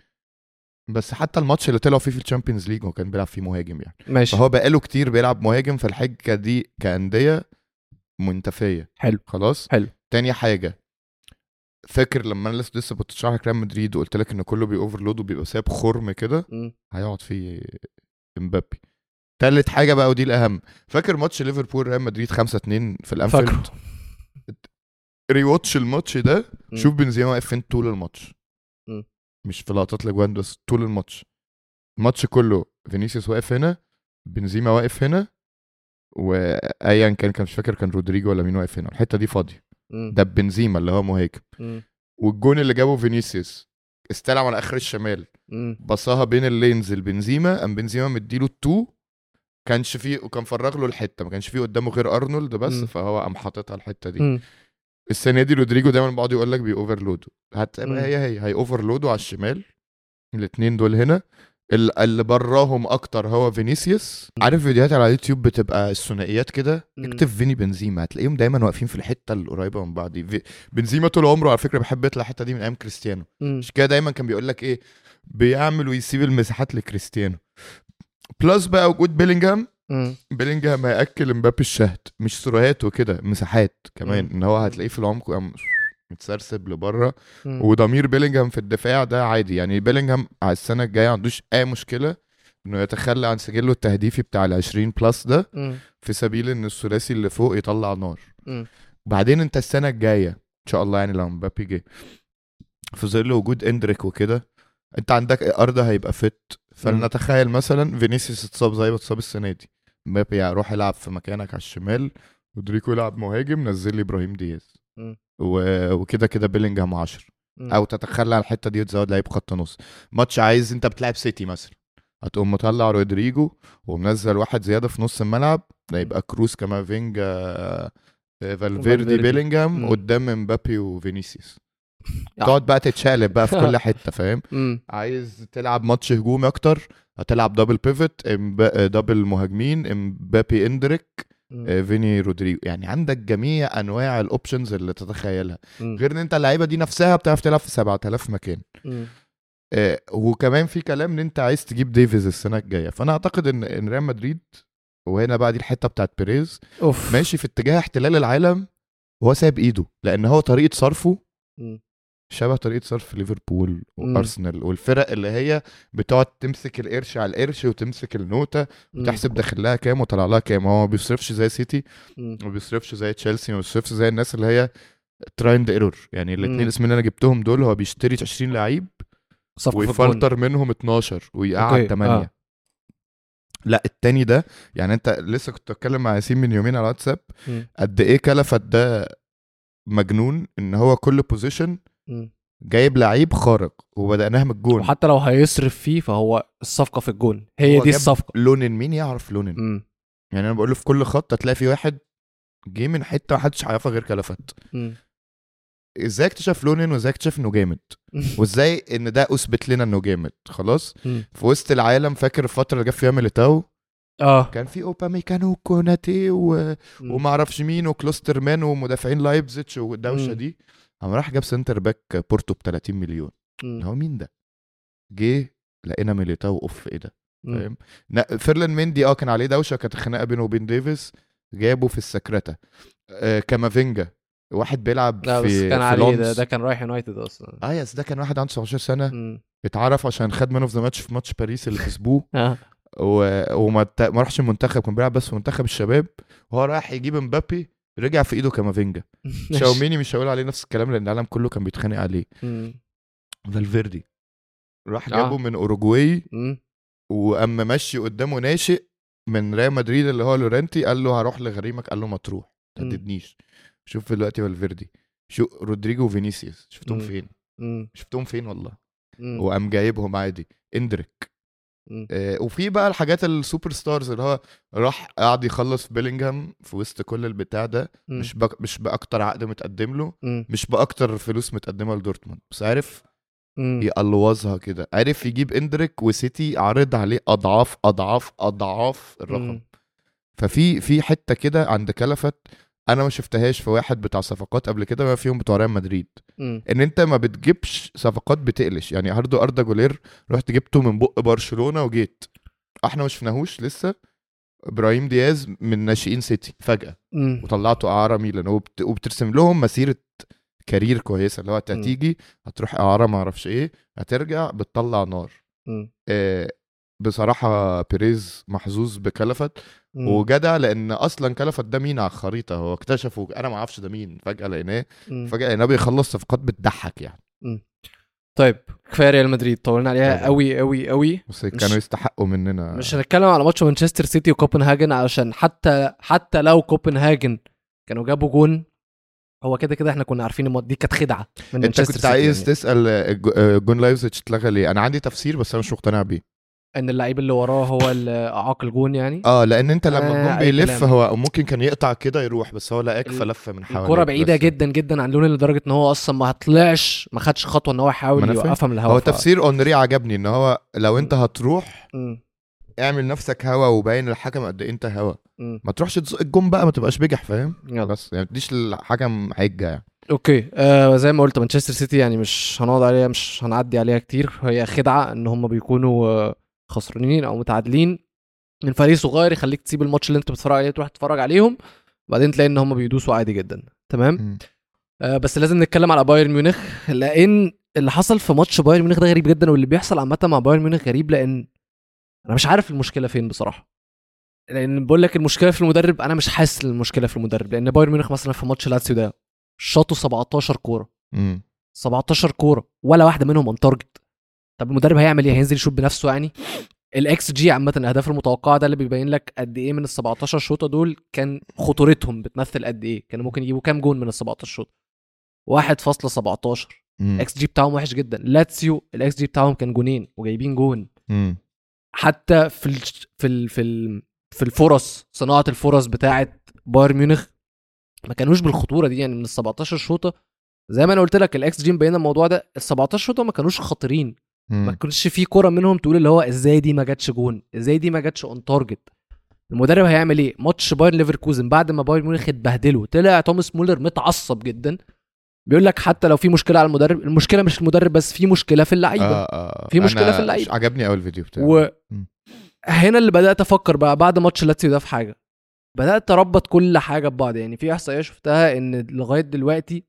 Speaker 2: بس حتى الماتش اللي طلعوا فيه في الشامبيونز ليج هو كان بيلعب فيه مهاجم يعني
Speaker 1: ماشي
Speaker 2: فهو بقاله كتير بيلعب مهاجم فالحجه دي كانديه منتفيه
Speaker 1: حلو
Speaker 2: خلاص
Speaker 1: حلو.
Speaker 2: تاني حاجه فاكر لما انا لسه لسه كنت شرح لك ريال مدريد وقلت لك ان كله بيأوفرلود وبيبقى ساب خرم كده
Speaker 1: مم.
Speaker 2: هيقعد فيه امبابي تالت حاجه بقى ودي الاهم فاكر ماتش ليفربول ريال مدريد 5 2 في الانفيلد
Speaker 1: فاكره
Speaker 2: ريواتش الماتش ده
Speaker 1: مم.
Speaker 2: شوف بنزيما واقف فين طول الماتش
Speaker 1: مم.
Speaker 2: مش في لقطات الاجوان بس طول الماتش الماتش كله فينيسيوس واقف هنا بنزيما واقف هنا وايا كان كان مش فاكر كان رودريجو ولا مين واقف هنا الحته دي فاضيه
Speaker 1: مم.
Speaker 2: ده بنزيما اللي هو مهاجم
Speaker 1: مم.
Speaker 2: والجون اللي جابه فينيسيوس استلم على اخر الشمال
Speaker 1: مم.
Speaker 2: بصاها بين اللينز لبنزيما قام بنزيما مديله التو كانش فيه وكان فرغ له الحته ما كانش فيه قدامه غير ارنولد بس
Speaker 1: مم.
Speaker 2: فهو قام حاططها الحته دي
Speaker 1: مم.
Speaker 2: السنه دي رودريجو دايما بيقعد يقول لك بيوفرلودوا
Speaker 1: مم.
Speaker 2: هتبقى هي هي هيوفرلودوا على الشمال الاثنين دول هنا ال- اللي براهم اكتر هو فينيسيوس عارف فيديوهات على اليوتيوب بتبقى الثنائيات كده
Speaker 1: مم.
Speaker 2: اكتب فيني بنزيما هتلاقيهم دايما واقفين في الحته القريبه من بعض دي في- بنزيما طول عمره على فكره بيحب يطلع الحته دي من ايام كريستيانو
Speaker 1: مم.
Speaker 2: مش كده دايما كان بيقول لك ايه بيعمل ويسيب المساحات لكريستيانو بلس بقى وجود بيلينجهام
Speaker 1: مم.
Speaker 2: بيلينجهام هياكل امبابي الشهد مش سروهات وكده مساحات كمان
Speaker 1: مم.
Speaker 2: ان هو هتلاقيه في العمق قام متسرسب لبره
Speaker 1: مم.
Speaker 2: وضمير بيلينجهام في الدفاع ده عادي يعني بيلينجهام على السنه الجايه ما عندوش اي مشكله انه يتخلى عن سجله التهديفي بتاع ال 20 بلس ده
Speaker 1: مم.
Speaker 2: في سبيل ان الثلاثي اللي فوق يطلع نار
Speaker 1: مم.
Speaker 2: بعدين انت السنه الجايه ان شاء الله يعني لو مبابي جه في ظل وجود اندريك وكده انت عندك ارض هيبقى فت فلنتخيل مثلا فينيسيوس اتصاب زي ما اتصاب السنه دي مبابي روح العب في مكانك على الشمال ودريكو يلعب مهاجم نزل لي ابراهيم دياز
Speaker 1: مم.
Speaker 2: و- وكده كده بيلينجهام 10
Speaker 1: مم.
Speaker 2: او تتخلى عن الحته دي وتزود لعيب خط نص ماتش عايز انت بتلعب سيتي مثلا هتقوم مطلع رودريجو ومنزل واحد زياده في نص الملعب ده يبقى كروس كامافينجا آه، فالفيردي
Speaker 1: وفالفيردي.
Speaker 2: بيلينجهام
Speaker 1: مم.
Speaker 2: قدام مبابي وفينيسيوس
Speaker 1: آه.
Speaker 2: تقعد بقى تتشقلب بقى في كل حته فاهم
Speaker 1: مم.
Speaker 2: عايز تلعب ماتش هجومي اكتر هتلعب دبل بيفت دبل آه، مهاجمين امبابي اندريك
Speaker 1: مم.
Speaker 2: آه، فيني رودريجو يعني عندك جميع انواع الاوبشنز اللي تتخيلها
Speaker 1: مم.
Speaker 2: غير ان انت اللعيبه دي نفسها بتعرف تلعب في 7000 مكان
Speaker 1: مم.
Speaker 2: آه، وكمان في كلام ان انت عايز تجيب ديفيز السنه الجايه فانا اعتقد ان ان ريال مدريد وهنا بقى دي الحته بتاعت بيريز
Speaker 1: اوف
Speaker 2: ماشي في اتجاه احتلال العالم وهو سايب ايده لان هو طريقه صرفه
Speaker 1: مم.
Speaker 2: شبه طريقه صرف ليفربول
Speaker 1: مم.
Speaker 2: وارسنال والفرق اللي هي بتقعد تمسك القرش على القرش وتمسك النوته
Speaker 1: مم.
Speaker 2: وتحسب داخلها كام وطلع لها كام هو ما بيصرفش زي سيتي
Speaker 1: مم.
Speaker 2: ما بيصرفش زي تشيلسي ما بيصرفش زي الناس اللي هي ترايند ايرور يعني الاثنين
Speaker 1: مم.
Speaker 2: الاسمين اللي انا جبتهم دول هو بيشتري 20 لعيب
Speaker 1: صفقة جون.
Speaker 2: ويفلتر منهم 12 ويقعد
Speaker 1: أوكي،
Speaker 2: 8
Speaker 1: آه.
Speaker 2: آه. لا التاني ده يعني انت لسه كنت بتكلم مع ياسين من يومين على واتساب
Speaker 1: مم.
Speaker 2: قد ايه كلفت ده مجنون ان هو كل بوزيشن
Speaker 1: مم.
Speaker 2: جايب لعيب خارق وبدأناها من الجون
Speaker 1: وحتى لو هيصرف فيه فهو الصفقة في الجون هي
Speaker 2: هو
Speaker 1: دي
Speaker 2: جاب-
Speaker 1: الصفقة
Speaker 2: لونن مين يعرف لونن
Speaker 1: مم.
Speaker 2: يعني انا بقوله في كل خط هتلاقي في واحد جه من حته محدش هيعرفها غير كلفت
Speaker 1: مم.
Speaker 2: ازاي اكتشف لونن وازاي اكتشف انه جامد وازاي ان ده اثبت لنا انه جامد خلاص
Speaker 1: مم.
Speaker 2: في وسط العالم فاكر الفتره اللي جاب فيها ميليتاو
Speaker 1: اه
Speaker 2: كان في اوباميكانو وكوناتي و...
Speaker 1: مم.
Speaker 2: وما اعرفش مين وكلوستر مان ومدافعين لايبزيتش والدوشه
Speaker 1: مم.
Speaker 2: دي قام راح جاب سنتر باك بورتو ب 30 مليون اللي
Speaker 1: مم.
Speaker 2: هو مين ده؟ جه لقينا ميليتاو اوف ايه ده؟
Speaker 1: مم.
Speaker 2: فاهم؟ نا- فيرلان مندي اه كان عليه دوشه كانت خناقه بينه وبين ديفيس جابه في السكرتة آه كامافينجا واحد بيلعب
Speaker 1: لا
Speaker 2: في
Speaker 1: بس كان
Speaker 2: في
Speaker 1: عليه ده,
Speaker 2: لونس.
Speaker 1: ده كان رايح يونايتد اصلا
Speaker 2: اه يس ده كان واحد عنده 19 سنه
Speaker 1: مم.
Speaker 2: اتعرف عشان خد مان اوف ذا ماتش في ماتش باريس اللي كسبوه
Speaker 1: آه.
Speaker 2: و... وما ت... ما راحش المنتخب كان بيلعب بس في منتخب الشباب وهو رايح يجيب مبابي رجع في ايده كامافينجا شاوميني مش هقول عليه نفس الكلام لان العالم كله كان بيتخانق عليه
Speaker 1: مم.
Speaker 2: فالفيردي راح
Speaker 1: آه.
Speaker 2: جابه من اوروجواي
Speaker 1: مم.
Speaker 2: واما مشي قدامه ناشئ من ريال مدريد اللي هو لورنتي قال له هروح لغريمك قال له ما تروح ما
Speaker 1: مم.
Speaker 2: تهددنيش شوف دلوقتي فالفيردي شو رودريجو وفينيسيوس شفتهم
Speaker 1: مم.
Speaker 2: فين
Speaker 1: مم.
Speaker 2: شفتهم فين والله
Speaker 1: مم.
Speaker 2: وقام جايبهم عادي اندريك
Speaker 1: مم.
Speaker 2: آه، وفي بقى الحاجات السوبر ستارز اللي هو راح قعد يخلص في بيلينجهام في وسط كل البتاع ده
Speaker 1: مم.
Speaker 2: آه، مش بق... مش باكتر عقد متقدم له
Speaker 1: مم.
Speaker 2: مش باكتر فلوس متقدمه لدورتموند بس عارف
Speaker 1: مم.
Speaker 2: يقلوظها كده عارف يجيب اندريك وسيتي عرض عليه اضعاف اضعاف اضعاف الرقم
Speaker 1: مم.
Speaker 2: ففي في حته كده عند كلفت انا ما شفتهاش في واحد بتاع صفقات قبل كده ما فيهم بتوع ريال مدريد
Speaker 1: مم.
Speaker 2: ان انت ما بتجيبش صفقات بتقلش يعني هاردو اردا جولير رحت جبته من بق برشلونه وجيت احنا ما شفناهوش لسه ابراهيم دياز من ناشئين سيتي فجاه
Speaker 1: مم.
Speaker 2: وطلعته اعاره ميلان وبت... وبترسم لهم مسيره كارير كويسه اللي هو أنت
Speaker 1: مم.
Speaker 2: هتيجي هتروح اعاره ما اعرفش ايه هترجع بتطلع نار
Speaker 1: مم.
Speaker 2: آه بصراحه بيريز محظوظ بكلفت
Speaker 1: مم.
Speaker 2: وجدع لان اصلا كلفت ده مين على الخريطه هو اكتشفه انا ما اعرفش ده مين فجاه لقيناه
Speaker 1: مم.
Speaker 2: فجاه لقيناه بيخلص صفقات بتضحك يعني
Speaker 1: طيب كفايه ريال مدريد طولنا عليها
Speaker 2: طبعا.
Speaker 1: قوي قوي قوي
Speaker 2: بس كانوا يستحقوا مننا
Speaker 1: مش هنتكلم على ماتش مانشستر سيتي وكوبنهاجن علشان حتى حتى لو كوبنهاجن كانوا جابوا جون هو كده كده احنا كنا عارفين المو- دي كانت خدعه من
Speaker 2: انت
Speaker 1: مانشستر
Speaker 2: كنت
Speaker 1: سيتي
Speaker 2: عايز
Speaker 1: يعني.
Speaker 2: تسال آه، جو- آه، جون لايفزيتش اتلغى ليه انا عندي تفسير بس انا مش مقتنع بيه
Speaker 1: ان اللعيب اللي وراه هو اللي اعاق الجون يعني
Speaker 2: اه لان انت لما
Speaker 1: آه،
Speaker 2: الجون
Speaker 1: أي
Speaker 2: بيلف
Speaker 1: كلام.
Speaker 2: هو ممكن كان يقطع كده يروح بس هو لقاك
Speaker 1: ال-
Speaker 2: فلف من حواليه
Speaker 1: الكرة بعيدة
Speaker 2: بس.
Speaker 1: جدا جدا عن لونين لدرجة ان هو اصلا ما طلعش ما خدش خطوة ان هو
Speaker 2: ما
Speaker 1: يحاول
Speaker 2: أنا فاهم.
Speaker 1: يوقفها من الهوا
Speaker 2: هو
Speaker 1: ف-
Speaker 2: تفسير اونري عجبني ان هو لو انت هتروح
Speaker 1: مم.
Speaker 2: اعمل نفسك هوا وباين للحكم قد ايه انت هوا
Speaker 1: مم.
Speaker 2: ما تروحش تزق الجون بقى ما تبقاش بجح فاهم
Speaker 1: يلا
Speaker 2: بس يعني ما تديش للحكم حجه يعني
Speaker 1: اوكي آه زي ما قلت مانشستر سيتي يعني مش هنقعد عليها مش هنعدي عليها كتير هي خدعة ان هم بيكونوا آه، خسرانين او متعادلين من فريق صغير يخليك تسيب الماتش اللي انت بتتفرج عليه تروح تتفرج عليهم بعدين تلاقي ان هم بيدوسوا عادي جدا تمام
Speaker 2: مم.
Speaker 1: آه، بس لازم نتكلم على بايرن ميونخ لان اللي حصل في ماتش بايرن ميونخ ده غريب جدا واللي بيحصل عامه مع بايرن ميونخ غريب لان انا مش عارف المشكله فين بصراحه لان بقول لك المشكله في المدرب انا مش حاسس ان المشكله في المدرب لان بايرن ميونخ مثلا في ماتش لاتسيو ده شاطوا 17 كوره
Speaker 2: مم.
Speaker 1: 17 كوره ولا واحده منهم اون تارجت طب المدرب هيعمل ايه هينزل يشوط بنفسه يعني الاكس جي عامه الاهداف المتوقعه ده اللي بيبين لك قد ايه من ال 17 شوطه دول كان خطورتهم بتمثل قد ايه كانوا ممكن يجيبوا كام جون من ال 17 شوطه 1.17
Speaker 2: مم.
Speaker 1: الاكس جي بتاعهم وحش جدا لاتسيو الاكس جي بتاعهم كان جونين وجايبين جون
Speaker 2: مم.
Speaker 1: حتى في ال في ال في ال في الفرص صناعه الفرص بتاعه بايرن ميونخ ما كانوش بالخطوره دي يعني من ال 17 شوطه زي ما انا قلت لك الاكس جي مبين الموضوع ده ال 17 شوطه ما كانوش خطيرين ما
Speaker 2: مم.
Speaker 1: كانش في كوره منهم تقول اللي هو ازاي دي ما جاتش جون ازاي دي ما جاتش اون تارجت المدرب هيعمل ايه ماتش بايرن ليفركوزن بعد ما بايرن ميونخ اتبهدلوا طلع توماس مولر متعصب جدا بيقول لك حتى لو في مشكله على المدرب المشكله مش المدرب بس في مشكله في اللعيبه
Speaker 2: آه، آه.
Speaker 1: في مشكلة
Speaker 2: أنا
Speaker 1: في اللعيبة.
Speaker 2: عجبني قوي الفيديو بتاعه
Speaker 1: و
Speaker 2: مم.
Speaker 1: هنا اللي بدات افكر بقى بعد ماتش لاتسيو ده في حاجه بدات اربط كل حاجه ببعض يعني في احصائيه شفتها ان لغايه دلوقتي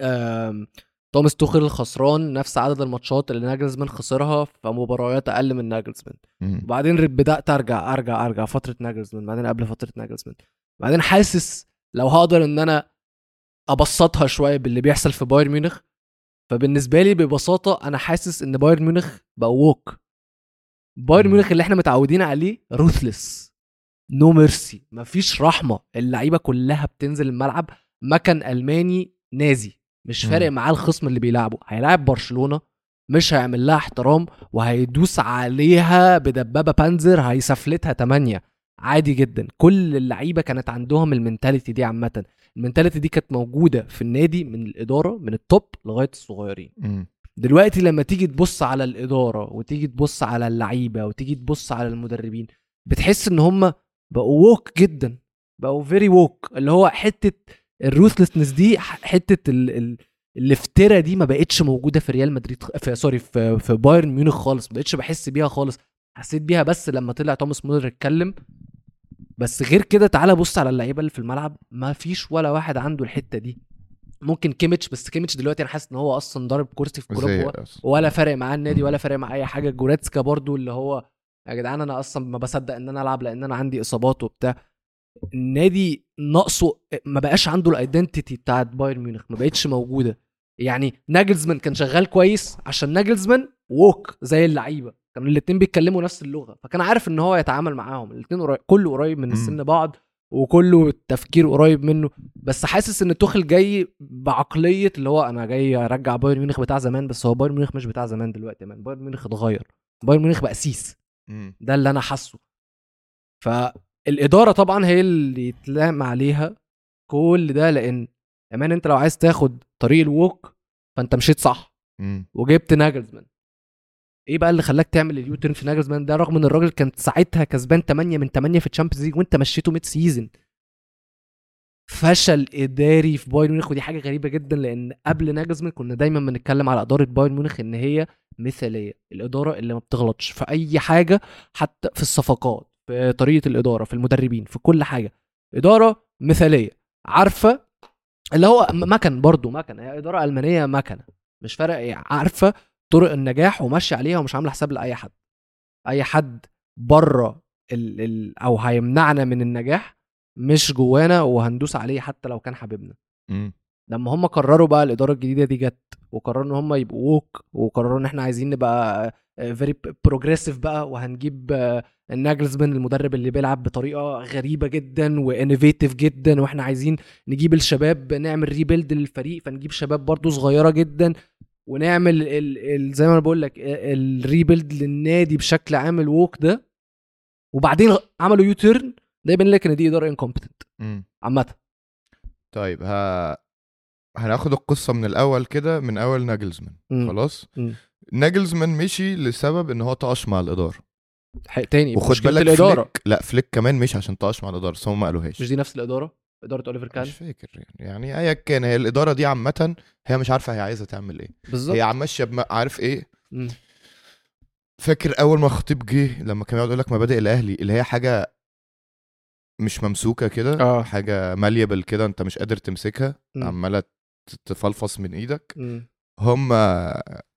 Speaker 1: آم، توماس توخيل الخسران نفس عدد الماتشات اللي ناجلزمان خسرها في مباريات اقل من ناجلزمان
Speaker 2: مم.
Speaker 1: وبعدين رب- بدات ارجع ارجع ارجع فتره ناجلزمان بعدين قبل فتره ناجلزمان بعدين حاسس لو هقدر ان انا ابسطها شويه باللي بيحصل في بايرن ميونخ فبالنسبه لي ببساطه انا حاسس ان بايرن ميونخ بقى ووك بايرن
Speaker 2: مم.
Speaker 1: ميونخ اللي احنا متعودين عليه روثلس نو ميرسي مفيش رحمه اللعيبه كلها بتنزل الملعب مكان الماني نازي مش
Speaker 2: مم.
Speaker 1: فارق معاه الخصم اللي بيلعبه هيلاعب برشلونه مش هيعمل لها احترام وهيدوس عليها بدبابه بانزر هيسفلتها تمانية عادي جدا كل اللعيبه كانت عندهم المنتاليتي دي عامه المنتاليتي دي كانت موجوده في النادي من الاداره من التوب لغايه الصغيرين
Speaker 2: مم.
Speaker 1: دلوقتي لما تيجي تبص على الاداره وتيجي تبص على اللعيبه وتيجي تبص على المدربين بتحس ان هم بقوا ووك جدا بقوا فيري ووك اللي هو حته الروثلسنس دي ح- حته ال ال الافتراء دي ما بقتش موجوده في ريال مدريد خ- في سوري في, في بايرن ميونخ خالص ما بقتش بحس بيها خالص حسيت بيها بس لما طلع توماس مولر اتكلم بس غير كده تعالى بص على اللعيبه اللي في الملعب ما فيش ولا واحد عنده الحته دي ممكن كيميتش بس كيميتش دلوقتي انا حاسس ان هو اصلا ضارب كرسي في
Speaker 2: زي
Speaker 1: كوروبا
Speaker 2: أصلاً.
Speaker 1: ولا فارق معاه النادي ولا فارق معاه اي حاجه جوريتسكا برضو اللي هو يا جدعان انا اصلا ما بصدق ان انا العب لان انا عندي اصابات وبتاع النادي ناقصه ما بقاش عنده الايدنتيتي بتاعت بايرن ميونخ ما بقتش موجوده يعني ناجلزمان كان شغال كويس عشان ناجلزمان ووك زي اللعيبه كانوا الاتنين بيتكلموا نفس اللغه فكان عارف ان هو يتعامل معاهم الاتنين قريب كله قريب من
Speaker 2: مم.
Speaker 1: السن بعض وكله التفكير قريب منه بس حاسس ان توخل جاي بعقليه اللي هو انا جاي ارجع بايرن ميونخ بتاع زمان بس هو بايرن ميونخ مش بتاع زمان دلوقتي من بايرن ميونخ اتغير بايرن ميونخ بقى سيس
Speaker 2: مم.
Speaker 1: ده اللي انا حاسه فالاداره طبعا هي اللي يتلام عليها كل ده لان كمان انت لو عايز تاخد طريق الووك فانت مشيت صح
Speaker 2: مم.
Speaker 1: وجبت ناجلزمان ايه بقى اللي خلاك تعمل اليوتيرن في ناجلزمان ده رغم ان الراجل كان ساعتها كسبان 8 من 8 في الشامبيونز ليج وانت مشيته ميد سيزون فشل اداري في بايرن ميونخ ودي حاجه غريبه جدا لان قبل ناجلزمان كنا دايما بنتكلم على اداره بايرن ميونخ ان هي مثاليه الاداره اللي ما بتغلطش في اي حاجه حتى في الصفقات في طريقه الاداره في المدربين في كل حاجه اداره مثاليه عارفه اللي هو م- مكن برضه مكن هي اداره المانيه مكنه مش فارق إيه، عارفه طرق النجاح وماشيه عليها ومش عامله حساب لاي حد اي حد بره ال ال او هيمنعنا من النجاح مش جوانا وهندوس عليه حتى لو كان حبيبنا
Speaker 2: مم.
Speaker 1: لما هم قرروا بقى الاداره الجديده دي جت وقرروا ان هم يبقوا ووك وقرروا ان احنا عايزين نبقى فيري بروجريسيف بقى وهنجيب آه، ناجلزمان المدرب اللي بيلعب بطريقه غريبه جدا وانوفيتيف جدا واحنا عايزين نجيب الشباب نعمل ريبيلد للفريق فنجيب شباب برضو صغيره جدا ونعمل ال ال زي ما انا بقول لك الريبيلد للنادي بشكل عام الووك ده وبعدين عملوا يوتيرن ده يبين لك ان دي اداره انكومبتنت
Speaker 2: مم.
Speaker 1: عامه
Speaker 2: امم. طيب ها هناخد القصه من الاول كده من اول ناجلزمان
Speaker 1: مم.
Speaker 2: خلاص
Speaker 1: مم.
Speaker 2: ناجلزمان مشي لسبب ان هو طاش مع الاداره
Speaker 1: ح- تاني
Speaker 2: وخد
Speaker 1: مشكلة
Speaker 2: بالك
Speaker 1: الاداره
Speaker 2: فليك لا فليك كمان مشي عشان طاش مع الاداره بس هم ما قالوهاش
Speaker 1: مش دي نفس الاداره اداره اوليفر كان
Speaker 2: مش فاكر يعني يعني ايا كان هي الاداره دي عامه هي مش عارفه هي عايزه تعمل ايه هي
Speaker 1: بالظبط امم.
Speaker 2: عماشيه بم- عارف ايه
Speaker 1: مم.
Speaker 2: فاكر اول ما الخطيب جه لما كان يقعد يقول لك مبادئ الاهلي اللي هي حاجه مش ممسوكه كده
Speaker 1: اه
Speaker 2: حاجه ماليبل كده انت مش قادر تمسكها
Speaker 1: مم.
Speaker 2: عماله ت- تفلفص من ايدك
Speaker 1: مم.
Speaker 2: هم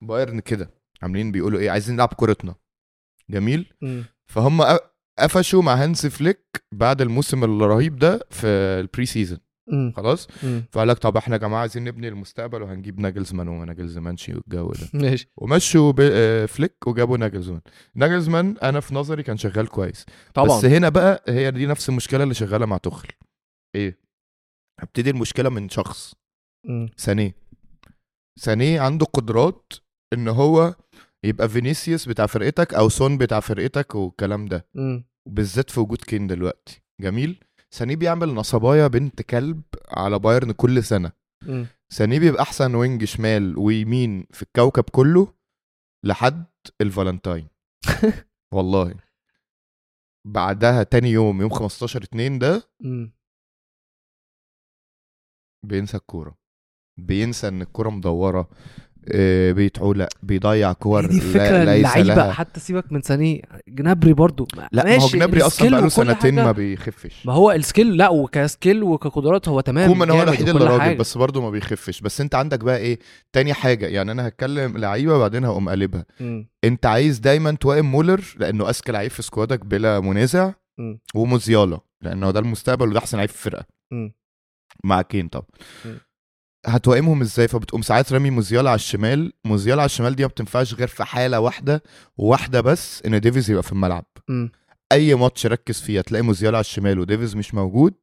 Speaker 2: بايرن كده عاملين بيقولوا ايه عايزين نلعب إيه، كورتنا جميل
Speaker 1: مم.
Speaker 2: فهم ق- قفشوا مع هانس فليك بعد الموسم الرهيب ده في البري سيزون
Speaker 1: مم.
Speaker 2: خلاص
Speaker 1: مم.
Speaker 2: فقال لك طب احنا يا جماعه عايزين نبني المستقبل وهنجيب ناجلزمان وناجلزمانشي والجو ده
Speaker 1: ماشي
Speaker 2: ومشوا ب- آه، فليك وجابوا ناجلزمان ناجلزمان انا في نظري كان شغال كويس
Speaker 1: طبعا
Speaker 2: بس هنا بقى هي دي نفس المشكله اللي شغاله مع تخل ايه هبتدي المشكله من شخص
Speaker 1: مم.
Speaker 2: سانيه سانيه عنده قدرات ان هو يبقى فينيسيوس بتاع فرقتك او سون بتاع فرقتك والكلام ده
Speaker 1: مم.
Speaker 2: وبالذات في وجود كين دلوقتي جميل سانيه بيعمل نصبايا بنت كلب على بايرن كل سنه
Speaker 1: مم.
Speaker 2: سانيه بيبقى احسن وينج شمال ويمين في الكوكب كله لحد الفالنتاين والله بعدها تاني يوم يوم 15 2 ده
Speaker 1: مم.
Speaker 2: بينسى الكوره بينسى ان الكوره مدوره آه، بيتعولق بيضيع كور
Speaker 1: هي دي الفكره
Speaker 2: ليس
Speaker 1: اللعيبه
Speaker 2: لها.
Speaker 1: حتى سيبك من ثانيه جنابري برضو
Speaker 2: لا ما هو
Speaker 1: ماشي،
Speaker 2: جنابري اصلا
Speaker 1: السكيل
Speaker 2: بقاله
Speaker 1: وكل
Speaker 2: سنتين
Speaker 1: حاجة.
Speaker 2: ما بيخفش
Speaker 1: ما هو السكيل لا وكسكيل وكقدرات هو تمام
Speaker 2: كومان هو
Speaker 1: جامد
Speaker 2: الوحيد
Speaker 1: وكل
Speaker 2: اللي راجل
Speaker 1: حاجة.
Speaker 2: بس برضه ما بيخفش بس انت عندك بقى ايه تاني حاجه يعني انا هتكلم لعيبه بعدين هقوم قلبها
Speaker 1: مم.
Speaker 2: انت عايز دايما توائم مولر لانه اذكى لعيب في سكوادك بلا منازع
Speaker 1: مم.
Speaker 2: وموزيالا لانه ده المستقبل وده احسن لعيب في الفرقه
Speaker 1: مم.
Speaker 2: مع كين طبعا
Speaker 1: مم.
Speaker 2: هتوائمهم ازاي فبتقوم ساعات رامي موزيالا على الشمال موزيالا على الشمال دي ما بتنفعش غير في حاله واحده واحده بس ان ديفيز يبقى في الملعب
Speaker 1: مم.
Speaker 2: اي ماتش ركز فيه هتلاقي موزيالا على الشمال وديفيز مش موجود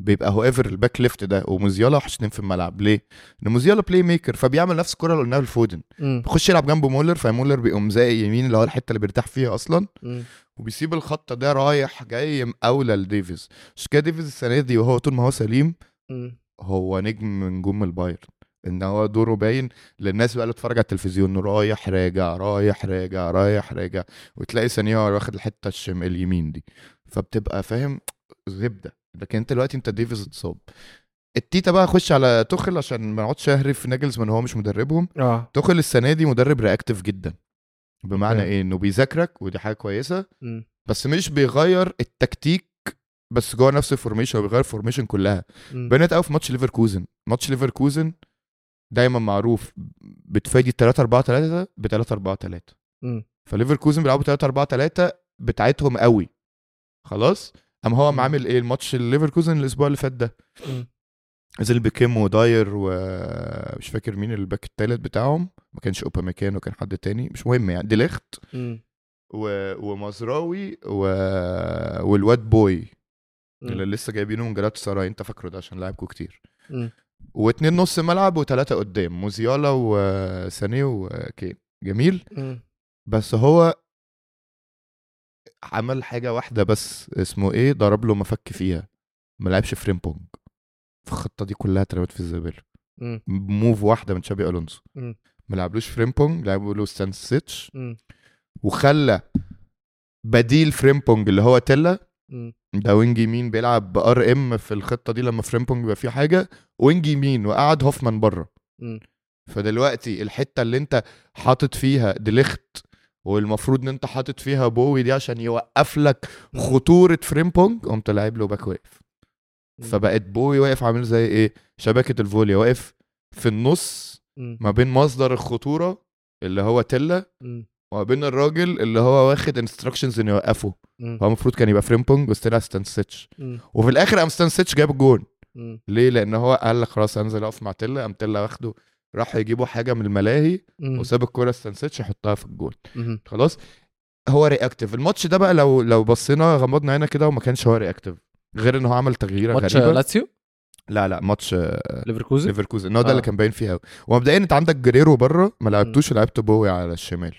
Speaker 2: بيبقى هو ايفر الباك ليفت ده وموزيالا وحشتين في الملعب ليه؟ ان موزيالا بلاي ميكر فبيعمل نفس الكره اللي قلناها لفودن
Speaker 1: مم.
Speaker 2: بيخش يلعب جنبه مولر فمولر بيقوم زي يمين اللي هو الحته اللي بيرتاح فيها اصلا
Speaker 1: مم.
Speaker 2: وبيسيب الخط ده رايح جاي مقاولة لديفيز عشان كده ديفيز السنة دي وهو طول ما هو سليم
Speaker 1: مم.
Speaker 2: هو نجم من نجوم البايرن ان هو دوره باين للناس بقى اللي بتتفرج على التلفزيون رايح راجع رايح راجع رايح راجع وتلاقي ثانيه واخد الحته الشم اليمين دي فبتبقى فاهم زبده لكن انت دلوقتي انت ديفيز اتصاب التيتا بقى خش على تخل عشان ما نقعدش اهري في ناجلزمان هو مش مدربهم
Speaker 1: اه
Speaker 2: تخل السنه دي مدرب رياكتيف جدا بمعنى
Speaker 1: أوكي.
Speaker 2: ايه انه بيذاكرك ودي حاجه كويسه
Speaker 1: مم.
Speaker 2: بس مش بيغير التكتيك بس جوه نفس الفورميشن هو بيغير الفورميشن كلها
Speaker 1: مم.
Speaker 2: بنت قوي في ماتش ليفركوزن ماتش ليفركوزن دايما معروف بتفادي 3 4 3 ب 3 4 3
Speaker 1: مم.
Speaker 2: فليفركوزن بيلعبوا 3 4 3 بتاعتهم قوي خلاص قام هو قام
Speaker 1: مم.
Speaker 2: عامل ايه الماتش ليفركوزن الاسبوع اللي فات ده
Speaker 1: مم.
Speaker 2: نزل بكيم وداير ومش فاكر مين الباك التالت بتاعهم ما كانش اوبا مكانه كان حد تاني مش مهم يعني ديليخت
Speaker 1: مم.
Speaker 2: و... ومزراوي و... والواد بوي اللي
Speaker 1: مم.
Speaker 2: لسه جايبينه من جلاتا سراي انت فاكره ده عشان لعبكوا كتير
Speaker 1: مم.
Speaker 2: واتنين نص ملعب وتلاته قدام موزيالا وسانيه وكين جميل
Speaker 1: مم.
Speaker 2: بس هو عمل حاجه واحده بس اسمه ايه ضرب له مفك فيها ما لعبش فريمبونج فالخطه دي كلها اترمت في الزباله
Speaker 1: مم.
Speaker 2: موف واحده من تشابي الونسو
Speaker 1: مم.
Speaker 2: ما لعبلوش فريمبونج لعبوا له ستان سيتش
Speaker 1: مم.
Speaker 2: وخلى بديل فريمبونج اللي هو تيلا
Speaker 1: مم.
Speaker 2: ده وينج يمين بيلعب بار ام في الخطه دي لما فريمبونج بيبقى فيه حاجه وينج يمين وقعد هوفمان بره
Speaker 1: مم.
Speaker 2: فدلوقتي الحته اللي انت حاطط فيها دليخت والمفروض ان انت حاطط فيها بوي دي عشان يوقف لك خطوره فريمبونج قمت لاعب له باك واقف فبقت بوي واقف عامل زي ايه شبكه الفوليا واقف في النص
Speaker 1: مم.
Speaker 2: ما بين مصدر الخطوره اللي هو تيلا
Speaker 1: مم.
Speaker 2: وما بين الراجل اللي هو واخد انستراكشنز انه يوقفه
Speaker 1: مم.
Speaker 2: هو المفروض كان يبقى فريمبونج بس طلع ستانسيتش
Speaker 1: مم.
Speaker 2: وفي الاخر قام ستانسيتش جاب الجون
Speaker 1: مم.
Speaker 2: ليه؟ لأن هو قال لك خلاص هنزل أقف مع تلا قام تلا واخده راح يجيبوا حاجة من الملاهي
Speaker 1: مم.
Speaker 2: وساب الكورة استنسيتش يحطها في الجون
Speaker 1: مم.
Speaker 2: خلاص هو رياكتيف الماتش ده بقى لو لو بصينا غمضنا عينا كده وما كانش هو رياكتيف غير ان هو عمل تغييره
Speaker 1: ماتش
Speaker 2: غريبه لا
Speaker 1: لاتسيو
Speaker 2: لا, لا ماتش آه،
Speaker 1: ليفركوزن
Speaker 2: ليفركوزن إن هو ده
Speaker 1: آه.
Speaker 2: اللي كان باين فيه قوي ومبدئيا انت عندك جريرو بره ما لعبتوش لعبت بوي على الشمال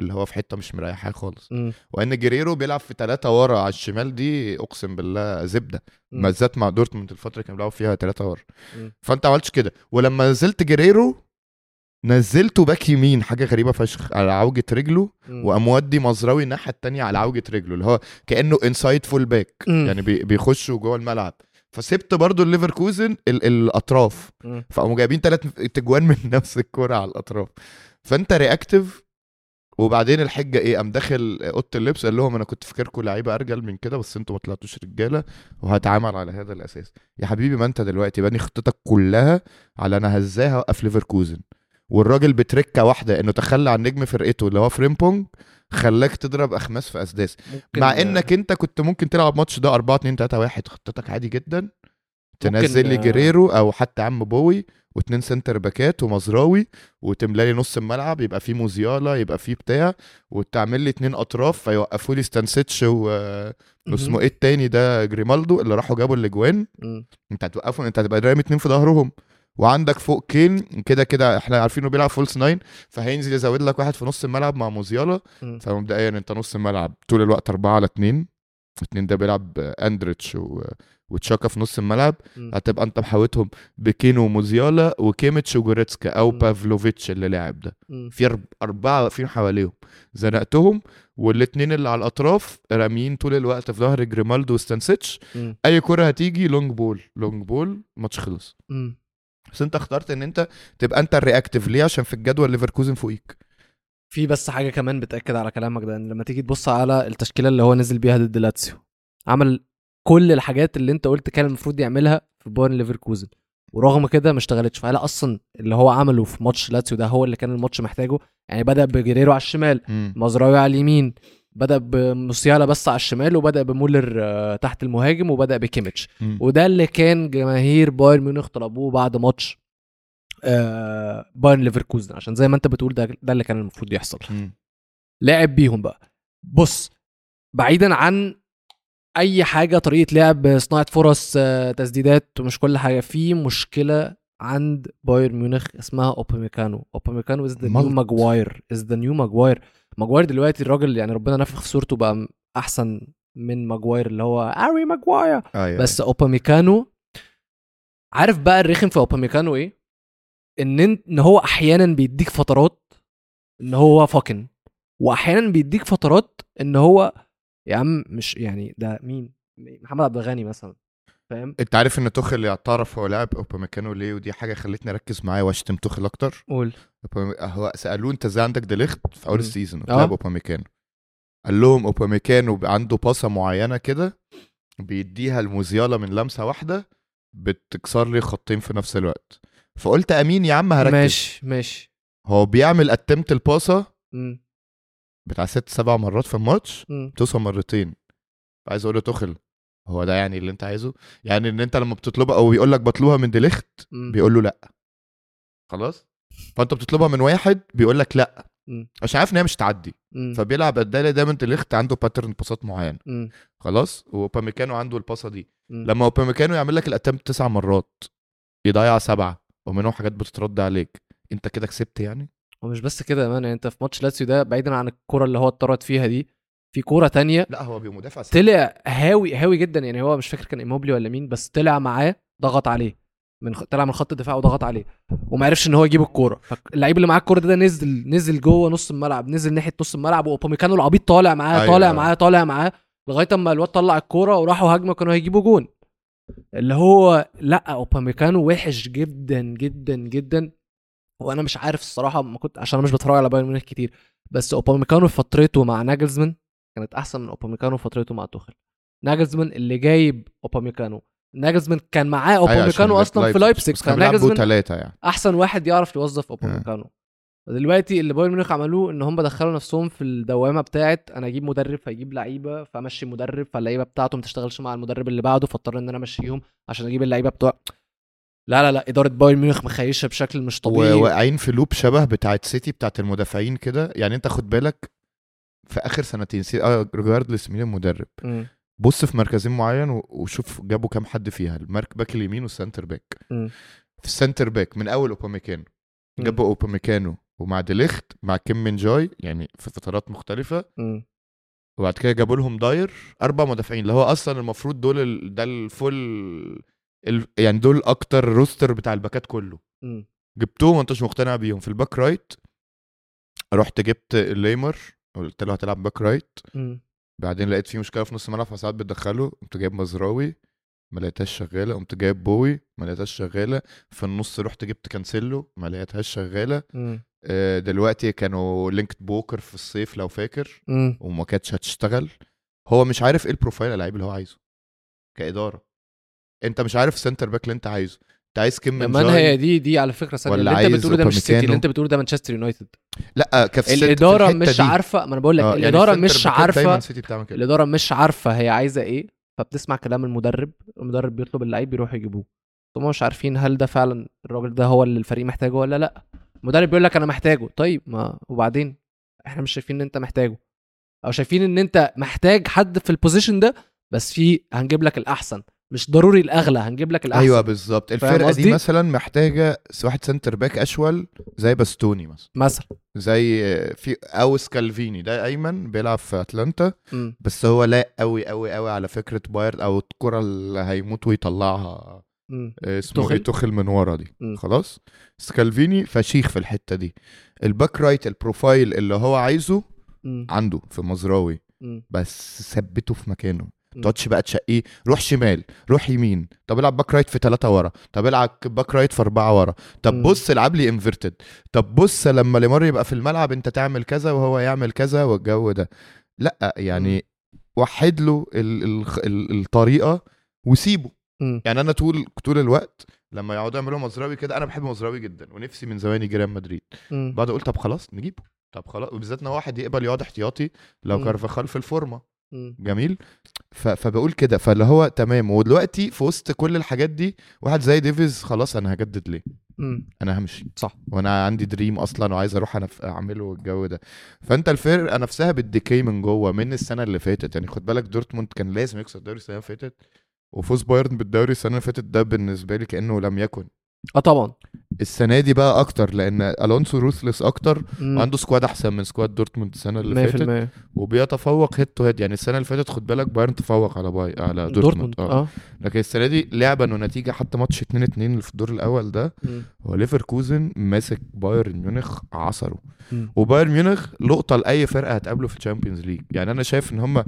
Speaker 2: اللي هو في حته مش مريحاه خالص
Speaker 1: مم.
Speaker 2: وان جريرو بيلعب في ثلاثة ورا على الشمال دي اقسم بالله زبده
Speaker 1: مم.
Speaker 2: بالذات مع دورتموند الفتره اللي كانوا بيلعبوا فيها ثلاثة ورا
Speaker 1: مم.
Speaker 2: فانت عملتش كده ولما نزلت جريرو نزلته باك يمين حاجه غريبه فشخ على عوجه رجله
Speaker 1: مم.
Speaker 2: وقام وادي مزراوي الناحيه التانية على عوجه رجله اللي هو كانه انسايد فول باك
Speaker 1: مم.
Speaker 2: يعني بي- بيخشوا جوه الملعب فسبت برضو الليفركوزن ال- الاطراف
Speaker 1: مم.
Speaker 2: فقاموا جايبين ثلاث تجوان من نفس الكرة على الاطراف فانت رياكتيف وبعدين الحجه ايه قام داخل اوضه اللبس قال لهم انا كنت فاكركم لعيبه ارجل من كده بس انتوا ما طلعتوش رجاله وهتعامل على هذا الاساس يا حبيبي ما انت دلوقتي باني خطتك كلها على انا هزاي هوقف ليفركوزن والراجل بتركه واحده انه تخلى عن نجم فرقته اللي هو فريمبونج خلاك تضرب اخماس في اسداس
Speaker 1: ممكن
Speaker 2: مع انك انت كنت ممكن تلعب ماتش ده 4 2 3 1 خطتك عادي جدا تنزل لي
Speaker 1: آه،
Speaker 2: جريرو او حتى عم بوي واتنين سنتر باكات ومزراوي وتملى لي نص الملعب يبقى فيه موزيالا يبقى فيه بتاع وتعمل لي اتنين اطراف فيوقفوا لي ستانسيتش و
Speaker 1: مهم.
Speaker 2: اسمه ايه التاني ده جريمالدو اللي راحوا جابوا الاجوان
Speaker 1: مم.
Speaker 2: انت هتوقفهم انت هتبقى رامي اتنين في ظهرهم وعندك فوق كين كده كده احنا عارفين انه بيلعب فولس ناين فهينزل يزود لك واحد في نص الملعب مع موزيالا
Speaker 1: مم.
Speaker 2: فمبدئيا انت نص الملعب طول الوقت أربعة على اتنين اتنين ده بيلعب آه، اندريتش و... وتشاكا في نص الملعب
Speaker 1: مم.
Speaker 2: هتبقى انت محاوتهم بكين وموزيالا وكيميتش وجوريتسكا او
Speaker 1: مم.
Speaker 2: بافلوفيتش اللي لاعب ده
Speaker 1: مم.
Speaker 2: في أرب- اربعه واقفين حواليهم زنقتهم والاتنين اللي على الاطراف راميين طول الوقت في ظهر جريمالدو وستانسيتش
Speaker 1: مم.
Speaker 2: اي كره هتيجي لونج بول لونج بول ماتش خلص
Speaker 1: مم.
Speaker 2: بس انت اخترت ان انت تبقى انت الرياكتيف ليه عشان في الجدول ليفركوزن فوقيك
Speaker 1: في بس حاجه كمان بتاكد على كلامك ده ان لما تيجي تبص على التشكيله اللي هو نزل بيها ضد لاتسيو عمل كل الحاجات اللي انت قلت كان المفروض يعملها في بايرن ليفركوزن ورغم كده ما اشتغلتش فهل اصلا اللي هو عمله في ماتش لاتسيو ده هو اللي كان الماتش محتاجه يعني بدا بجريرو على الشمال مزراوي على اليمين بدا بموسيالا بس على الشمال وبدا بمولر آه، تحت المهاجم وبدا بكيميتش
Speaker 2: مم.
Speaker 1: وده اللي كان جماهير بايرن ميونخ طلبوه بعد ماتش آه، بايرن ليفركوزن عشان زي ما انت بتقول ده ده اللي كان المفروض يحصل
Speaker 2: مم.
Speaker 1: لعب بيهم بقى بص بعيدا عن اي حاجه طريقه لعب صناعه فرص آه، تسديدات ومش كل حاجه في مشكله عند بايرن ميونخ اسمها اوباميكانو اوباميكانو از ذا نيو
Speaker 2: ملط.
Speaker 1: ماجواير از ذا نيو ماجواير ماجواير دلوقتي الراجل يعني ربنا نفخ في صورته بقى م- احسن من ماجواير اللي هو اري ماجواير
Speaker 2: ايوه
Speaker 1: بس اوباميكانو عارف بقى الرخم في اوباميكانو ايه ان انت ان هو احيانا بيديك فترات ان هو فاكن واحيانا بيديك فترات ان هو يا عم مش يعني ده مين محمد عبد الغني مثلا فاهم
Speaker 2: انت عارف ان توخل اعترف هو لاعب اوباميكانو ليه ودي حاجه خلتني اركز معاه واشتم توخل اكتر
Speaker 1: قول
Speaker 2: أوبامي- هو سالوه انت ازاي عندك ديليخت في اول
Speaker 1: مم.
Speaker 2: السيزون
Speaker 1: آه.
Speaker 2: لاعب اوباميكانو قال لهم اوباميكانو عنده باصه معينه كده بيديها الموزيالا من لمسه واحده بتكسر لي خطين في نفس الوقت فقلت امين يا عم هركز
Speaker 1: ماشي ماشي
Speaker 2: هو بيعمل اتمت الباصه
Speaker 1: مم.
Speaker 2: بتاع ست سبع مرات في الماتش
Speaker 1: مم.
Speaker 2: بتوصل مرتين عايز اقول له توخل هو ده يعني اللي انت عايزه يعني ان انت لما بتطلبها او بيقول لك بطلبها من ديليخت
Speaker 1: مم.
Speaker 2: بيقول له لا إمم. خلاص إمم. فانت بتطلبها من واحد بيقول لك لا
Speaker 1: مم.
Speaker 2: عشان عارف ان هي مش تعدي
Speaker 1: مم.
Speaker 2: فبيلعب الدالة دايما تليخت عنده باترن باصات معين
Speaker 1: مم.
Speaker 2: خلاص واوباميكانو عنده الباصه دي
Speaker 1: مم.
Speaker 2: لما اوباميكانو يعمل لك الاتمت تسع مرات يضيع سبعه ومنهم حاجات بتترد عليك انت كده كسبت يعني
Speaker 1: ومش بس كده يا مان يعني انت في ماتش لاتسيو ده بعيدا عن الكره اللي هو اتطرد فيها دي في كوره تانية
Speaker 2: لا هو بمدافع سهل.
Speaker 1: طلع هاوي هاوي جدا يعني هو مش فاكر كان ايموبلي ولا مين بس طلع معاه ضغط عليه من خ- طلع من خط الدفاع وضغط عليه وما عرفش ان هو يجيب الكوره فاللعيب اللي معاه الكوره ده, ده نزل نزل جوه نص الملعب نزل ناحيه نص الملعب واوباميكانو العبيط طالع معاه
Speaker 2: أيوة.
Speaker 1: طالع معاه طالع معاه لغايه اما الواد طلع الكوره وراحوا هجمه كانوا هيجيبوا جون اللي هو لا اوباميكانو وحش جدا جدا جدا وانا مش عارف الصراحه ما كنت عشان انا مش بتفرج على بايرن ميونخ كتير بس اوباميكانو في فترته مع ناجلزمان كانت احسن من اوباميكانو في فترته مع توخل ناجلزمان اللي جايب اوباميكانو ناجلزمان كان معاه
Speaker 2: أيوة، عشان
Speaker 1: اوباميكانو اصلا في لايبسيج
Speaker 2: بس كان
Speaker 1: كان
Speaker 2: بيلعبوا آه.
Speaker 1: ناجلزمان
Speaker 2: ثلاثه يعني
Speaker 1: احسن واحد يعرف يوظف اوباميكانو دلوقتي اللي بايرن ميونخ عملوه ان هم دخلوا نفسهم في الدوامه بتاعت انا اجيب مدرب فاجيب لعيبه فامشي مدرب فاللعيبه بتاعته ما تشتغلش مع المدرب اللي بعده فاضطر ان انا امشيهم عشان اجيب اللعيبه بتوع لا لا لا اداره بايرن ميونخ مخيشه بشكل مش
Speaker 2: و-
Speaker 1: طبيعي
Speaker 2: واقعين في لوب شبه بتاعت سيتي بتاعت المدافعين كده يعني انت خد بالك في اخر سنتين سي اه ريجاردلس مين المدرب
Speaker 1: مم.
Speaker 2: بص في مركزين معين و- وشوف جابوا كام حد فيها المارك باك اليمين والسنتر باك
Speaker 1: مم.
Speaker 2: في السنتر باك من اول اوباميكانو
Speaker 1: مم.
Speaker 2: جابوا اوباميكانو ومع ديليخت مع كيم من جاي يعني في فترات مختلفه
Speaker 1: مم.
Speaker 2: وبعد كده جابوا لهم داير اربع مدافعين اللي هو اصلا المفروض دول ال... ده الفول ال... يعني دول اكتر روستر بتاع الباكات كله
Speaker 1: مم.
Speaker 2: جبتهم انتش مقتنع بيهم في الباك رايت رحت جبت ليمر قلت له هتلعب باك رايت
Speaker 1: مم.
Speaker 2: بعدين لقيت في مشكله في نص الملعب فساعات بتدخله قمت جايب مزراوي ما لقيتهاش شغاله قمت جايب بوي ما لقيتهاش شغاله في النص رحت جبت كانسيلو ما لقيتهاش شغاله
Speaker 1: مم.
Speaker 2: آه، دلوقتي كانوا لينكد بوكر في الصيف لو فاكر
Speaker 1: مم.
Speaker 2: وما كانتش هتشتغل هو مش إيه عارف ايه البروفايل اللعيب اللي هو عايزه كاداره انت مش عارف سنتر باك اللي انت عايزه انت عايز كم من
Speaker 1: كمان
Speaker 2: جاي؟
Speaker 1: هي دي دي على فكره ثانيه
Speaker 2: ولا
Speaker 1: اللي انت
Speaker 2: عايز
Speaker 1: بتقوله ده مش سيتي
Speaker 2: اوباميكانو؟
Speaker 1: اللي انت بتقوله ده مانشستر يونايتد
Speaker 2: لا كفسيت في
Speaker 1: الاداره
Speaker 2: الحتة
Speaker 1: مش
Speaker 2: دي.
Speaker 1: عارفه ما انا بقول لك
Speaker 2: آه، يعني
Speaker 1: الاداره
Speaker 2: السنتر
Speaker 1: مش
Speaker 2: باكات دايما
Speaker 1: عارفه
Speaker 2: سيتي بتعمل كده
Speaker 1: الاداره مش عارفه هي عايزه ايه فبتسمع كلام المدرب المدرب بيطلب اللعيب بيروحوا يجيبوه هم مش عارفين هل ده فعلا الراجل ده هو اللي الفريق محتاجه ولا لا المدرب بيقول لك انا محتاجه طيب ما وبعدين احنا مش شايفين ان انت محتاجه او شايفين ان انت محتاج حد في البوزيشن ده بس في هنجيب لك الاحسن مش ضروري الاغلى هنجيب لك الاحسن
Speaker 2: ايوه بالظبط الفرقه
Speaker 1: قصدي؟
Speaker 2: دي مثلا محتاجه واحد سنتر باك اشول زي باستوني مثلا
Speaker 1: مثلا
Speaker 2: زي في او سكالفيني ده ايمن بيلعب في اتلانتا
Speaker 1: مم.
Speaker 2: بس هو لايق قوي قوي قوي على فكره بايرن او الكره اللي هيموت ويطلعها
Speaker 1: مم.
Speaker 2: اسمه
Speaker 1: تخل.
Speaker 2: ايه تخل من ورا دي
Speaker 1: مم.
Speaker 2: خلاص سكالفيني فشيخ في الحته دي الباك رايت البروفايل اللي هو عايزه
Speaker 1: مم.
Speaker 2: عنده في مزراوي
Speaker 1: مم.
Speaker 2: بس ثبته في مكانه
Speaker 1: م.
Speaker 2: تقعدش بقى تشقيه روح شمال روح يمين طب العب باك رايت في ثلاثة ورا طب العب باك رايت في أربعة ورا
Speaker 1: م.
Speaker 2: طب بص العب لي انفرتد طب بص لما ليمار يبقى في الملعب انت تعمل كذا وهو يعمل كذا والجو ده لا يعني وحد له ال ال ال الطريقة وسيبه
Speaker 1: مم.
Speaker 2: يعني انا طول طول الوقت لما يقعدوا يعملوا مزراوي كده انا بحب مزراوي جدا ونفسي من زمان يجي ريال مدريد
Speaker 1: مم.
Speaker 2: بعد اقول طب خلاص نجيبه طب خلاص وبالذات ان هو واحد يقبل يقعد احتياطي
Speaker 1: م.
Speaker 2: لو كارفاخال في الفورمه
Speaker 1: مم.
Speaker 2: جميل ف... فبقول كده فاللي هو تمام ودلوقتي في وسط كل الحاجات دي واحد زي ديفيز خلاص انا هجدد ليه
Speaker 1: مم.
Speaker 2: انا همشي
Speaker 1: صح.
Speaker 2: وانا عندي دريم اصلا وعايز اروح انا ف- اعمله والجو ده فانت الفرقه نفسها بتديكي من جوه من السنه اللي فاتت يعني خد بالك دورتموند كان لازم يكسب الدوري السنه اللي فاتت وفوز بايرن بالدوري السنه اللي فاتت ده بالنسبه لي كانه لم يكن
Speaker 1: اه طبعا
Speaker 2: السنه دي بقى اكتر لان الونسو روثلس اكتر
Speaker 1: مم.
Speaker 2: وعنده سكواد احسن من سكواد دورتموند السنه اللي فاتت
Speaker 1: 100%
Speaker 2: وبيتفوق هيد تو هيد يعني السنه اللي فاتت خد بالك بايرن تفوق على باي على دورتموند
Speaker 1: دورتموند
Speaker 2: اه
Speaker 1: اه
Speaker 2: لكن السنه دي لعبا ونتيجه حتى ماتش 2 2 اللي في الدور الاول ده
Speaker 1: مم.
Speaker 2: هو ليفركوزن ماسك بايرن ميونخ عصره
Speaker 1: مم.
Speaker 2: وبايرن ميونخ لقطه لاي فرقه هتقابله في الشامبيونز ليج يعني انا شايف ان هم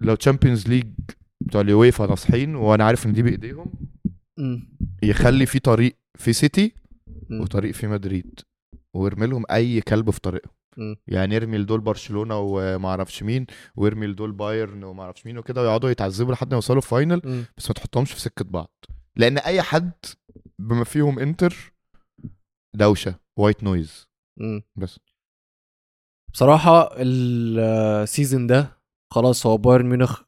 Speaker 2: لو تشامبيونز ليج بتوع اليويفا ناصحين وانا عارف ان دي بايديهم
Speaker 1: مم.
Speaker 2: يخلي في طريق في سيتي
Speaker 1: مم.
Speaker 2: وطريق في مدريد ويرمي لهم اي كلب في طريقه
Speaker 1: مم.
Speaker 2: يعني ارمي لدول برشلونه وما اعرفش مين وارمي لدول بايرن وما اعرفش مين وكده ويقعدوا يتعذبوا لحد ما يوصلوا الفاينل
Speaker 1: مم.
Speaker 2: بس ما تحطهمش في سكه بعض لان اي حد بما فيهم انتر دوشه وايت نويز
Speaker 1: مم.
Speaker 2: بس
Speaker 1: بصراحة السيزون ده خلاص هو بايرن ميونخ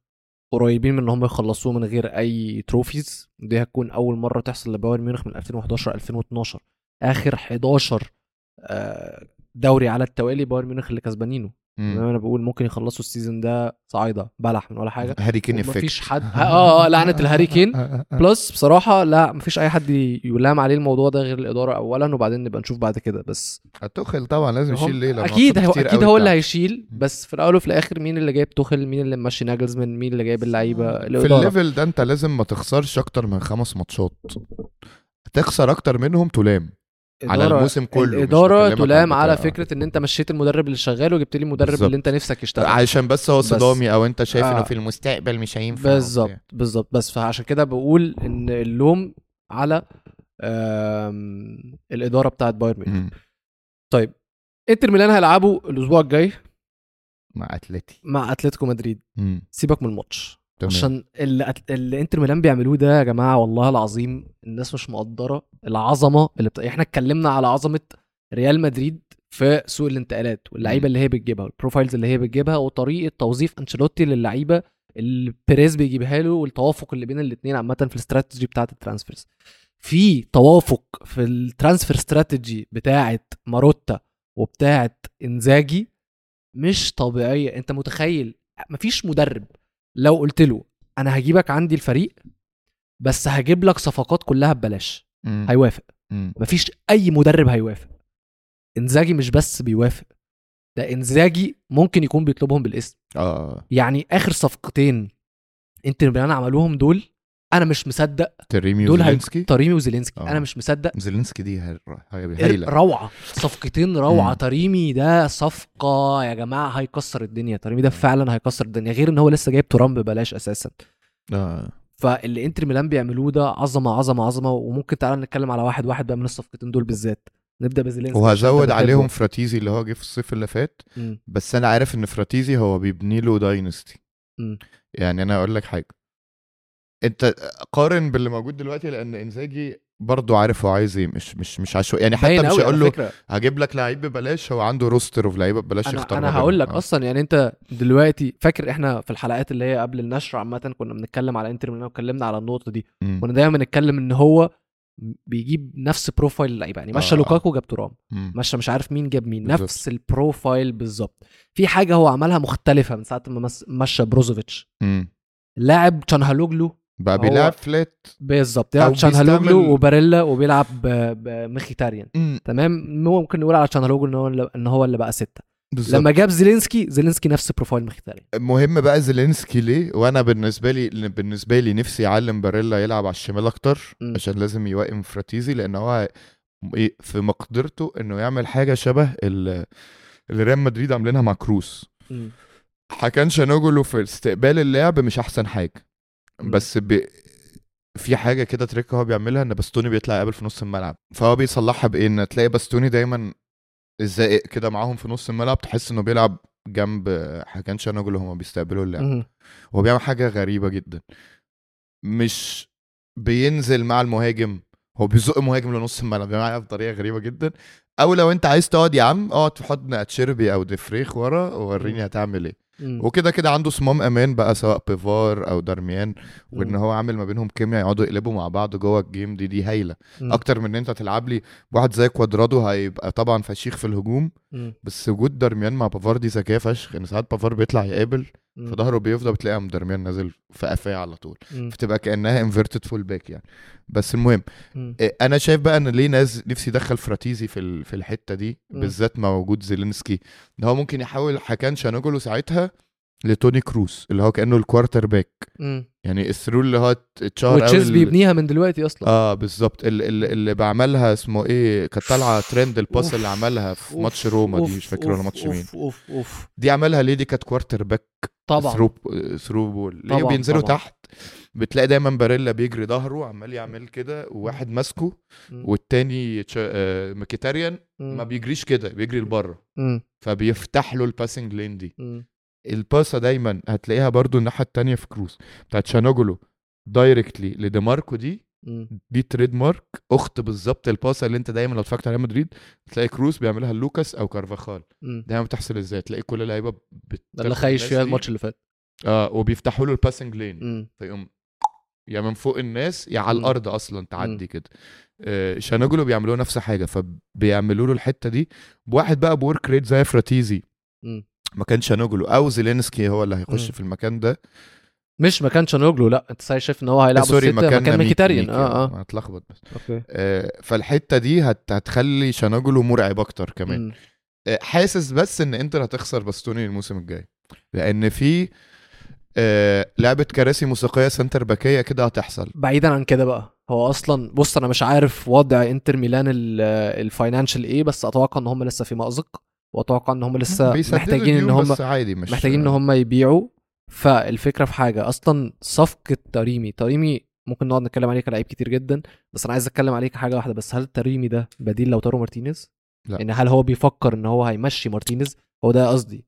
Speaker 1: قريبين من ان هم يخلصوه من غير اي تروفيز دي هتكون اول مرة تحصل لبايرن ميونخ من 2011 2012 اخر 11 آه، دوري على التوالي بايرن ميونخ اللي كسبانينه زي ما انا بقول ممكن يخلصوا السيزون ده صعايدة بلح من ولا حاجة
Speaker 2: هاري كين
Speaker 1: مفيش
Speaker 2: افكت
Speaker 1: حد اه اه لعنة الهاري كين بلس بصراحة لا مفيش أي حد يلام عليه الموضوع ده غير الإدارة أولا وبعدين نبقى نشوف بعد كده بس
Speaker 2: هتوخل طبعا لازم
Speaker 1: هم-
Speaker 2: يشيل ليله
Speaker 1: اكيد هو اكيد هو اللي
Speaker 2: هيشيل
Speaker 1: هيشيل بس في الاول وفي الاخر مين اللي جايب توخل مين اللي ماشي ناجلزمان مين اللي جايب اللعيبه
Speaker 2: في
Speaker 1: الاداره
Speaker 2: الليفل ده انت لازم ما تخسرش اكتر من خمس ماتشات تخسر اكتر منهم تلام على
Speaker 1: إدارة-
Speaker 2: الموسم كله مش
Speaker 1: الاداره
Speaker 2: بكلمك عن
Speaker 1: تلام
Speaker 2: بتاع-
Speaker 1: على فكره ان انت مشيت المدرب اللي شغال وجبت لي مدرب
Speaker 2: بالظبط.
Speaker 1: اللي انت نفسك يشتغل
Speaker 2: عشان بس هو
Speaker 1: بس.
Speaker 2: صدامي او انت شايف
Speaker 1: آه.
Speaker 2: انه في المستقبل مش هينفع
Speaker 1: بالظبط بالظبط بس فعشان كده بقول ان اللوم على آم، الاداره بتاعت بايرن ميونخ
Speaker 2: مم.
Speaker 1: طيب انتر ميلان هيلعبوا الاسبوع الجاي
Speaker 2: مع اتلتي
Speaker 1: مع اتلتيكو مدريد
Speaker 2: مم.
Speaker 1: سيبك من الماتش
Speaker 2: تمام.
Speaker 1: عشان اللي, أت- اللي انتر ميلان بيعملوه ده يا جماعه والله العظيم الناس مش مقدره العظمه اللي بت... احنا اتكلمنا على عظمه ريال مدريد في سوق الانتقالات واللعيبه
Speaker 2: مم.
Speaker 1: اللي هي بتجيبها والبروفايلز اللي هي بتجيبها وطريقه توظيف انشيلوتي للعيبه اللي بيريز بيجيبها له والتوافق اللي بين الاثنين عامه في الاستراتيجي بتاعه الترانسفيرز في توافق في الترانسفير استراتيجي بتاعه ماروتا وبتاعه انزاجي مش طبيعيه انت متخيل مفيش مدرب لو قلت له انا هجيبك عندي الفريق بس هجيب لك صفقات كلها ببلاش
Speaker 2: مم.
Speaker 1: هيوافق
Speaker 2: مم.
Speaker 1: مفيش اي مدرب هيوافق انزاجي مش بس بيوافق ده انزاجي ممكن يكون بيطلبهم بالاسم
Speaker 2: اه
Speaker 1: يعني اخر صفقتين انتر ميلان عملوهم دول انا مش مصدق
Speaker 2: تريمي
Speaker 1: دول طيب. هي-
Speaker 2: وزيلينسكي
Speaker 1: طريمي وزيلينسكي
Speaker 2: آه.
Speaker 1: انا مش مصدق
Speaker 2: زيلينسكي دي هي- هي- هايله
Speaker 1: روعه صفقتين روعه
Speaker 2: مم.
Speaker 1: طريمي ده صفقه يا جماعه هيكسر الدنيا طريمي ده فعلا هيكسر الدنيا غير ان هو لسه جايب ترام ببلاش اساسا
Speaker 2: آه.
Speaker 1: فاللي انتر ميلان بيعملوه ده عظمه عظمه عظمه وممكن تعالى نتكلم على واحد واحد بقى من الصفقتين دول بالذات نبدا بزيلينسكي
Speaker 2: وهزود عليهم فراتيزي اللي هو جه في الصيف اللي فات
Speaker 1: مم.
Speaker 2: بس انا عارف ان فراتيزي هو بيبني له داينستي
Speaker 1: مم.
Speaker 2: يعني انا اقول لك حاجه انت قارن باللي موجود دلوقتي لان انزاجي برضه عارف هو عايز ايه مش مش مش عشوائي يعني حتى
Speaker 1: باين
Speaker 2: مش
Speaker 1: أوي على
Speaker 2: هقول له
Speaker 1: فكرة.
Speaker 2: هجيب لك لعيب ببلاش هو عنده روستر اوف لعيبه ببلاش
Speaker 1: انا
Speaker 2: يختار
Speaker 1: انا
Speaker 2: ما
Speaker 1: هقول لك
Speaker 2: بينهم. آه.
Speaker 1: اصلا يعني انت دلوقتي فاكر احنا في الحلقات اللي هي قبل النشر عامه كنا بنتكلم على انتر ميلان واتكلمنا على النقطه دي
Speaker 2: مم.
Speaker 1: كنا دايما بنتكلم ان هو بيجيب نفس بروفايل اللعيبه يعني مشى
Speaker 2: آه.
Speaker 1: لوكاكو جاب ترام
Speaker 2: مم.
Speaker 1: مشى مش عارف مين جاب مين
Speaker 2: بالظبط.
Speaker 1: نفس البروفايل بالظبط في حاجه هو عملها مختلفه من ساعه ما مس- مشى بروزوفيتش
Speaker 2: مم.
Speaker 1: لاعب تشانهالوجلو
Speaker 2: بقى
Speaker 1: هو-
Speaker 2: بيلعب فلات
Speaker 1: بالظبط
Speaker 2: أو
Speaker 1: لاعب
Speaker 2: بيستعمل-
Speaker 1: تشانهالوجلو وباريلا وبيلعب ب- بمخيتاريان تمام ممكن نقول على تشانهالوجلو ان هو اللي- ان هو اللي بقى سته
Speaker 2: بالظبط
Speaker 1: لما جاب زيلينسكي زيلينسكي نفس بروفايل مختاري
Speaker 2: مهم بقى زيلينسكي ليه وانا بالنسبه لي بالنسبه لي نفسي يعلم باريلا يلعب على الشمال اكتر
Speaker 1: مم.
Speaker 2: عشان لازم يوائم فراتيزي لان هو إيه في مقدرته انه يعمل حاجه شبه ال- اللي ريال مدريد عاملينها مع كروس حكان شانوجلو في استقبال اللعب مش احسن حاجه
Speaker 1: مم.
Speaker 2: بس ب... في حاجه كده تريك هو بيعملها ان باستوني بيطلع يقابل في نص الملعب فهو بيصلحها بايه ان تلاقي باستوني دايما الزائق كده معاهم في نص الملعب تحس انه بيلعب جنب حكان شانوجلو هما بيستقبلوا اللعب
Speaker 1: مم.
Speaker 2: هو بيعمل حاجة غريبة جدا مش بينزل مع المهاجم هو بيزق مهاجم لنص الملعب بيعملها بطريقة غريبة جدا أو لو أنت عايز تقعد يا عم اقعد تحط تشيربي أو دفريخ ورا ووريني هتعمل إيه
Speaker 1: مم.
Speaker 2: وكده كده عنده صمام أمان بقى سواء بيفار أو دارميان وإن
Speaker 1: مم.
Speaker 2: هو عامل ما بينهم كيميا يقعدوا يقلبوا مع بعض جوه الجيم دي دي هايلة
Speaker 1: مم.
Speaker 2: أكتر من إن أنت تلعب لي واحد زي كوادرادو هيبقى طبعا فشيخ في الهجوم
Speaker 1: مم.
Speaker 2: بس وجود دارميان مع بافار دي ذكية فشخ إن ساعات بافار بيطلع يقابل
Speaker 1: مم.
Speaker 2: فظهره بيفضى بتلاقي قام درميان نازل في قفاه على طول
Speaker 1: مم.
Speaker 2: بتبقى كانها انفيرتد فول باك يعني بس المهم
Speaker 1: مم.
Speaker 2: إيه، انا شايف بقى ان ليه ناس نفسي يدخل فراتيزي في ال- في الحته دي
Speaker 1: مم.
Speaker 2: بالذات مع وجود زيلينسكي ان هو ممكن يحول حكان شانوجلو ساعتها لتوني كروس اللي هو كانه الكوارتر باك
Speaker 1: مم.
Speaker 2: يعني الثرو اللي هو ات- اتشهر قوي
Speaker 1: وتشيز
Speaker 2: ال-
Speaker 1: بيبنيها من دلوقتي اصلا
Speaker 2: اه بالظبط ال- ال- اللي بعملها اسمه ايه كانت طالعه ترند الباس
Speaker 1: أوف.
Speaker 2: اللي عملها في
Speaker 1: أوف،
Speaker 2: ماتش روما دي
Speaker 1: أوف،
Speaker 2: مش فاكر ولا
Speaker 1: أوف،
Speaker 2: ماتش
Speaker 1: أوف،
Speaker 2: مين
Speaker 1: اوف اوف
Speaker 2: دي عملها ليه دي كانت كوارتر باك
Speaker 1: طبعا
Speaker 2: ثرو ثرو بول ليه
Speaker 1: طبعاً،
Speaker 2: بينزلوا
Speaker 1: طبعاً.
Speaker 2: تحت بتلاقي دايما باريلا بيجري ظهره عمال يعمل كده وواحد ماسكه
Speaker 1: مم.
Speaker 2: والتاني تش- آه، مكيتاريان
Speaker 1: مم.
Speaker 2: ما بيجريش كده بيجري لبره
Speaker 1: مم.
Speaker 2: فبيفتح له الباسنج لين دي
Speaker 1: مم.
Speaker 2: الباسه دايما هتلاقيها برضو الناحيه التانية في كروس بتاعت شانوجلو دايركتلي لديماركو دي
Speaker 1: مم.
Speaker 2: دي تريد مارك اخت بالظبط الباسه اللي انت دايما لو اتفرجت على ريال مدريد تلاقي كروس بيعملها لوكاس او كارفاخال
Speaker 1: مم.
Speaker 2: دايما بتحصل ازاي تلاقي كل اللعيبه بت-
Speaker 1: ده اللي خايش
Speaker 2: الناس
Speaker 1: فيها
Speaker 2: دي.
Speaker 1: الماتش اللي فات
Speaker 2: اه وبيفتحوا له الباسنج لين
Speaker 1: مم.
Speaker 2: فيقوم يا من فوق الناس يا على
Speaker 1: مم.
Speaker 2: الارض اصلا تعدي كده آه شانوجلو بيعملوا نفس حاجه فبيعملوا له الحته دي بواحد بقى بورك ريت زي فراتيزي
Speaker 1: مم.
Speaker 2: مكان شانوجلو او زيلينسكي هو اللي هيخش
Speaker 1: مم.
Speaker 2: في المكان ده آه،
Speaker 1: مش مكان شانوجلو لا انت ساي شايف ان هو هيلعب
Speaker 2: سوري
Speaker 1: الستة،
Speaker 2: مكان
Speaker 1: مكان
Speaker 2: ميكي-
Speaker 1: ميكيتاريان
Speaker 2: ميكي،
Speaker 1: اه اه
Speaker 2: انا اتلخبط بس
Speaker 1: اوكي
Speaker 2: آه فالحته دي هت هتخلي شانوجلو مرعب اكتر كمان
Speaker 1: مم.
Speaker 2: آه، حاسس بس ان انتر هتخسر باستوني الموسم الجاي لان في آه لعبه كراسي موسيقيه سنتر باكيه كده هتحصل
Speaker 1: بعيدا عن كده بقى هو اصلا بص انا مش عارف وضع انتر ميلان ال- الفاينانشال ايه بس اتوقع ان هم لسه في مأزق واتوقع ان هم لسه
Speaker 2: بيسددوا
Speaker 1: محتاجين ان
Speaker 2: ديون
Speaker 1: هم
Speaker 2: بس عادي مش
Speaker 1: محتاجين ان هم يبيعوا فالفكره في حاجه اصلا صفقه تريمي تريمي ممكن نقعد نتكلم عليه كلاعب كتير جدا بس انا عايز اتكلم عليه كحاجه واحده بس هل تريمي ده بديل لوتارو مارتينيز؟
Speaker 2: لا.
Speaker 1: يعني هل هو بيفكر ان هو هيمشي مارتينيز؟ هو ده قصدي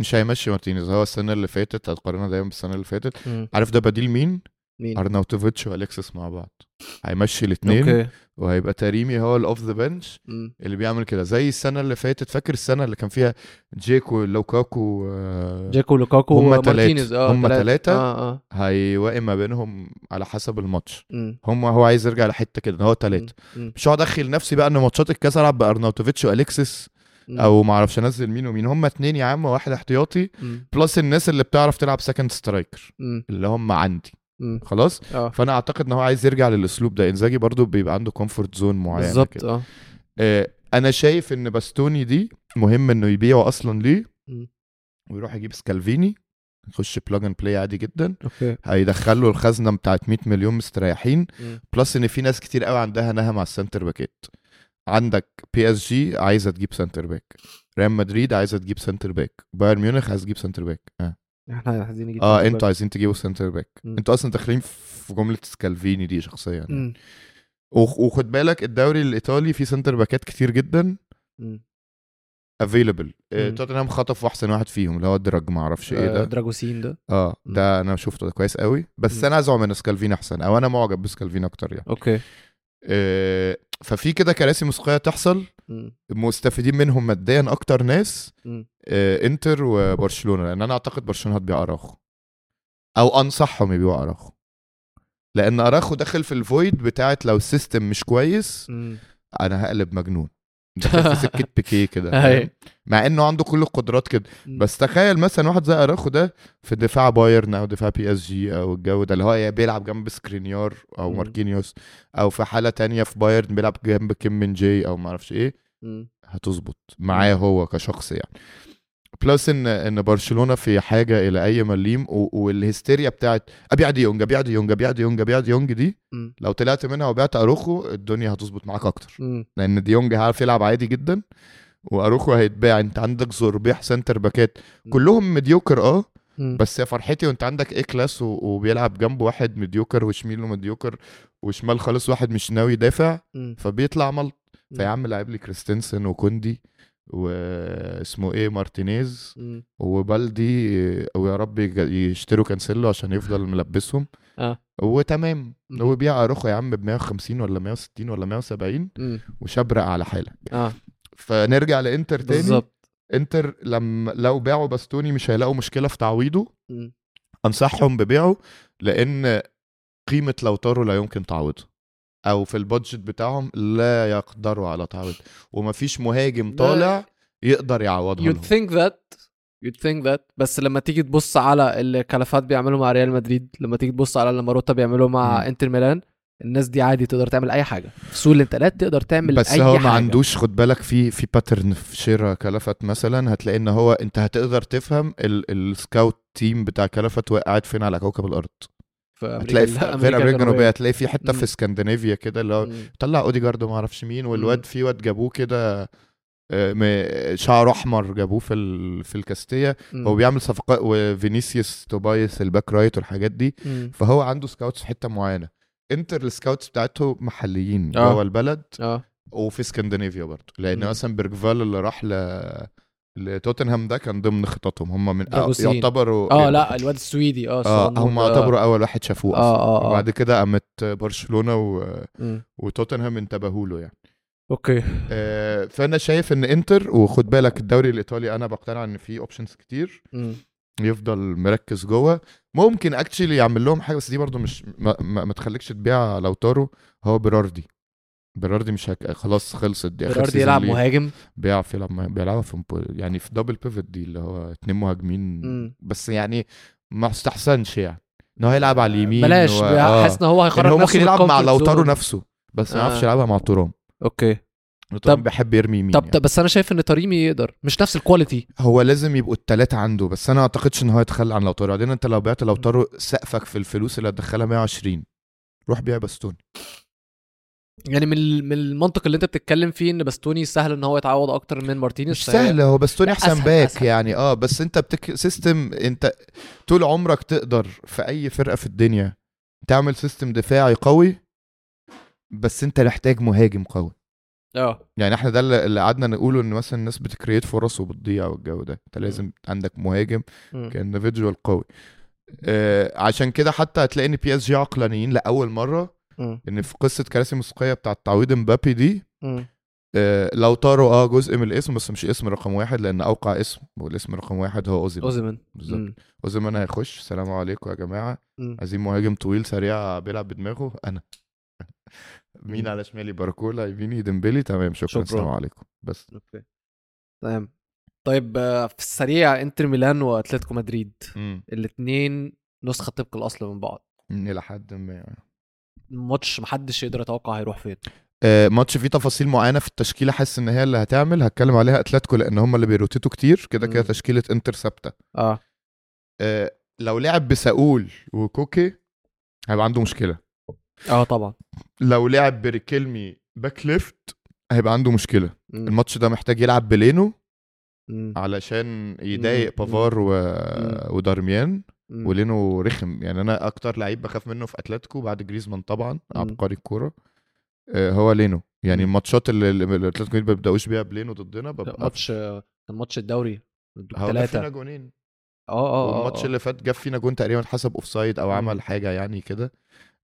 Speaker 2: مش هيمشي مارتينيز هو السنه اللي فاتت هتقارنها دايما بالسنه اللي فاتت
Speaker 1: مم.
Speaker 2: عارف ده بديل مين؟
Speaker 1: مين؟
Speaker 2: ارناوتوفيتش والكسس مع بعض هيمشي الاثنين
Speaker 1: اوكي
Speaker 2: وهيبقى تريمي هو الاوف ذا بنش
Speaker 1: مم.
Speaker 2: اللي بيعمل كده زي السنه اللي فاتت فاكر السنه اللي كان فيها جيكو لوكاكو آه،
Speaker 1: جاكو لوكاكو
Speaker 2: هما تلاتة.
Speaker 1: مارتينيز اه
Speaker 2: هما
Speaker 1: تلاتة.
Speaker 2: تلاتة.
Speaker 1: اه اه
Speaker 2: هيوائم ما بينهم على حسب الماتش
Speaker 1: مم.
Speaker 2: هم هو عايز يرجع لحته كده إن هو
Speaker 1: مم.
Speaker 2: ثلاثه
Speaker 1: مم.
Speaker 2: مش هقعد ادخل نفسي بقى ان ماتشات الكاس العب بارناوتوفيتش والكسس
Speaker 1: مم.
Speaker 2: او ما اعرفش انزل مين ومين هم اتنين يا عم واحد احتياطي
Speaker 1: مم.
Speaker 2: بلس الناس اللي بتعرف تلعب سكند سترايكر
Speaker 1: مم.
Speaker 2: اللي هم عندي
Speaker 1: مم.
Speaker 2: خلاص
Speaker 1: اه
Speaker 2: فانا اعتقد ان هو عايز يرجع للاسلوب ده انزاجي برضو بيبقى عنده كومفورت زون معين
Speaker 1: بالظبط
Speaker 2: بالظبط
Speaker 1: اه
Speaker 2: آه انا شايف ان باستوني دي مهم انه يبيعه اصلا ليه
Speaker 1: مم.
Speaker 2: ويروح يجيب سكالفيني يخش بلاج اند بلاي عادي جدا
Speaker 1: اوكي
Speaker 2: هيدخله الخزنه بتاعت 100 مليون مستريحين
Speaker 1: مم.
Speaker 2: بلس ان في ناس كتير قوي عندها نهم على السنتر باكات عندك بي اس جي عايزه تجيب سنتر باك ريال مدريد عايزه تجيب سنتر باك بايرن ميونخ عايز تجيب سنتر باك آه.
Speaker 1: احنا عايزين نجيب
Speaker 2: اه
Speaker 1: سنتر
Speaker 2: انتوا
Speaker 1: باك.
Speaker 2: عايزين تجيبوا سنتر باك
Speaker 1: مم.
Speaker 2: انتوا اصلا داخلين في جمله سكالفيني دي شخصيا يعني.
Speaker 1: مم.
Speaker 2: وخ- وخد بالك الدوري الايطالي فيه سنتر باكات كتير جدا
Speaker 1: مم.
Speaker 2: افيلبل
Speaker 1: مم.
Speaker 2: توتنهام خطف احسن واحد فيهم اللي هو دراج ما اعرفش ايه
Speaker 1: آه،
Speaker 2: ده
Speaker 1: دراجوسين ده
Speaker 2: اه
Speaker 1: مم.
Speaker 2: ده انا شفته ده كويس قوي بس
Speaker 1: مم.
Speaker 2: انا ازعم من سكالفيني احسن او انا معجب بسكالفيني اكتر يعني
Speaker 1: اوكي
Speaker 2: آه، ففي كده كراسي موسيقيه تحصل
Speaker 1: مم.
Speaker 2: مستفيدين منهم ماديا اكتر ناس
Speaker 1: مم.
Speaker 2: آه، انتر وبرشلونه لان انا اعتقد برشلونه هتبيع اراخو او انصحهم يبيعوا اراخو لان اراخو داخل في الفويد بتاعت لو السيستم مش كويس
Speaker 1: مم.
Speaker 2: انا هقلب مجنون داخل في سكه بيكيه كده
Speaker 1: أيوة.
Speaker 2: فاهم؟ مع انه عنده كل القدرات كده
Speaker 1: مم.
Speaker 2: بس تخيل مثلا واحد زي اراخو ده في دفاع بايرن او دفاع بي اس جي او الجو ده اللي هو يا بيلعب جنب سكرينيار او
Speaker 1: مم.
Speaker 2: ماركينيوس او في حاله تانية في بايرن بيلعب جنب كيم من جي او ما اعرفش ايه
Speaker 1: مم.
Speaker 2: هتظبط معاه هو كشخص يعني بلس ان ان برشلونه في حاجه الى اي مليم و- والهستيريا بتاعت ابيع ديونج ابيع ديونج ابيع ديونج ابيع ديونج دي
Speaker 1: مم.
Speaker 2: لو طلعت منها وبعت اروخو الدنيا هتظبط معاك اكتر
Speaker 1: مم.
Speaker 2: لان ديونج هيعرف يلعب عادي جدا واروخو هيتباع انت عندك زوربيح سنتر باكات كلهم مديوكر اه
Speaker 1: مم.
Speaker 2: بس يا فرحتي وانت عندك ايه كلاس و- وبيلعب جنبه واحد مديوكر وشميله مديوكر وشمال خالص واحد مش ناوي يدافع
Speaker 1: مم.
Speaker 2: فبيطلع ملط فيا
Speaker 1: مم.
Speaker 2: عم لعب لي كريستنسن وكوندي واسمه ايه مارتينيز
Speaker 1: مم.
Speaker 2: وبالدي ويا رب يج- يشتروا كانسيلو عشان يفضل ملبسهم
Speaker 1: اه.
Speaker 2: وتمام
Speaker 1: مم.
Speaker 2: هو بيع اروخو يا عم ب 150 ولا 160 ولا 170
Speaker 1: مم.
Speaker 2: وشبرق على حالك
Speaker 1: اه
Speaker 2: فنرجع لانتر تاني
Speaker 1: بالظبط
Speaker 2: انتر لما لو باعوا باستوني مش هيلاقوا مشكله في تعويضه
Speaker 1: مم.
Speaker 2: انصحهم ببيعه لان قيمه لوتارو لا يمكن تعويضها او في البادجت بتاعهم لا يقدروا على تعويض ومفيش مهاجم
Speaker 1: لا.
Speaker 2: طالع يقدر يعوضها
Speaker 1: you'd
Speaker 2: لهم
Speaker 1: think that you'd think that بس لما تيجي تبص على اللي كلفات بيعمله مع ريال مدريد لما تيجي تبص على اللي ماروتا بيعمله مع
Speaker 2: مم.
Speaker 1: انتر ميلان الناس دي عادي تقدر تعمل اي حاجه في سوق الانتقالات تقدر تعمل
Speaker 2: بس
Speaker 1: اي
Speaker 2: هو
Speaker 1: حاجه
Speaker 2: ما عندوش خد بالك في في باترن في شراء كلفت مثلا هتلاقي ان هو انت هتقدر تفهم ال- السكاوت تيم بتاع كلفت وقعت فين على كوكب الارض
Speaker 1: في امريكا
Speaker 2: هتلاقي في
Speaker 1: لا،
Speaker 2: غير امريكا الجنوبيه هتلاقي في حته
Speaker 1: مم.
Speaker 2: في اسكندنافيا كده اللي هو
Speaker 1: مم.
Speaker 2: طلع اوديجارد وما اعرفش مين
Speaker 1: مم.
Speaker 2: والواد في واد جابوه كده آه، م- شعره احمر جابوه في ال... في الكاستيا
Speaker 1: مم.
Speaker 2: هو بيعمل صفقات وفينيسيوس توبايس الباك رايت والحاجات دي
Speaker 1: مم.
Speaker 2: فهو عنده سكاوتس في حته معينه انتر السكاوتس بتاعته محليين
Speaker 1: آه.
Speaker 2: جوه البلد
Speaker 1: اه
Speaker 2: وفي اسكندنافيا برضه لان
Speaker 1: مم.
Speaker 2: مثلا بيرجفال اللي راح ل لتوتنهام ده كان ضمن خططهم هم من أو...
Speaker 1: دراجوسين.
Speaker 2: يعتبروا
Speaker 1: اه لا الواد السويدي اه
Speaker 2: اه
Speaker 1: الصغنون
Speaker 2: هم
Speaker 1: ده.
Speaker 2: اعتبروا اول واحد شافوه اصلا
Speaker 1: اه اه اه
Speaker 2: وبعد كده قامت برشلونه و...
Speaker 1: مم.
Speaker 2: وتوتنهام انتبهوا له يعني
Speaker 1: اوكي
Speaker 2: آه، فانا شايف ان انتر وخد بالك الدوري الايطالي انا بقتنع ان فيه اوبشنز كتير
Speaker 1: مم.
Speaker 2: يفضل مركز جوه ممكن اكشلي يعمل لهم حاجه بس دي برضو مش ما, ما, ما تخليكش تبيع لوتارو هو بيراردي بيراردي مش هك... خلاص خلصت دي اخر
Speaker 1: بيراردي
Speaker 2: سيزون
Speaker 1: يلعب
Speaker 2: ليه.
Speaker 1: مهاجم
Speaker 2: بيع في لما بيلعبها في مبو- يعني في دبل بيفت دي اللي هو اتنين مهاجمين
Speaker 1: مم.
Speaker 2: بس يعني ما استحسنش يعني ان هو يلعب على اليمين
Speaker 1: آه، بلاش
Speaker 2: و...
Speaker 1: بيع- حاسس ان هو هيخرج
Speaker 2: يعني هو
Speaker 1: نفسه
Speaker 2: ممكن
Speaker 1: من
Speaker 2: يلعب مع
Speaker 1: comfort
Speaker 2: لوتارو
Speaker 1: zone.
Speaker 2: نفسه بس ما
Speaker 1: آه.
Speaker 2: يعرفش يلعبها مع تورام
Speaker 1: اوكي
Speaker 2: تورام
Speaker 1: طب-
Speaker 2: بيحب يرمي يمين
Speaker 1: طب
Speaker 2: يعني.
Speaker 1: طب بس انا شايف ان تريمي يقدر مش نفس الكواليتي
Speaker 2: هو لازم يبقوا التلاتة عنده بس انا ما اعتقدش ان هو يتخلى عن لوتارو بعدين انت لو بعت لوتارو سقفك في الفلوس اللي هتدخلها 120 روح بيع باستوني
Speaker 1: يعني من ال- من المنطق اللي انت بتتكلم فيه ان باستوني سهل ان هو يتعوض اكتر من مارتينيز
Speaker 2: مش
Speaker 1: فهي-
Speaker 2: سهل هو باستوني
Speaker 1: لا،
Speaker 2: احسن
Speaker 1: أسهل-
Speaker 2: باك
Speaker 1: أسهل.
Speaker 2: يعني اه بس انت بتك... سيستم انت طول عمرك تقدر في اي فرقة في الدنيا تعمل سيستم دفاعي قوي بس انت محتاج مهاجم قوي
Speaker 1: اه
Speaker 2: يعني احنا ده اللي اللي قعدنا نقوله ان مثلا الناس بتكريت فرص وبتضيع والجو ده انت لازم عندك مهاجم
Speaker 1: مم.
Speaker 2: كاندفيدجوال قوي آه عشان كده حتى هتلاقي ان بي اس جي عقلانيين لاول مره
Speaker 1: مم.
Speaker 2: ان في قصه كراسي موسيقيه بتاعه تعويض مبابي دي
Speaker 1: مم.
Speaker 2: آه لو طاروا اه جزء من الاسم بس مش اسم رقم واحد لان اوقع اسم والاسم رقم واحد هو اوزيمان
Speaker 1: اوزيمان
Speaker 2: بالظبط
Speaker 1: مم.
Speaker 2: اوزيمان هيخش سلام عليكم يا جماعه
Speaker 1: مم.
Speaker 2: عايزين مهاجم طويل سريع بيلعب بدماغه انا مين
Speaker 1: مم.
Speaker 2: على شمالي باركولا يميني ديمبلي تمام شكرا,
Speaker 1: شكراً.
Speaker 2: شكرا. السلام عليكم بس
Speaker 1: اوكي تمام طيب آه، في السريع انتر ميلان واتلتيكو مدريد
Speaker 2: مم.
Speaker 1: الاثنين نسخه طبق الاصل من بعض
Speaker 2: الى حد ما
Speaker 1: ماتش محدش يقدر يتوقع هيروح فين
Speaker 2: آه، ماتش فيه تفاصيل معينه في التشكيله حاسس ان هي اللي هتعمل هتكلم عليها اتلتيكو لان هم اللي بيروتيتوا كتير كده كده
Speaker 1: مم.
Speaker 2: تشكيله انتر ثابته
Speaker 1: اه
Speaker 2: آه، لو لعب بساول وكوكي هيبقى عنده مشكله
Speaker 1: اه طبعا
Speaker 2: لو لعب بريكيلمي باك ليفت هيبقى عنده مشكله
Speaker 1: مم.
Speaker 2: الماتش ده محتاج يلعب بلينو
Speaker 1: مم.
Speaker 2: آه، علشان يضايق
Speaker 1: مم.
Speaker 2: بافار و...
Speaker 1: مم.
Speaker 2: ودارميان
Speaker 1: مم.
Speaker 2: ولينو رخم يعني انا اكتر لعيب بخاف منه في اتلتيكو بعد جريزمان طبعا
Speaker 1: مم.
Speaker 2: عبقري الكوره آه، هو لينو يعني
Speaker 1: مم.
Speaker 2: الماتشات اللي اللي الاتلتيكو ما بيبداوش بيها بلينو ضدنا
Speaker 1: لا،
Speaker 2: ببقى
Speaker 1: ماتش آه، كان ماتش الدوري
Speaker 2: هو جاب
Speaker 1: ثلاثة
Speaker 2: فينا
Speaker 1: اه
Speaker 2: جونين
Speaker 1: اه آه،
Speaker 2: والماتش
Speaker 1: اه
Speaker 2: اللي فات جاب فينا جون تقريبا حسب اوفسايد او
Speaker 1: مم.
Speaker 2: عمل حاجه يعني كده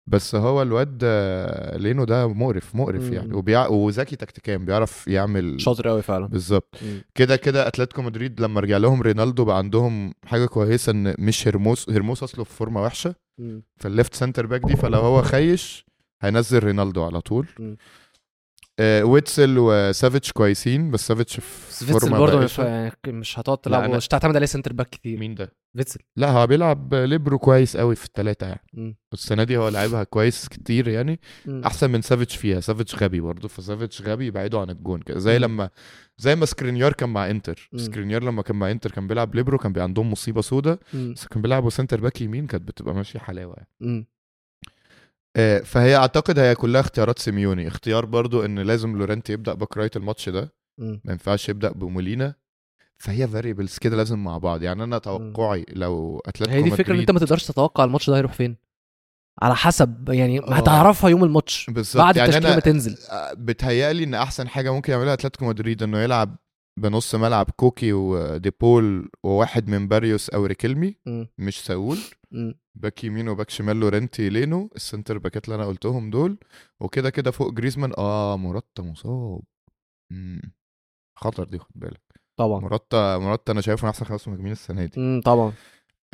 Speaker 2: بس هو الواد آه، لينو ده مقرف مقرف
Speaker 1: مم.
Speaker 2: يعني وبيع... وذكي تكتيكيا بيعرف يعمل
Speaker 1: شاطر قوي فعلا
Speaker 2: بالظبط
Speaker 1: مم.
Speaker 2: كده كده اتلتيكو مدريد لما رجع لهم رينالدو بقى عندهم حاجه كويسه ان مش هرموس هرموس اصله في فورمه وحشه
Speaker 1: مم.
Speaker 2: فالليفت سنتر باك دي فلو هو خايش هينزل رينالدو على طول
Speaker 1: مم.
Speaker 2: آه ويتسل وسافيتش كويسين بس سافيتش في
Speaker 1: فيتسل
Speaker 2: فورمه
Speaker 1: برضه مش-
Speaker 2: بائسة.
Speaker 1: يعني مش هتقعد
Speaker 2: لا،
Speaker 1: تلعبه
Speaker 2: أنا-
Speaker 1: مش هتعتمد عليه سنتر باك كتير
Speaker 2: مين ده
Speaker 1: فيتسل
Speaker 2: لا هو بيلعب ليبرو كويس قوي في الثلاثه يعني
Speaker 1: مم.
Speaker 2: السنه دي هو لعبها كويس كتير يعني
Speaker 1: مم.
Speaker 2: احسن من سافيتش فيها سافيتش غبي برضه فسافيتش غبي يبعده عن الجون كده زي
Speaker 1: مم.
Speaker 2: لما زي ما سكرينيار كان مع انتر
Speaker 1: مم.
Speaker 2: سكرينيار لما كان مع انتر كان بيلعب ليبرو كان بي عندهم مصيبه سودا
Speaker 1: مم.
Speaker 2: بس كان بيلعبوا سنتر باك يمين كانت بتبقى ماشيه حلاوه يعني.
Speaker 1: مم.
Speaker 2: آه، فهي اعتقد هي كلها اختيارات سيميوني اختيار برضو ان لازم لورنتي يبدا باك رايت الماتش ده
Speaker 1: مم.
Speaker 2: ما ينفعش يبدا بمولينا فهي فاريبلز كده لازم مع بعض يعني انا توقعي لو اتلتيكو
Speaker 1: هي دي الفكره ان انت ما تقدرش تتوقع الماتش ده هيروح فين على حسب يعني
Speaker 2: آه.
Speaker 1: هتعرفها يوم الماتش
Speaker 2: بالظبط
Speaker 1: بعد
Speaker 2: يعني
Speaker 1: التشكيله ما
Speaker 2: انا
Speaker 1: تنزل
Speaker 2: بتهيألي ان احسن حاجه ممكن يعملها اتلتيكو مدريد انه يلعب بنص ملعب كوكي وديبول وواحد من باريوس او ريكيلمي
Speaker 1: مم.
Speaker 2: مش ساول
Speaker 1: مم.
Speaker 2: باك يمين وباك شمال لورنتي لينو السنتر باكات اللي انا قلتهم دول وكده كده فوق جريزمان اه مرتا مصاب مم. خطر دي خد بالك
Speaker 1: طبعا
Speaker 2: مرتا مرتا انا شايفه من احسن خمس مهاجمين السنه دي
Speaker 1: مم. طبعا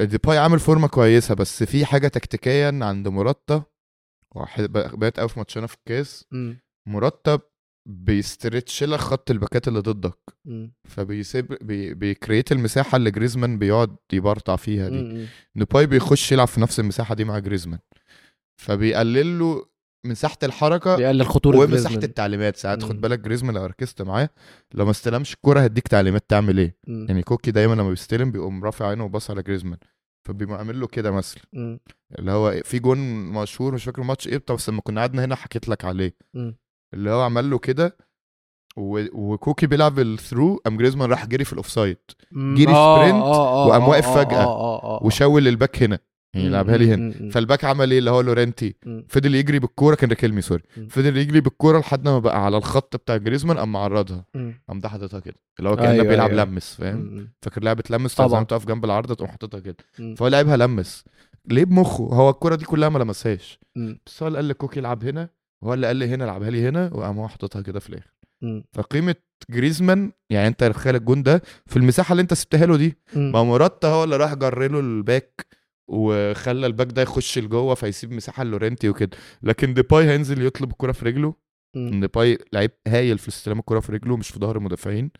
Speaker 2: ديباي عامل فورمه كويسه بس في حاجه تكتيكيا عند مرتا وح- بقت قوي في ماتشنا في الكاس
Speaker 1: مم.
Speaker 2: مرتب بيسترتش لك خط الباكات اللي ضدك
Speaker 1: مم.
Speaker 2: فبيسيب بي بيكريت المساحه اللي جريزمان بيقعد يبرطع فيها دي
Speaker 1: مم.
Speaker 2: ديباي بيخش يلعب في نفس المساحه دي مع جريزمان فبيقلل له مساحه الحركه
Speaker 1: بيقلل خطوره
Speaker 2: ومساحه
Speaker 1: جريزمان.
Speaker 2: التعليمات ساعات
Speaker 1: مم.
Speaker 2: خد بالك جريزمان لو ركزت معاه لو ما استلمش الكوره هيديك تعليمات تعمل ايه
Speaker 1: مم.
Speaker 2: يعني كوكي دايما لما بيستلم بيقوم رافع عينه وباص على جريزمان فبيعمل له كده مثلا
Speaker 1: مم.
Speaker 2: اللي هو إيه، في جون مشهور مش فاكر الماتش ايه بس لما كنا قعدنا هنا حكيت لك عليه
Speaker 1: مم.
Speaker 2: اللي هو عمل له كده و... وكوكي بيلعب الثرو قام جريزمان راح جري في الاوفسايد
Speaker 1: مم.
Speaker 2: جري
Speaker 1: آه،
Speaker 2: سبرنت
Speaker 1: آه، آه،
Speaker 2: وقام
Speaker 1: آه،
Speaker 2: واقف
Speaker 1: آه،
Speaker 2: فجأة
Speaker 1: آه، آه، آه، آه.
Speaker 2: وشاول للباك هنا يعني
Speaker 1: مم.
Speaker 2: لعبها لي هنا
Speaker 1: مم. مم.
Speaker 2: فالباك عمل ايه اللي هو لورنتي
Speaker 1: مم.
Speaker 2: فضل يجري بالكوره كان ريكيلمي سوري
Speaker 1: مم.
Speaker 2: فضل يجري بالكوره لحد ما بقى على الخط بتاع جريزمان قام معرضها
Speaker 1: مم.
Speaker 2: قام ده حاططها كده اللي هو
Speaker 1: أيوة،
Speaker 2: كانه بيلعب
Speaker 1: أيوة.
Speaker 2: لمس فاهم
Speaker 1: مم.
Speaker 2: فاكر لعبه لمس
Speaker 1: طبعاً.
Speaker 2: طبعا تقف جنب العارضه تقوم حاططها كده
Speaker 1: مم.
Speaker 2: فهو لعبها لمس ليه بمخه هو الكوره دي كلها ما لمسهاش
Speaker 1: مم.
Speaker 2: بس هو اللي قال لكوكي العب هنا وهو اللي قال لي هنا العبها لي هنا وقام هو حاططها كده في الاخر
Speaker 1: مم.
Speaker 2: فقيمه جريزمان يعني انت تخيل الجون ده في المساحه اللي انت سبتها له دي
Speaker 1: مم.
Speaker 2: ما مرتا هو اللي راح جر له الباك وخلى الباك ده يخش لجوه فيسيب مساحه لورنتي وكده لكن ديباي هينزل يطلب الكره في رجله
Speaker 1: مم.
Speaker 2: ديباي لعيب هايل في استلام الكره في رجله مش في ظهر المدافعين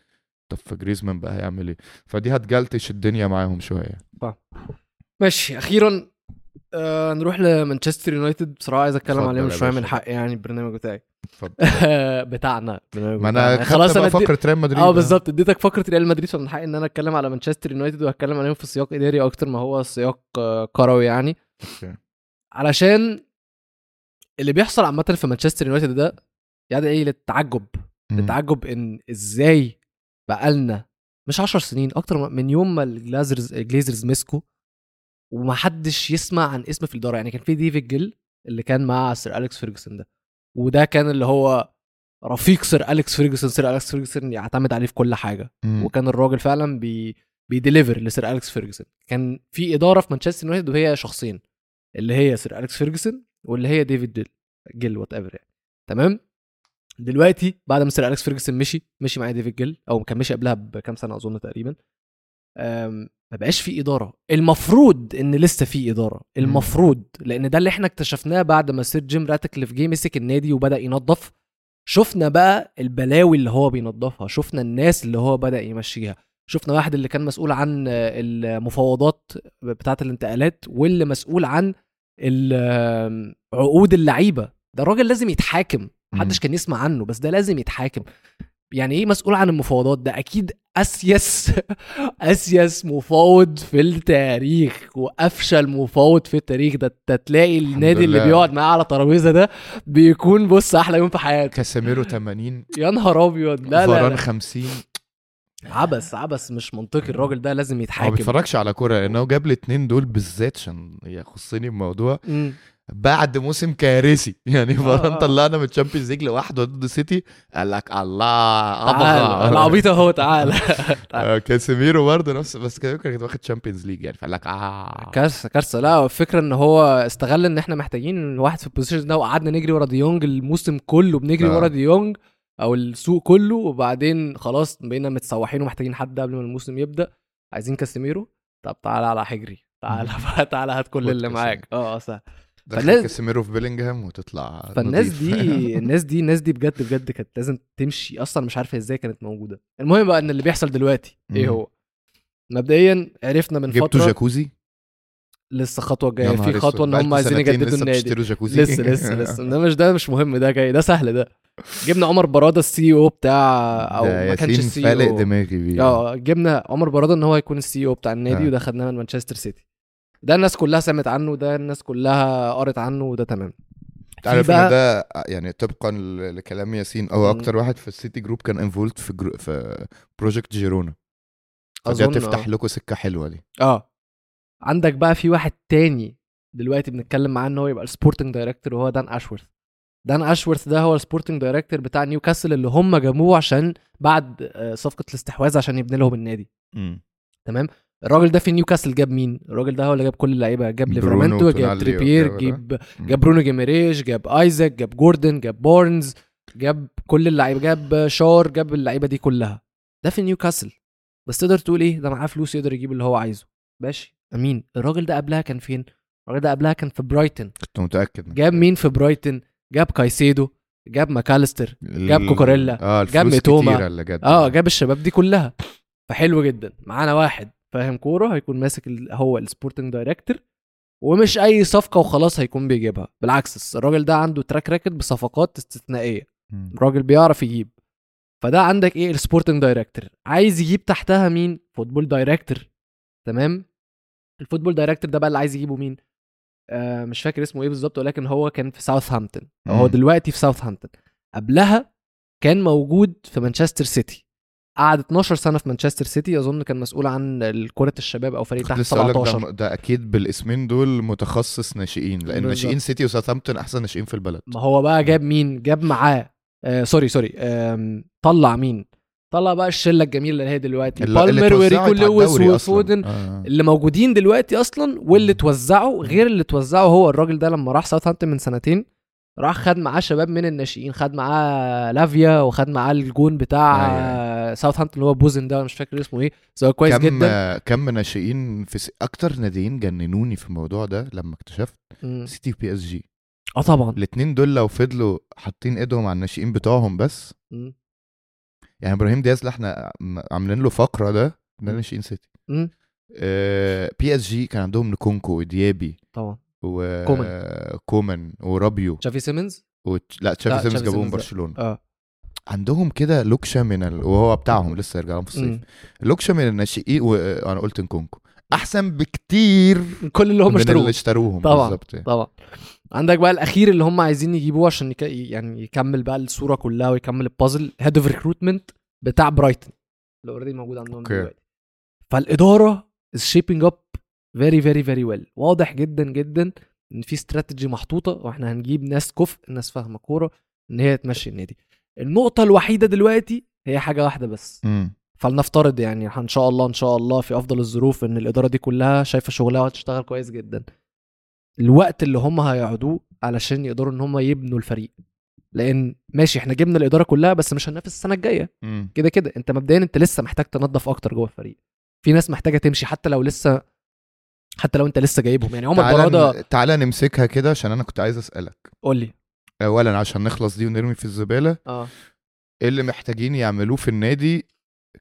Speaker 2: طب فجريزمان بقى هيعمل ايه فدي هتجلتش الدنيا معاهم شويه
Speaker 1: ماشي اخيرا آه نروح لمانشستر يونايتد بصراحه عايز اتكلم
Speaker 2: اتفضل
Speaker 1: عليهم
Speaker 2: يا
Speaker 1: شويه من
Speaker 2: باشا.
Speaker 1: حقي يعني البرنامج بتاعي
Speaker 2: اتفضل.
Speaker 1: بتاعنا البرنامج
Speaker 2: ما
Speaker 1: بتاعنا.
Speaker 2: انا خلاص
Speaker 1: يعني خلاص
Speaker 2: بقى
Speaker 1: انا ادي-
Speaker 2: فقره ريال مدريد آه.
Speaker 1: اه بالظبط اديتك فقره ريال مدريد فمن حقي ان انا اتكلم على مانشستر يونايتد وهتكلم عليهم في سياق اداري اكتر ما هو سياق آه، كروي يعني
Speaker 2: أوكي.
Speaker 1: علشان اللي بيحصل عامه في مانشستر يونايتد ده يدعي للتعجب
Speaker 2: مم.
Speaker 1: للتعجب ان ازاي بقالنا مش 10 سنين اكتر من يوم ما الجلازرز الجليزرز مسكوا ومحدش يسمع عن اسم في الاداره يعني كان في ديفيد جيل اللي كان مع سير اليكس فيرجسون ده وده كان اللي هو رفيق سير اليكس فيرجسون سير اليكس فيرجسون يعتمد عليه في كل حاجه
Speaker 2: مم.
Speaker 1: وكان الراجل فعلا بي بيديليفر لسير اليكس فيرجسون كان في اداره في مانشستر يونايتد وهي شخصين اللي هي سير اليكس فيرجسون واللي هي ديفيد ديل جيل وات ايفر يعني تمام دلوقتي بعد ما سير اليكس فيرجسون مشي مشي معايا ديفيد جيل او كان مشي قبلها بكام سنه اظن تقريبا أم، ما بقاش في اداره المفروض ان لسه في اداره المفروض لان ده اللي احنا اكتشفناه بعد ما سير جيم راتكليف جه مسك النادي وبدا ينظف شفنا بقى البلاوي اللي هو بينظفها شفنا الناس اللي هو بدا يمشيها شفنا واحد اللي كان مسؤول عن آه، المفاوضات بتاعه الانتقالات واللي مسؤول عن ال- آم، عقود اللعيبه ده الراجل لازم يتحاكم محدش كان يسمع عنه بس ده لازم يتحاكم يعني ايه مسؤول عن المفاوضات ده اكيد اسيس اسيس مفاوض في التاريخ وافشل مفاوض في التاريخ ده أنت تلاقي النادي اللي
Speaker 2: لله.
Speaker 1: بيقعد معاه على الترابيزه ده بيكون بص احلى يوم في حياته
Speaker 2: كاسيميرو 80
Speaker 1: يا نهار ابيض لا لا,
Speaker 2: فاران
Speaker 1: لا
Speaker 2: 50
Speaker 1: عبس عبس مش منطقي الراجل ده لازم
Speaker 2: هو ما
Speaker 1: يتحاكم
Speaker 2: بيتفرجش على كوره لانه جاب لي اتنين دول بالذات عشان يخصني بموضوع
Speaker 1: مم.
Speaker 2: بعد موسم كارثي يعني فران
Speaker 1: آه.
Speaker 2: طلعنا من الشامبيونز ليج لوحده ضد سيتي قال لك الله
Speaker 1: تعال العبيط اهو تعال
Speaker 2: آه، كاسيميرو برضه نفس بس كان كان واخد شامبيونز ليج يعني فقال لك اه
Speaker 1: كارثه كارثه لا الفكره ان هو استغل ان احنا محتاجين واحد في البوزيشن ده وقعدنا نجري ورا ديونج الموسم كله بنجري
Speaker 2: آه.
Speaker 1: ورا ديونج او السوق كله وبعدين خلاص بقينا متسوحين ومحتاجين حد قبل ما الموسم يبدا عايزين كاسيميرو طب تعالى على حجري تعالى بقى، تعالى هات كل
Speaker 2: خد
Speaker 1: اللي
Speaker 2: يعني.
Speaker 1: معاك اه سهل
Speaker 2: دخل
Speaker 1: فالناس-
Speaker 2: كاسيميرو في بيلينجهام وتطلع
Speaker 1: فالناس
Speaker 2: نضيف.
Speaker 1: دي الناس دي الناس دي بجد بجد كانت لازم تمشي اصلا مش عارفه ازاي كانت موجوده المهم بقى ان اللي بيحصل دلوقتي ايه
Speaker 2: مم.
Speaker 1: هو مبدئيا عرفنا من
Speaker 2: جبتوا
Speaker 1: فتره
Speaker 2: جاكوزي
Speaker 1: لسه خطوه
Speaker 2: يا
Speaker 1: جايه
Speaker 2: نهار
Speaker 1: في
Speaker 2: أسود،
Speaker 1: خطوه ان
Speaker 2: بقالكوا
Speaker 1: هم عايزين
Speaker 2: سنتين
Speaker 1: يجددوا
Speaker 2: لسه
Speaker 1: النادي
Speaker 2: بتشتروا جاكوزي
Speaker 1: لسه لسه لسه ده مش ده مش مهم ده جاي ده سهل ده جبنا عمر برادة السي او بتاع او
Speaker 2: ده
Speaker 1: ما كانش
Speaker 2: ياسين
Speaker 1: السي
Speaker 2: فالق
Speaker 1: او
Speaker 2: دماغي بيه
Speaker 1: اه جبنا عمر برادة ان هو هيكون السي او E بتاع النادي
Speaker 2: آه.
Speaker 1: وده خدناه من مانشستر سيتي ده الناس كلها سمعت عنه ده الناس كلها قرت عنه وده تمام
Speaker 2: تعرف
Speaker 1: في
Speaker 2: ان
Speaker 1: بقى-
Speaker 2: ده يعني طبقا ل- لكلام ياسين هو
Speaker 1: مم.
Speaker 2: اكتر واحد في السيتي جروب كان انفولد في جرو... في بروجكت جيرونا فده
Speaker 1: اظن آه.
Speaker 2: تفتح لكم سكه حلوه دي
Speaker 1: اه عندك بقى في واحد تاني دلوقتي بنتكلم معاه ان هو يبقى السبورتنج دايركتور وهو دان اشورث دان اشورث ده هو السبورتنج دايركتور بتاع نيوكاسل اللي هم جابوه عشان بعد آه، صفقه الاستحواذ عشان يبني لهم النادي تمام الراجل ده في نيوكاسل جاب مين الراجل ده هو اللي جاب كل اللعيبه جاب
Speaker 2: برونو
Speaker 1: ليفرمنتو جاب
Speaker 2: وتونالي
Speaker 1: تريبير
Speaker 2: وكده، ولا؟
Speaker 1: جاب جاب برونو جيميريش جاب ايزاك جاب جوردن جاب بورنز جاب كل اللعيبه جاب شار جاب اللعيبه دي كلها ده في نيوكاسل بس تقدر تقول ايه ده معاه فلوس يقدر يجيب اللي هو عايزه ماشي امين الراجل ده قبلها كان فين الراجل ده قبلها كان في برايتن
Speaker 2: كنت متاكد
Speaker 1: جاب مين في برايتن جاب كايسيدو جاب ماكاليستر جاب كوكوريلا،
Speaker 2: اه
Speaker 1: جاب
Speaker 2: الفلوس
Speaker 1: ميتوما.
Speaker 2: كتيرة اللي جت
Speaker 1: اه جاب الشباب دي كلها فحلو جدا معانا واحد فاهم كوره هيكون ماسك ال- هو السبورتنج دايركتور ومش اي صفقه وخلاص هيكون بيجيبها بالعكس الراجل ده عنده تراك راكد بصفقات استثنائيه
Speaker 2: مم.
Speaker 1: الراجل بيعرف يجيب فده عندك ايه السبورتنج دايركتور عايز يجيب تحتها مين فوتبول دايركتور تمام الفوتبول دايركتور ده بقى اللي عايز يجيبه مين آه مش فاكر اسمه ايه بالظبط ولكن هو كان في ساوثهامبتون أو هو
Speaker 2: مم.
Speaker 1: دلوقتي في ساوثهامبتون قبلها كان موجود في مانشستر سيتي قعد 12 سنه في مانشستر سيتي اظن كان مسؤول عن كره الشباب او فريق
Speaker 2: كنت
Speaker 1: تحت
Speaker 2: لسه هقولك
Speaker 1: 17
Speaker 2: ده, ده اكيد بالاسمين دول متخصص ناشئين لان
Speaker 1: بالظبط.
Speaker 2: ناشئين سيتي وساوثهامبتون احسن ناشئين في البلد
Speaker 1: ما هو بقى جاب مين جاب معاه آه سوري سوري آم، طلع مين طلع بقى الشله الجميله اللي هي دلوقتي
Speaker 2: اللي- اللي
Speaker 1: بالمر
Speaker 2: اتوزعت
Speaker 1: وريكو
Speaker 2: على
Speaker 1: لويس
Speaker 2: الدوري أصلاً.
Speaker 1: وفودن
Speaker 2: آه.
Speaker 1: اللي موجودين دلوقتي اصلا واللي اتوزعوا غير اللي اتوزعوا هو الراجل ده لما راح ساوثهامبتون من سنتين راح خد معاه شباب من الناشئين خد معاه لافيا وخد معاه الجون بتاع
Speaker 2: أيوة،
Speaker 1: آه، ساوثهامبتون اللي هو بوزن ده أنا مش فاكر اسمه ايه بس هو كويس
Speaker 2: كم
Speaker 1: جدا
Speaker 2: كم ناشئين في س... اكتر ناديين جننوني في الموضوع ده لما اكتشفت
Speaker 1: مم.
Speaker 2: سيتي وبي اس جي
Speaker 1: اه طبعا
Speaker 2: الاثنين دول لو فضلوا حاطين ايدهم على الناشئين بتوعهم بس
Speaker 1: مم.
Speaker 2: يعني ابراهيم دياز اللي احنا عم- عاملين له فقره ده ده آه،
Speaker 1: مم.
Speaker 2: ناشئين سيتي
Speaker 1: مم.
Speaker 2: بي اس جي كان عندهم نكونكو وديابي
Speaker 1: طبعا
Speaker 2: و
Speaker 1: كومان. كومان.
Speaker 2: كومان ورابيو
Speaker 1: تشافي سيمنز
Speaker 2: و... لا
Speaker 1: لا،
Speaker 2: تشافي سيمس
Speaker 1: تشافي سيمس
Speaker 2: جابوهم
Speaker 1: ده.
Speaker 2: برشلونه
Speaker 1: اه
Speaker 2: عندهم كده لوكشه من ال... وهو بتاعهم لسه يرجع لهم في الصيف
Speaker 1: مم.
Speaker 2: لوكشه من الناشئين وانا قلت نكونكو احسن بكتير
Speaker 1: كل اللي هم
Speaker 2: من
Speaker 1: اشتروه
Speaker 2: اللي اشتروهم
Speaker 1: طبعاً.
Speaker 2: بالظبط يعني.
Speaker 1: طبعا عندك بقى الاخير اللي هم عايزين يجيبوه عشان يك... يعني يكمل بقى الصوره كلها ويكمل البازل هيد اوف ريكروتمنت بتاع برايتن اللي اوريدي موجود عندهم
Speaker 2: أوكي.
Speaker 1: دلوقتي فالاداره از شيبنج اب فيري فيري فيري ويل واضح جدا جدا ان في استراتيجي محطوطه واحنا هنجيب ناس كفء ناس فاهمه كوره ان هي تمشي النادي النقطه الوحيده دلوقتي هي حاجه واحده بس
Speaker 2: مم.
Speaker 1: فلنفترض يعني ان شاء الله ان شاء الله في افضل الظروف ان الاداره دي كلها شايفه شغلها وهتشتغل كويس جدا الوقت اللي هم هيقعدوه علشان يقدروا ان هم يبنوا الفريق لان ماشي احنا جبنا الاداره كلها بس مش هننافس السنه الجايه
Speaker 2: مم.
Speaker 1: كده كده انت مبدئيا انت لسه محتاج تنظف اكتر جوه الفريق في ناس محتاجه تمشي حتى لو لسه حتى لو انت لسه جايبهم يعني عمر
Speaker 2: تعالى
Speaker 1: براده
Speaker 2: ن... تعالى نمسكها كده عشان انا كنت عايز اسالك
Speaker 1: قول لي
Speaker 2: اولا عشان نخلص دي ونرمي في الزباله
Speaker 1: اه
Speaker 2: ايه اللي محتاجين يعملوه في النادي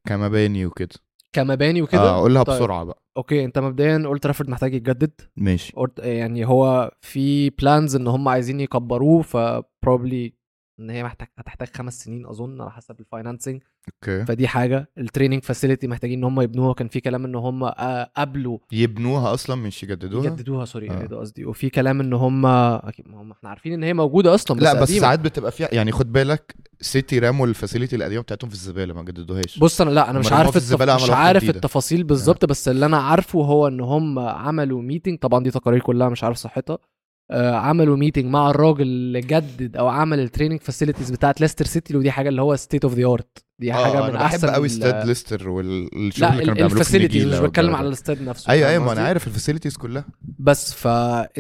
Speaker 2: كمباني وكده
Speaker 1: كمباني وكده
Speaker 2: اه قولها
Speaker 1: طيب.
Speaker 2: بسرعه بقى
Speaker 1: اوكي انت مبدئيا قلت رافورد محتاج يتجدد
Speaker 2: ماشي
Speaker 1: أورت- يعني هو في بلانز ان هم عايزين يكبروه فبروبلي ان هي محتاج هتحتاج خمس سنين اظن على حسب الفاينانسنج
Speaker 2: اوكي
Speaker 1: فدي حاجه التريننج فاسيلتي محتاجين ان هم يبنوها كان في كلام ان هم آه، قبلوا
Speaker 2: يبنوها اصلا مش يجددوها
Speaker 1: يجددوها سوري
Speaker 2: آه.
Speaker 1: آه. ده قصدي وفي كلام ان هم اكيد ما هم احنا عارفين ان هي موجوده اصلا بس
Speaker 2: لا بس
Speaker 1: قديمة.
Speaker 2: ساعات بتبقى فيها يعني خد بالك سيتي راموا الفاسيلتي القديمه بتاعتهم في الزباله ما جددوهاش
Speaker 1: بص انا لا انا مش
Speaker 2: أمال هم
Speaker 1: عارف
Speaker 2: في
Speaker 1: التف...
Speaker 2: الزبالة
Speaker 1: مش
Speaker 2: عملوا واحدة
Speaker 1: عارف
Speaker 2: جديدة. آه.
Speaker 1: التفاصيل بالظبط بس اللي انا عارفه هو ان هم عملوا ميتنج طبعا دي تقارير كلها مش عارف صحتها آه، عملوا ميتنج مع الراجل اللي جدد او عمل التريننج فاسيلتيز بتاعت ليستر سيتي ودي حاجه اللي هو ستيت اوف ذا ارت دي حاجه من
Speaker 2: انا
Speaker 1: احسن
Speaker 2: آه، بحب قوي
Speaker 1: ال-
Speaker 2: ستاد ليستر والشغل
Speaker 1: لا
Speaker 2: اللي كانوا بيعملوه في
Speaker 1: الفاسيلتيز مش
Speaker 2: النجيلة
Speaker 1: بتكلم
Speaker 2: والجو
Speaker 1: على
Speaker 2: ده.
Speaker 1: الاستاد نفسه
Speaker 2: ايوه
Speaker 1: فاهم
Speaker 2: ايوه ما انا
Speaker 1: قصدي؟
Speaker 2: عارف الفاسيلتيز كلها
Speaker 1: بس ف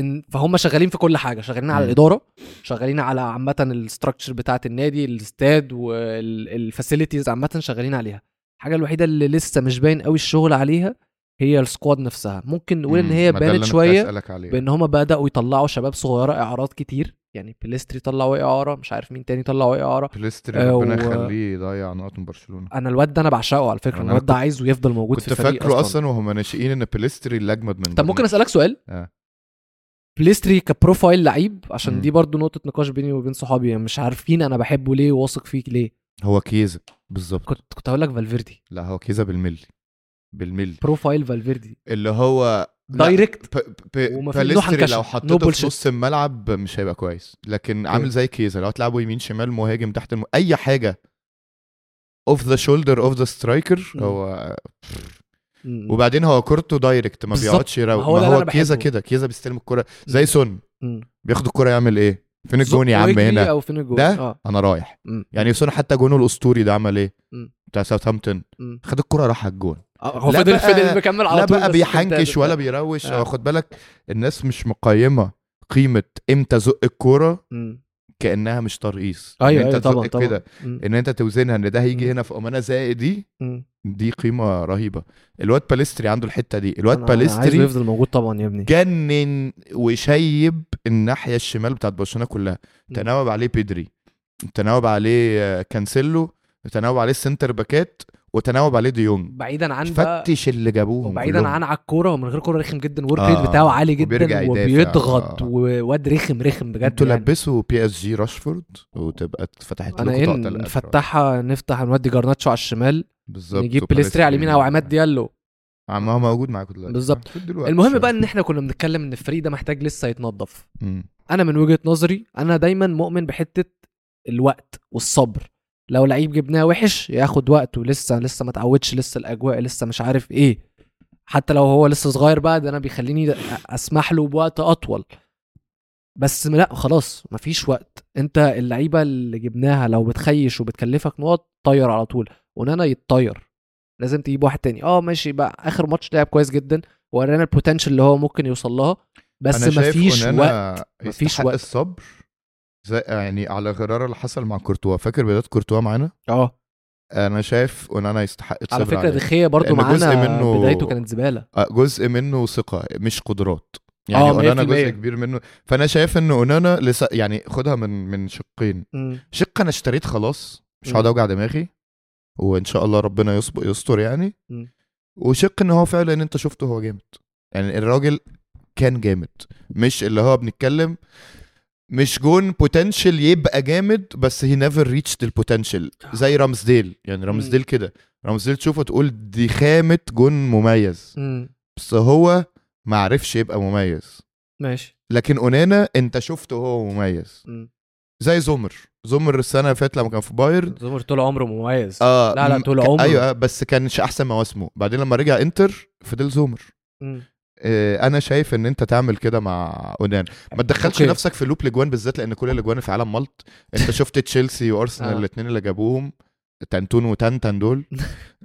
Speaker 1: إن- فهم شغالين في كل حاجه شغالين على
Speaker 2: مم.
Speaker 1: الاداره شغالين على عامه الاستراكشر بتاعه النادي الاستاد والفاسيلتيز عامه شغالين عليها الحاجه الوحيده اللي لسه مش باين قوي الشغل عليها هي السكواد نفسها ممكن نقول ان
Speaker 2: مم.
Speaker 1: هي
Speaker 2: ما ده اللي
Speaker 1: بانت
Speaker 2: أنا كنت
Speaker 1: شويه
Speaker 2: هسألك عليه.
Speaker 1: بان هما بداوا يطلعوا شباب صغيره اعارات كتير يعني بليستري طلعوا اعاره مش عارف مين تاني طلعوا اعاره
Speaker 2: بليستري
Speaker 1: آه،
Speaker 2: ربنا
Speaker 1: و-
Speaker 2: يخليه يضيع نقط من برشلونه
Speaker 1: انا الواد ده انا بعشقه على فكره
Speaker 2: أنا
Speaker 1: الواد ده
Speaker 2: كنت-
Speaker 1: عايزه يفضل موجود في
Speaker 2: كنت
Speaker 1: الفريق
Speaker 2: فاكره اصلا وهم ناشئين ان بليستري اللي اجمد من
Speaker 1: طب ممكن اسالك سؤال
Speaker 2: آه.
Speaker 1: بليستري كبروفايل لعيب عشان
Speaker 2: مم.
Speaker 1: دي برضو نقطه نقاش بيني وبين صحابي يعني مش عارفين انا بحبه ليه واثق فيك ليه
Speaker 2: هو كيزا بالظبط
Speaker 1: كنت كنت هقول لك فالفيردي
Speaker 2: لا هو كيزا بالملي بالملي
Speaker 1: بروفايل فالفيردي
Speaker 2: اللي هو لا،
Speaker 1: دايركت
Speaker 2: ب... ب...
Speaker 1: وما في ايده
Speaker 2: باليستري
Speaker 1: حنكشة.
Speaker 2: لو
Speaker 1: No
Speaker 2: حطيته
Speaker 1: bullshit.
Speaker 2: في نص الملعب مش هيبقى كويس لكن عامل
Speaker 1: Okay.
Speaker 2: زي كيزا لو هتلعبه يمين شمال مهاجم تحت الم... اي حاجه اوف ذا شولدر اوف ذا سترايكر
Speaker 1: مم.
Speaker 2: هو
Speaker 1: مم.
Speaker 2: وبعدين هو كورته دايركت ما
Speaker 1: بالظبط.
Speaker 2: بيقعدش يراوغ
Speaker 1: ما هو
Speaker 2: ما
Speaker 1: ده اللي
Speaker 2: هو
Speaker 1: أنا
Speaker 2: كيزا
Speaker 1: بحبه.
Speaker 2: كده كيزا بيستلم الكوره زي سون
Speaker 1: مم.
Speaker 2: بياخد الكوره يعمل ايه فين
Speaker 1: زق
Speaker 2: الجون يا عم
Speaker 1: ويجري
Speaker 2: هنا
Speaker 1: او فين الجون
Speaker 2: ده؟
Speaker 1: اه
Speaker 2: انا رايح
Speaker 1: مم.
Speaker 2: يعني سون حتى جونه الاسطوري ده عمل ايه
Speaker 1: مم.
Speaker 2: بتاع ساوثهامبتون
Speaker 1: مم.
Speaker 2: خد الكرة راح على الجون
Speaker 1: آه، هو
Speaker 2: لا
Speaker 1: فضل
Speaker 2: بقى-
Speaker 1: فضل مكمل على
Speaker 2: لا
Speaker 1: طول
Speaker 2: بقى
Speaker 1: بس
Speaker 2: بيحنكش
Speaker 1: كنت-
Speaker 2: ولا بيروش
Speaker 1: آه.
Speaker 2: آه. خد بالك الناس مش مقيمه قيمه امتى زق الكوره
Speaker 1: مم.
Speaker 2: كانها مش ترقيص
Speaker 1: ايوه
Speaker 2: إن انت
Speaker 1: ايوه طبعا
Speaker 2: تزق
Speaker 1: طبعا
Speaker 2: كده
Speaker 1: مم.
Speaker 2: ان انت توزنها ان ده هيجي
Speaker 1: مم.
Speaker 2: هنا في امانه زي دي
Speaker 1: مم.
Speaker 2: دي قيمه رهيبه الواد باليستري عنده الحته دي الواد
Speaker 1: أنا- أنا عايزه
Speaker 2: باليستري
Speaker 1: يفضل موجود طبعا يا ابني
Speaker 2: جنن وشيب الناحيه الشمال بتاعت برشلونه كلها
Speaker 1: مم.
Speaker 2: تناوب عليه بيدري تناوب عليه آه، كانسيلو تناوب عليه السنتر باكات وتناوب عليه ديونج
Speaker 1: بعيدا عن بقى
Speaker 2: فتش اللي جابوهم
Speaker 1: وبعيدا
Speaker 2: كلهم.
Speaker 1: عن على الكوره ومن غير كوره رخم جدا ورك
Speaker 2: آه،
Speaker 1: ريت بتاعه عالي جدا
Speaker 2: وبيرجع يدافع.
Speaker 1: وبيضغط
Speaker 2: آه.
Speaker 1: وواد رخم رخم بجد
Speaker 2: انتوا
Speaker 1: يعني.
Speaker 2: لبسوا بي اس جي راشفورد وتبقى اتفتحت
Speaker 1: انا
Speaker 2: لكم
Speaker 1: ايه
Speaker 2: قطعه الأجر.
Speaker 1: نفتحها نفتح نودي جرناتشو على الشمال
Speaker 2: بالظبط
Speaker 1: نجيب بليستري على اليمين او عماد ديالو
Speaker 2: عم هو موجود معاكم دلوقتي
Speaker 1: بالظبط.
Speaker 2: صح؟ دلوقتي
Speaker 1: المهم
Speaker 2: شوية.
Speaker 1: بقى ان احنا كنا بنتكلم ان الفريق ده محتاج لسه يتنظف
Speaker 2: مم.
Speaker 1: انا من وجهه نظري انا دايما مؤمن بحته الوقت والصبر لو لعيب جبناه وحش ياخد وقته لسه لسه ما اتعودش لسه الاجواء لسه مش عارف ايه حتى لو هو لسه صغير بقى ده انا بيخليني اسمح له بوقت اطول بس لا خلاص مفيش وقت انت اللعيبه اللي جبناها لو بتخيش وبتكلفك نقط طير على طول ونانا يتطير لازم تجيب واحد تاني اه ماشي بقى اخر ماتش لعب كويس جدا ورانا البوتنشال اللي هو ممكن يوصل لها
Speaker 2: أنا
Speaker 1: بس
Speaker 2: شايف
Speaker 1: مفيش
Speaker 2: إن
Speaker 1: وقت
Speaker 2: أنا
Speaker 1: مفيش
Speaker 2: يستحق
Speaker 1: وقت.
Speaker 2: الصبر زي يعني على غرار اللي حصل مع كورتوا فاكر بدايه كورتوا معانا
Speaker 1: اه
Speaker 2: انا شايف ان انا يستحق الصبر
Speaker 1: على فكره
Speaker 2: عليه.
Speaker 1: دخيه برضو
Speaker 2: لأن جزء
Speaker 1: معانا
Speaker 2: منه-
Speaker 1: بدايته كانت زباله
Speaker 2: آه، جزء منه ثقه مش قدرات يعني
Speaker 1: آه،
Speaker 2: اونانا
Speaker 1: 100%.
Speaker 2: جزء كبير منه فانا شايف ان اونانا لسه يعني خدها من من شقين شق انا اشتريت خلاص مش هقعد
Speaker 1: مم.
Speaker 2: اوجع دماغي وان شاء الله ربنا يصب- يستر يعني
Speaker 1: مم.
Speaker 2: وشق ان هو فعلا انت شفته هو جامد يعني الراجل كان جامد مش اللي هو بنتكلم مش جون بوتنشال يبقى جامد بس هي نيفر ريتش البوتنشال زي رامزديل يعني رامزديل كده رامزديل تشوفه تقول دي خامة جون مميز
Speaker 1: مم.
Speaker 2: بس هو معرفش يبقى مميز
Speaker 1: ماشي
Speaker 2: لكن اونانا انت شفته هو مميز
Speaker 1: مم.
Speaker 2: زي زمر زمر السنه اللي فاتت لما كان في بايرن
Speaker 1: زمر طول عمره مميز
Speaker 2: اه
Speaker 1: لا، لا،
Speaker 2: م-
Speaker 1: طول
Speaker 2: ك-
Speaker 1: عمره.
Speaker 2: ايوه بس كانش احسن مواسمه بعدين لما رجع انتر فضل زومر
Speaker 1: مم.
Speaker 2: آه، انا شايف ان انت تعمل كده مع اونان ما تدخلش
Speaker 1: أوكي.
Speaker 2: نفسك في لوب الاجوان بالذات لان كل الاجوان في عالم مالت انت شفت تشيلسي وارسنال
Speaker 1: آه.
Speaker 2: الاثنين اللي جابوهم تانتون وتانتن دول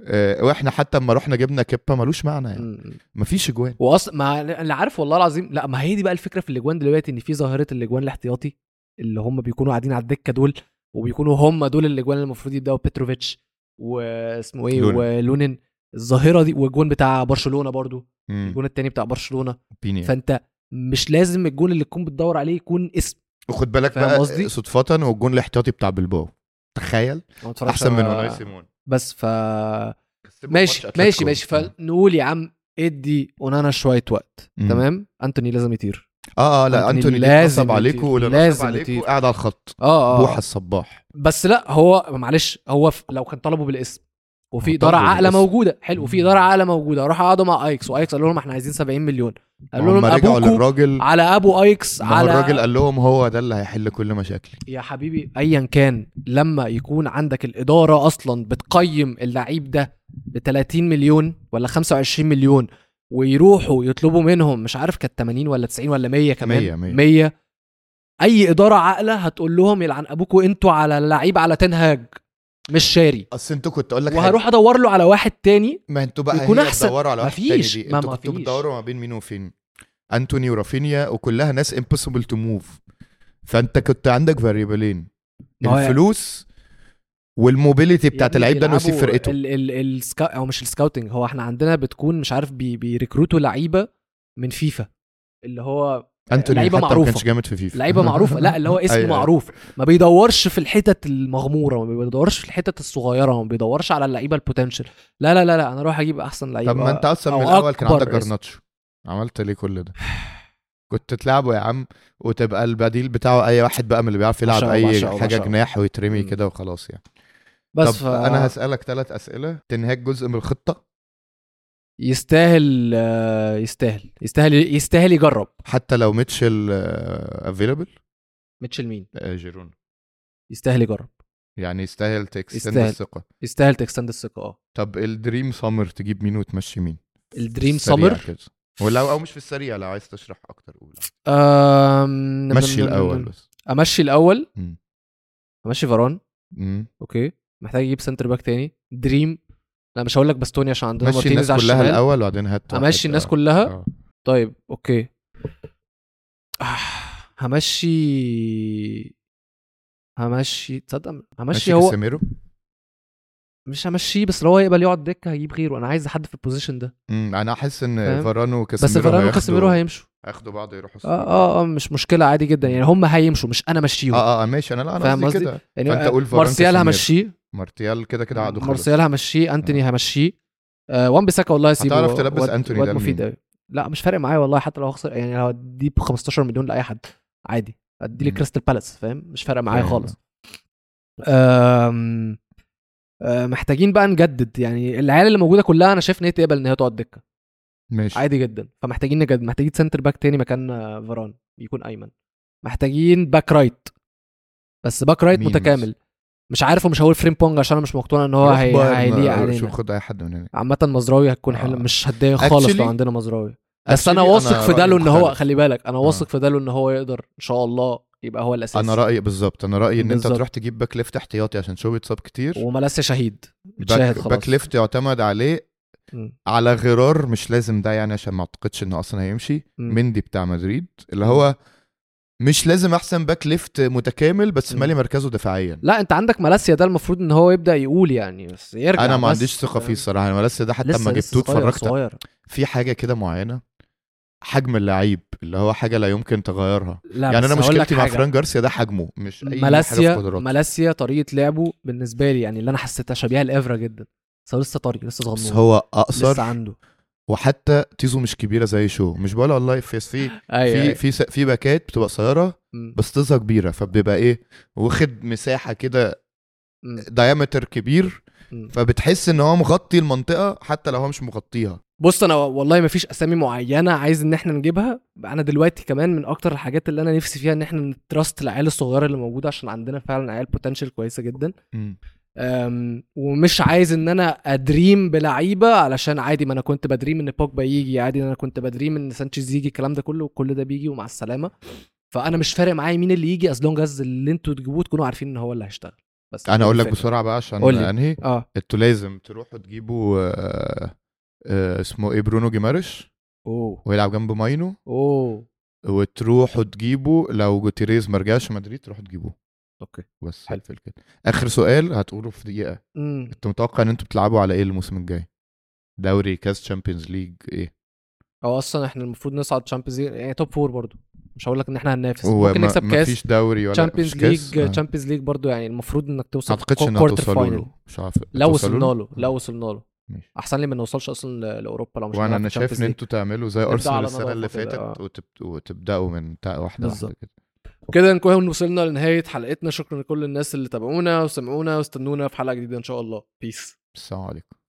Speaker 2: آه، واحنا حتى اما رحنا جبنا كيبا ملوش معنى يعني
Speaker 1: مم.
Speaker 2: مفيش اجوان
Speaker 1: واصلا ما اللي عارف والله العظيم لا ما هي دي بقى الفكره في الاجوان دلوقتي ان في ظاهره الاجوان الاحتياطي اللي هم بيكونوا قاعدين على الدكه دول وبيكونوا هم دول الاجوان اللي المفروض يبداوا بيتروفيتش واسمه ايه
Speaker 2: لونين.
Speaker 1: ولونين الظاهره دي والجون بتاع برشلونه برضو
Speaker 2: مم.
Speaker 1: الجون التاني بتاع برشلونه
Speaker 2: بيني يعني.
Speaker 1: فانت مش لازم الجون اللي تكون بتدور عليه يكون اسم
Speaker 2: وخد بالك
Speaker 1: فاهم
Speaker 2: بقى
Speaker 1: قصدي؟
Speaker 2: صدفه والجون الاحتياطي بتاع بلباو تخيل
Speaker 1: ما اتفرجش
Speaker 2: احسن من
Speaker 1: على-
Speaker 2: اوناي سيمون
Speaker 1: بس ف
Speaker 2: كسبوا ماتش
Speaker 1: ماشي
Speaker 2: أتلتيكو.
Speaker 1: ماشي ماشي فنقول يا عم ادي اونانا شويه وقت
Speaker 2: مم.
Speaker 1: تمام انتوني لازم يطير
Speaker 2: اه اه لا
Speaker 1: أنتوني
Speaker 2: انتوني
Speaker 1: لازم
Speaker 2: لازم عليكم
Speaker 1: يطير،
Speaker 2: ولا
Speaker 1: لازم
Speaker 2: لازم عليكم
Speaker 1: يطير.
Speaker 2: قاعد على الخط
Speaker 1: اه
Speaker 2: بوحه
Speaker 1: اه
Speaker 2: الصباح
Speaker 1: بس لا هو معلش هو ف... لو كان طلبه بالاسم وفي
Speaker 2: هو
Speaker 1: اداره
Speaker 2: طلبه
Speaker 1: عاقله
Speaker 2: بالاسم.
Speaker 1: موجوده حلو وفي اداره عاقله موجوده راح قعدوا مع ايكس وايكس قال لهم احنا عايزين 70 مليون قال لهم
Speaker 2: هم رجعوا
Speaker 1: ابوكوا
Speaker 2: للراجل
Speaker 1: على ابو ايكس
Speaker 2: ما هو
Speaker 1: على
Speaker 2: الراجل قال لهم هو ده اللي هيحل كل مشاكلي
Speaker 1: يا حبيبي ايا كان لما يكون عندك الاداره اصلا بتقيم اللعيب ده ب 30 مليون ولا 25 مليون ويروحوا يطلبوا منهم مش عارف كانت 80 ولا 90 ولا 100 كمان
Speaker 2: 100 100.
Speaker 1: 100 اي اداره عاقله هتقول لهم يلعن ابوكوا انتوا على اللعيب على تنهاج مش شاري
Speaker 2: اصل انتوا كنت اقول لك
Speaker 1: وهروح ادور له على واحد تاني
Speaker 2: ما انتوا بقى
Speaker 1: يكون
Speaker 2: هي
Speaker 1: أحسن.
Speaker 2: بتدوروا على واحد تاني
Speaker 1: مفيش.
Speaker 2: دي
Speaker 1: ما-
Speaker 2: انتوا كنتوا
Speaker 1: مفيش.
Speaker 2: بتدوروا ما بين مين وفين انتوني ورافينيا وكلها ناس امبوسيبل تو موف فانت كنت عندك فاريبلين
Speaker 1: ما هو- يعني
Speaker 2: الفلوس والموبيليتي بتاعت
Speaker 1: يا ابني
Speaker 2: اللعيب ده انه يسيب
Speaker 1: بيلعبوا
Speaker 2: فرقته
Speaker 1: ال ال السكا... او مش السكاوتنج هو احنا عندنا بتكون مش عارف بي بيركروتوا لعيبه من فيفا اللي هو
Speaker 2: انتوني
Speaker 1: لعيبة
Speaker 2: حتى ما
Speaker 1: معروفة.
Speaker 2: كانش جامد في فيفا
Speaker 1: لعيبه معروفه لا اللي هو
Speaker 2: أيوة،
Speaker 1: اسم
Speaker 2: أيوة.
Speaker 1: معروف ما بيدورش في الحتت المغموره ما بيدورش في الحتت الصغيره ما بيدورش على اللعيبه البوتنشال لا لا لا لا انا اروح اجيب احسن لعيبه
Speaker 2: طب ما انت اصلا
Speaker 1: أو
Speaker 2: من الاول كان
Speaker 1: أكبر
Speaker 2: عندك
Speaker 1: اسم.
Speaker 2: جرناتشو عملت ليه كل ده كنت تلعبه يا عم وتبقى البديل بتاعه اي واحد بقى من اللي بيعرف يلعب
Speaker 1: عشقه،
Speaker 2: اي
Speaker 1: عشقه،
Speaker 2: حاجه
Speaker 1: عشقه.
Speaker 2: جناح ويترمي
Speaker 1: مم.
Speaker 2: كده وخلاص يعني طب
Speaker 1: بس ف...
Speaker 2: انا هسالك ثلاث اسئله تنهاك جزء من الخطه
Speaker 1: يستاهل آه، يستاهل يستاهل يستاهل يجرب
Speaker 2: حتى لو ميتشل آه، افيلبل
Speaker 1: ميتشل مين
Speaker 2: جيرون
Speaker 1: يستاهل يجرب
Speaker 2: يعني يستاهل تكستند
Speaker 1: يستاهل.
Speaker 2: الثقه
Speaker 1: يستاهل تكستند الثقه اه
Speaker 2: طب الدريم سامر تجيب مين وتمشي مين
Speaker 1: الدريم
Speaker 2: سريع
Speaker 1: سمر
Speaker 2: كده. ولا او مش في السريع لو عايز تشرح اكتر قول
Speaker 1: أم...
Speaker 2: مشي الاول بس
Speaker 1: امشي الاول
Speaker 2: مم.
Speaker 1: امشي فاران
Speaker 2: مم.
Speaker 1: اوكي محتاج اجيب سنتر باك تاني دريم لا مش هقول لك باستوني عشان عندنا
Speaker 2: مشي
Speaker 1: مارتينيز
Speaker 2: الناس
Speaker 1: على
Speaker 2: كلها
Speaker 1: الشمال
Speaker 2: الاول وبعدين هات واحد.
Speaker 1: همشي الناس
Speaker 2: آه.
Speaker 1: كلها
Speaker 2: آه.
Speaker 1: طيب اوكي آه، همشي همشي تصدق همشي
Speaker 2: ماشي
Speaker 1: هو
Speaker 2: كاسيميرو
Speaker 1: مش همشيه بس لو هو يقبل يقعد دكه هجيب غيره انا عايز حد في البوزيشن ده
Speaker 2: امم انا احس
Speaker 1: فاهم؟
Speaker 2: ان فاران
Speaker 1: بس
Speaker 2: وكاسيميرو
Speaker 1: فيران
Speaker 2: هياخدوا-
Speaker 1: وكاسيميرو هيمشوا
Speaker 2: هياخدوا بعض يروحوا
Speaker 1: آه,
Speaker 2: السعودية.
Speaker 1: اه اه مش مشكله عادي جدا يعني هم هيمشوا مش انا مشيهم
Speaker 2: اه اه ماشي انا لا انا
Speaker 1: فاهم
Speaker 2: قصدي
Speaker 1: قصدي؟
Speaker 2: كده
Speaker 1: يعني
Speaker 2: فأنت
Speaker 1: آه،
Speaker 2: قول فيران
Speaker 1: مارسيال
Speaker 2: كاسيميرو.
Speaker 1: همشيه
Speaker 2: مارتيال كده كده عقده خلص
Speaker 1: مارسيال همشيه انتوني همشيه آه وان بيساكا والله سيبه
Speaker 2: هتعرف تلبس
Speaker 1: واد-
Speaker 2: أنتوني
Speaker 1: واد
Speaker 2: ده لمين؟
Speaker 1: مفيد أوي. لا مش فارق معايا والله حتى لو هخسر يعني لو اديه ب 15 مليون لاي حد عادي ادي لي
Speaker 2: مم.
Speaker 1: كريستال بالاس فاهم مش فارق معايا
Speaker 2: فاهم.
Speaker 1: خالص آم آه، محتاجين بقى نجدد يعني العيال اللي موجوده كلها انا شايف ان هي تقبل ان هي تقعد دكه
Speaker 2: ماشي
Speaker 1: عادي جدا فمحتاجين نجدد محتاجين سنتر باك تاني مكان آه، فاران يكون ايمن محتاجين باك رايت بس باك رايت
Speaker 2: مين
Speaker 1: متكامل مش عارف ومش هقول فريم بونج عشان انا مش مقتنع ان هو
Speaker 2: روح
Speaker 1: هي-
Speaker 2: بايرن،
Speaker 1: هيليق
Speaker 2: آه،
Speaker 1: علينا
Speaker 2: شوف خد اي حد من هنا
Speaker 1: عامة مزراوي هتكون حلو
Speaker 2: آه.
Speaker 1: مش هتضايق خالص
Speaker 2: Actually-
Speaker 1: لو عندنا مزراوي بس انا
Speaker 2: Actually
Speaker 1: واثق في
Speaker 2: رأيي
Speaker 1: داله ان هو
Speaker 2: مختلف. آه.
Speaker 1: خلي بالك انا واثق في داله ان هو يقدر ان شاء الله يبقى هو الاساس
Speaker 2: انا رايي بالظبط انا رايي ان انت
Speaker 1: بالظبط.
Speaker 2: تروح تجيب باك ليفت احتياطي عشان شو بيتصاب كتير
Speaker 1: وملاسيا شهيد اتشاهد
Speaker 2: باك,
Speaker 1: خلاص
Speaker 2: باك ليفت يعتمد عليه
Speaker 1: مم.
Speaker 2: على غرار مش لازم ده يعني عشان ما اعتقدش انه اصلا هيمشي
Speaker 1: مم.
Speaker 2: مندي بتاع مدريد اللي هو مش لازم احسن باك ليفت متكامل بس
Speaker 1: مم.
Speaker 2: مالي مركزه دفاعيا
Speaker 1: لا انت عندك ملاسيا ده المفروض ان هو يبدا يقول يعني بس يرجع
Speaker 2: انا ما
Speaker 1: بس.
Speaker 2: عنديش ثقه فيه
Speaker 1: فاهم؟
Speaker 2: الصراحه انا لسه ده حتى
Speaker 1: لسه
Speaker 2: لما
Speaker 1: لسه
Speaker 2: جبته
Speaker 1: صغير
Speaker 2: اتفرجت
Speaker 1: صغير
Speaker 2: في حاجه كده معينه حجم اللعيب اللي هو حاجه لا يمكن تغيرها
Speaker 1: لا
Speaker 2: يعني
Speaker 1: بس
Speaker 2: انا
Speaker 1: هقول لك
Speaker 2: مشكلتي مع
Speaker 1: حاجة.
Speaker 2: فران جارسيا ده حجمه مش اي حاجه
Speaker 1: ملاسيا
Speaker 2: في قدراته
Speaker 1: ملاسيا طريقه لعبه بالنسبه لي يعني اللي انا حسيتها شبيهه لافرا جدا بس هو لسه طري لسه
Speaker 2: بس
Speaker 1: صغنون
Speaker 2: هو
Speaker 1: لسه
Speaker 2: اقصر
Speaker 1: عنده
Speaker 2: وحتى تيزو مش كبيره زي شو مش بقول والله في في في في, س- في باكات بتبقى قصيره
Speaker 1: أيوة، مم.
Speaker 2: بس تيزها كبيره فبيبقى ايه واخد مساحه كده
Speaker 1: مم.
Speaker 2: دايمتر كبير
Speaker 1: مم.
Speaker 2: فبتحس ان هو مغطي المنطقه حتى لو هو مش مغطيها
Speaker 1: بص انا والله ما فيش اسامي معينه عايز ان احنا نجيبها انا دلوقتي كمان من اكتر الحاجات اللي انا نفسي فيها ان احنا نتراست العيال الصغيره اللي موجوده عشان عندنا فعلا عيال بوتنشال كويسه جدا أم، ومش عايز ان انا ادريم بلعيبه علشان عادي ما انا كنت بدريم ان بوجبا يجي عادي ان انا كنت بدريم ان سانشيز يجي الكلام ده كله وكل ده بيجي ومع السلامه فانا مش فارق معايا مين اللي يجي از لونج از اللي انتوا تجيبوه تكونوا عارفين ان هو اللي هيشتغل بس
Speaker 2: انا اقول لك
Speaker 1: الفكرة.
Speaker 2: بسرعه بقى عشان
Speaker 1: قولي.
Speaker 2: انهي
Speaker 1: اه
Speaker 2: انتوا لازم تروحوا تجيبوا آه، آه، اسمه ايه برونو جيمارش
Speaker 1: اوه
Speaker 2: ويلعب جنب ماينو
Speaker 1: اوه
Speaker 2: وتروحوا تجيبوا لو جوتيريز ما رجعش مدريد تروحوا تجيبوه
Speaker 1: اوكي
Speaker 2: بس
Speaker 1: حلو.
Speaker 2: هقفل كده اخر سؤال هتقوله في دقيقه
Speaker 1: امم
Speaker 2: انت متوقع ان انتوا بتلعبوا على ايه الموسم الجاي دوري كاس تشامبيونز ليج ايه
Speaker 1: هو اصلا احنا المفروض نصعد تشامبيونز يعني توب فور برضو مش هقول لك ان احنا هننافس
Speaker 2: هو
Speaker 1: ممكن
Speaker 2: ما-
Speaker 1: نكسب
Speaker 2: مفيش
Speaker 1: كاس
Speaker 2: دوري ولا
Speaker 1: تشامبيونز
Speaker 2: مفيش كاس؟
Speaker 1: ليج
Speaker 2: آه. ما
Speaker 1: تشامبيونز ليج برضو يعني المفروض انك توصل
Speaker 2: اعتقدش ان
Speaker 1: كوارتر
Speaker 2: هتوصلوا
Speaker 1: فاينل
Speaker 2: له مش عارف
Speaker 1: لو
Speaker 2: هتوصلوا
Speaker 1: وصلنا له لو وصلنا له
Speaker 2: ماشي.
Speaker 1: احسن لي ما نوصلش اصلا ل- لاوروبا لو مش
Speaker 2: وانا
Speaker 1: هنلعب
Speaker 2: انا
Speaker 1: في
Speaker 2: شايف
Speaker 1: Champions
Speaker 2: ان
Speaker 1: League.
Speaker 2: انتوا تعملوا زي
Speaker 1: نبدأ
Speaker 2: ارسنال
Speaker 1: على
Speaker 2: السنه اللي
Speaker 1: نظافة كده،
Speaker 2: فاتت
Speaker 1: آه.
Speaker 2: وتب- وتبداوا من تا- واحده واحده
Speaker 1: بالظبط.
Speaker 2: كده
Speaker 1: كده نكون وصلنا لنهايه حلقتنا شكرا لكل الناس اللي تابعونا وسمعونا واستنونا في حلقه جديده ان شاء الله بيس
Speaker 2: السلام عليكم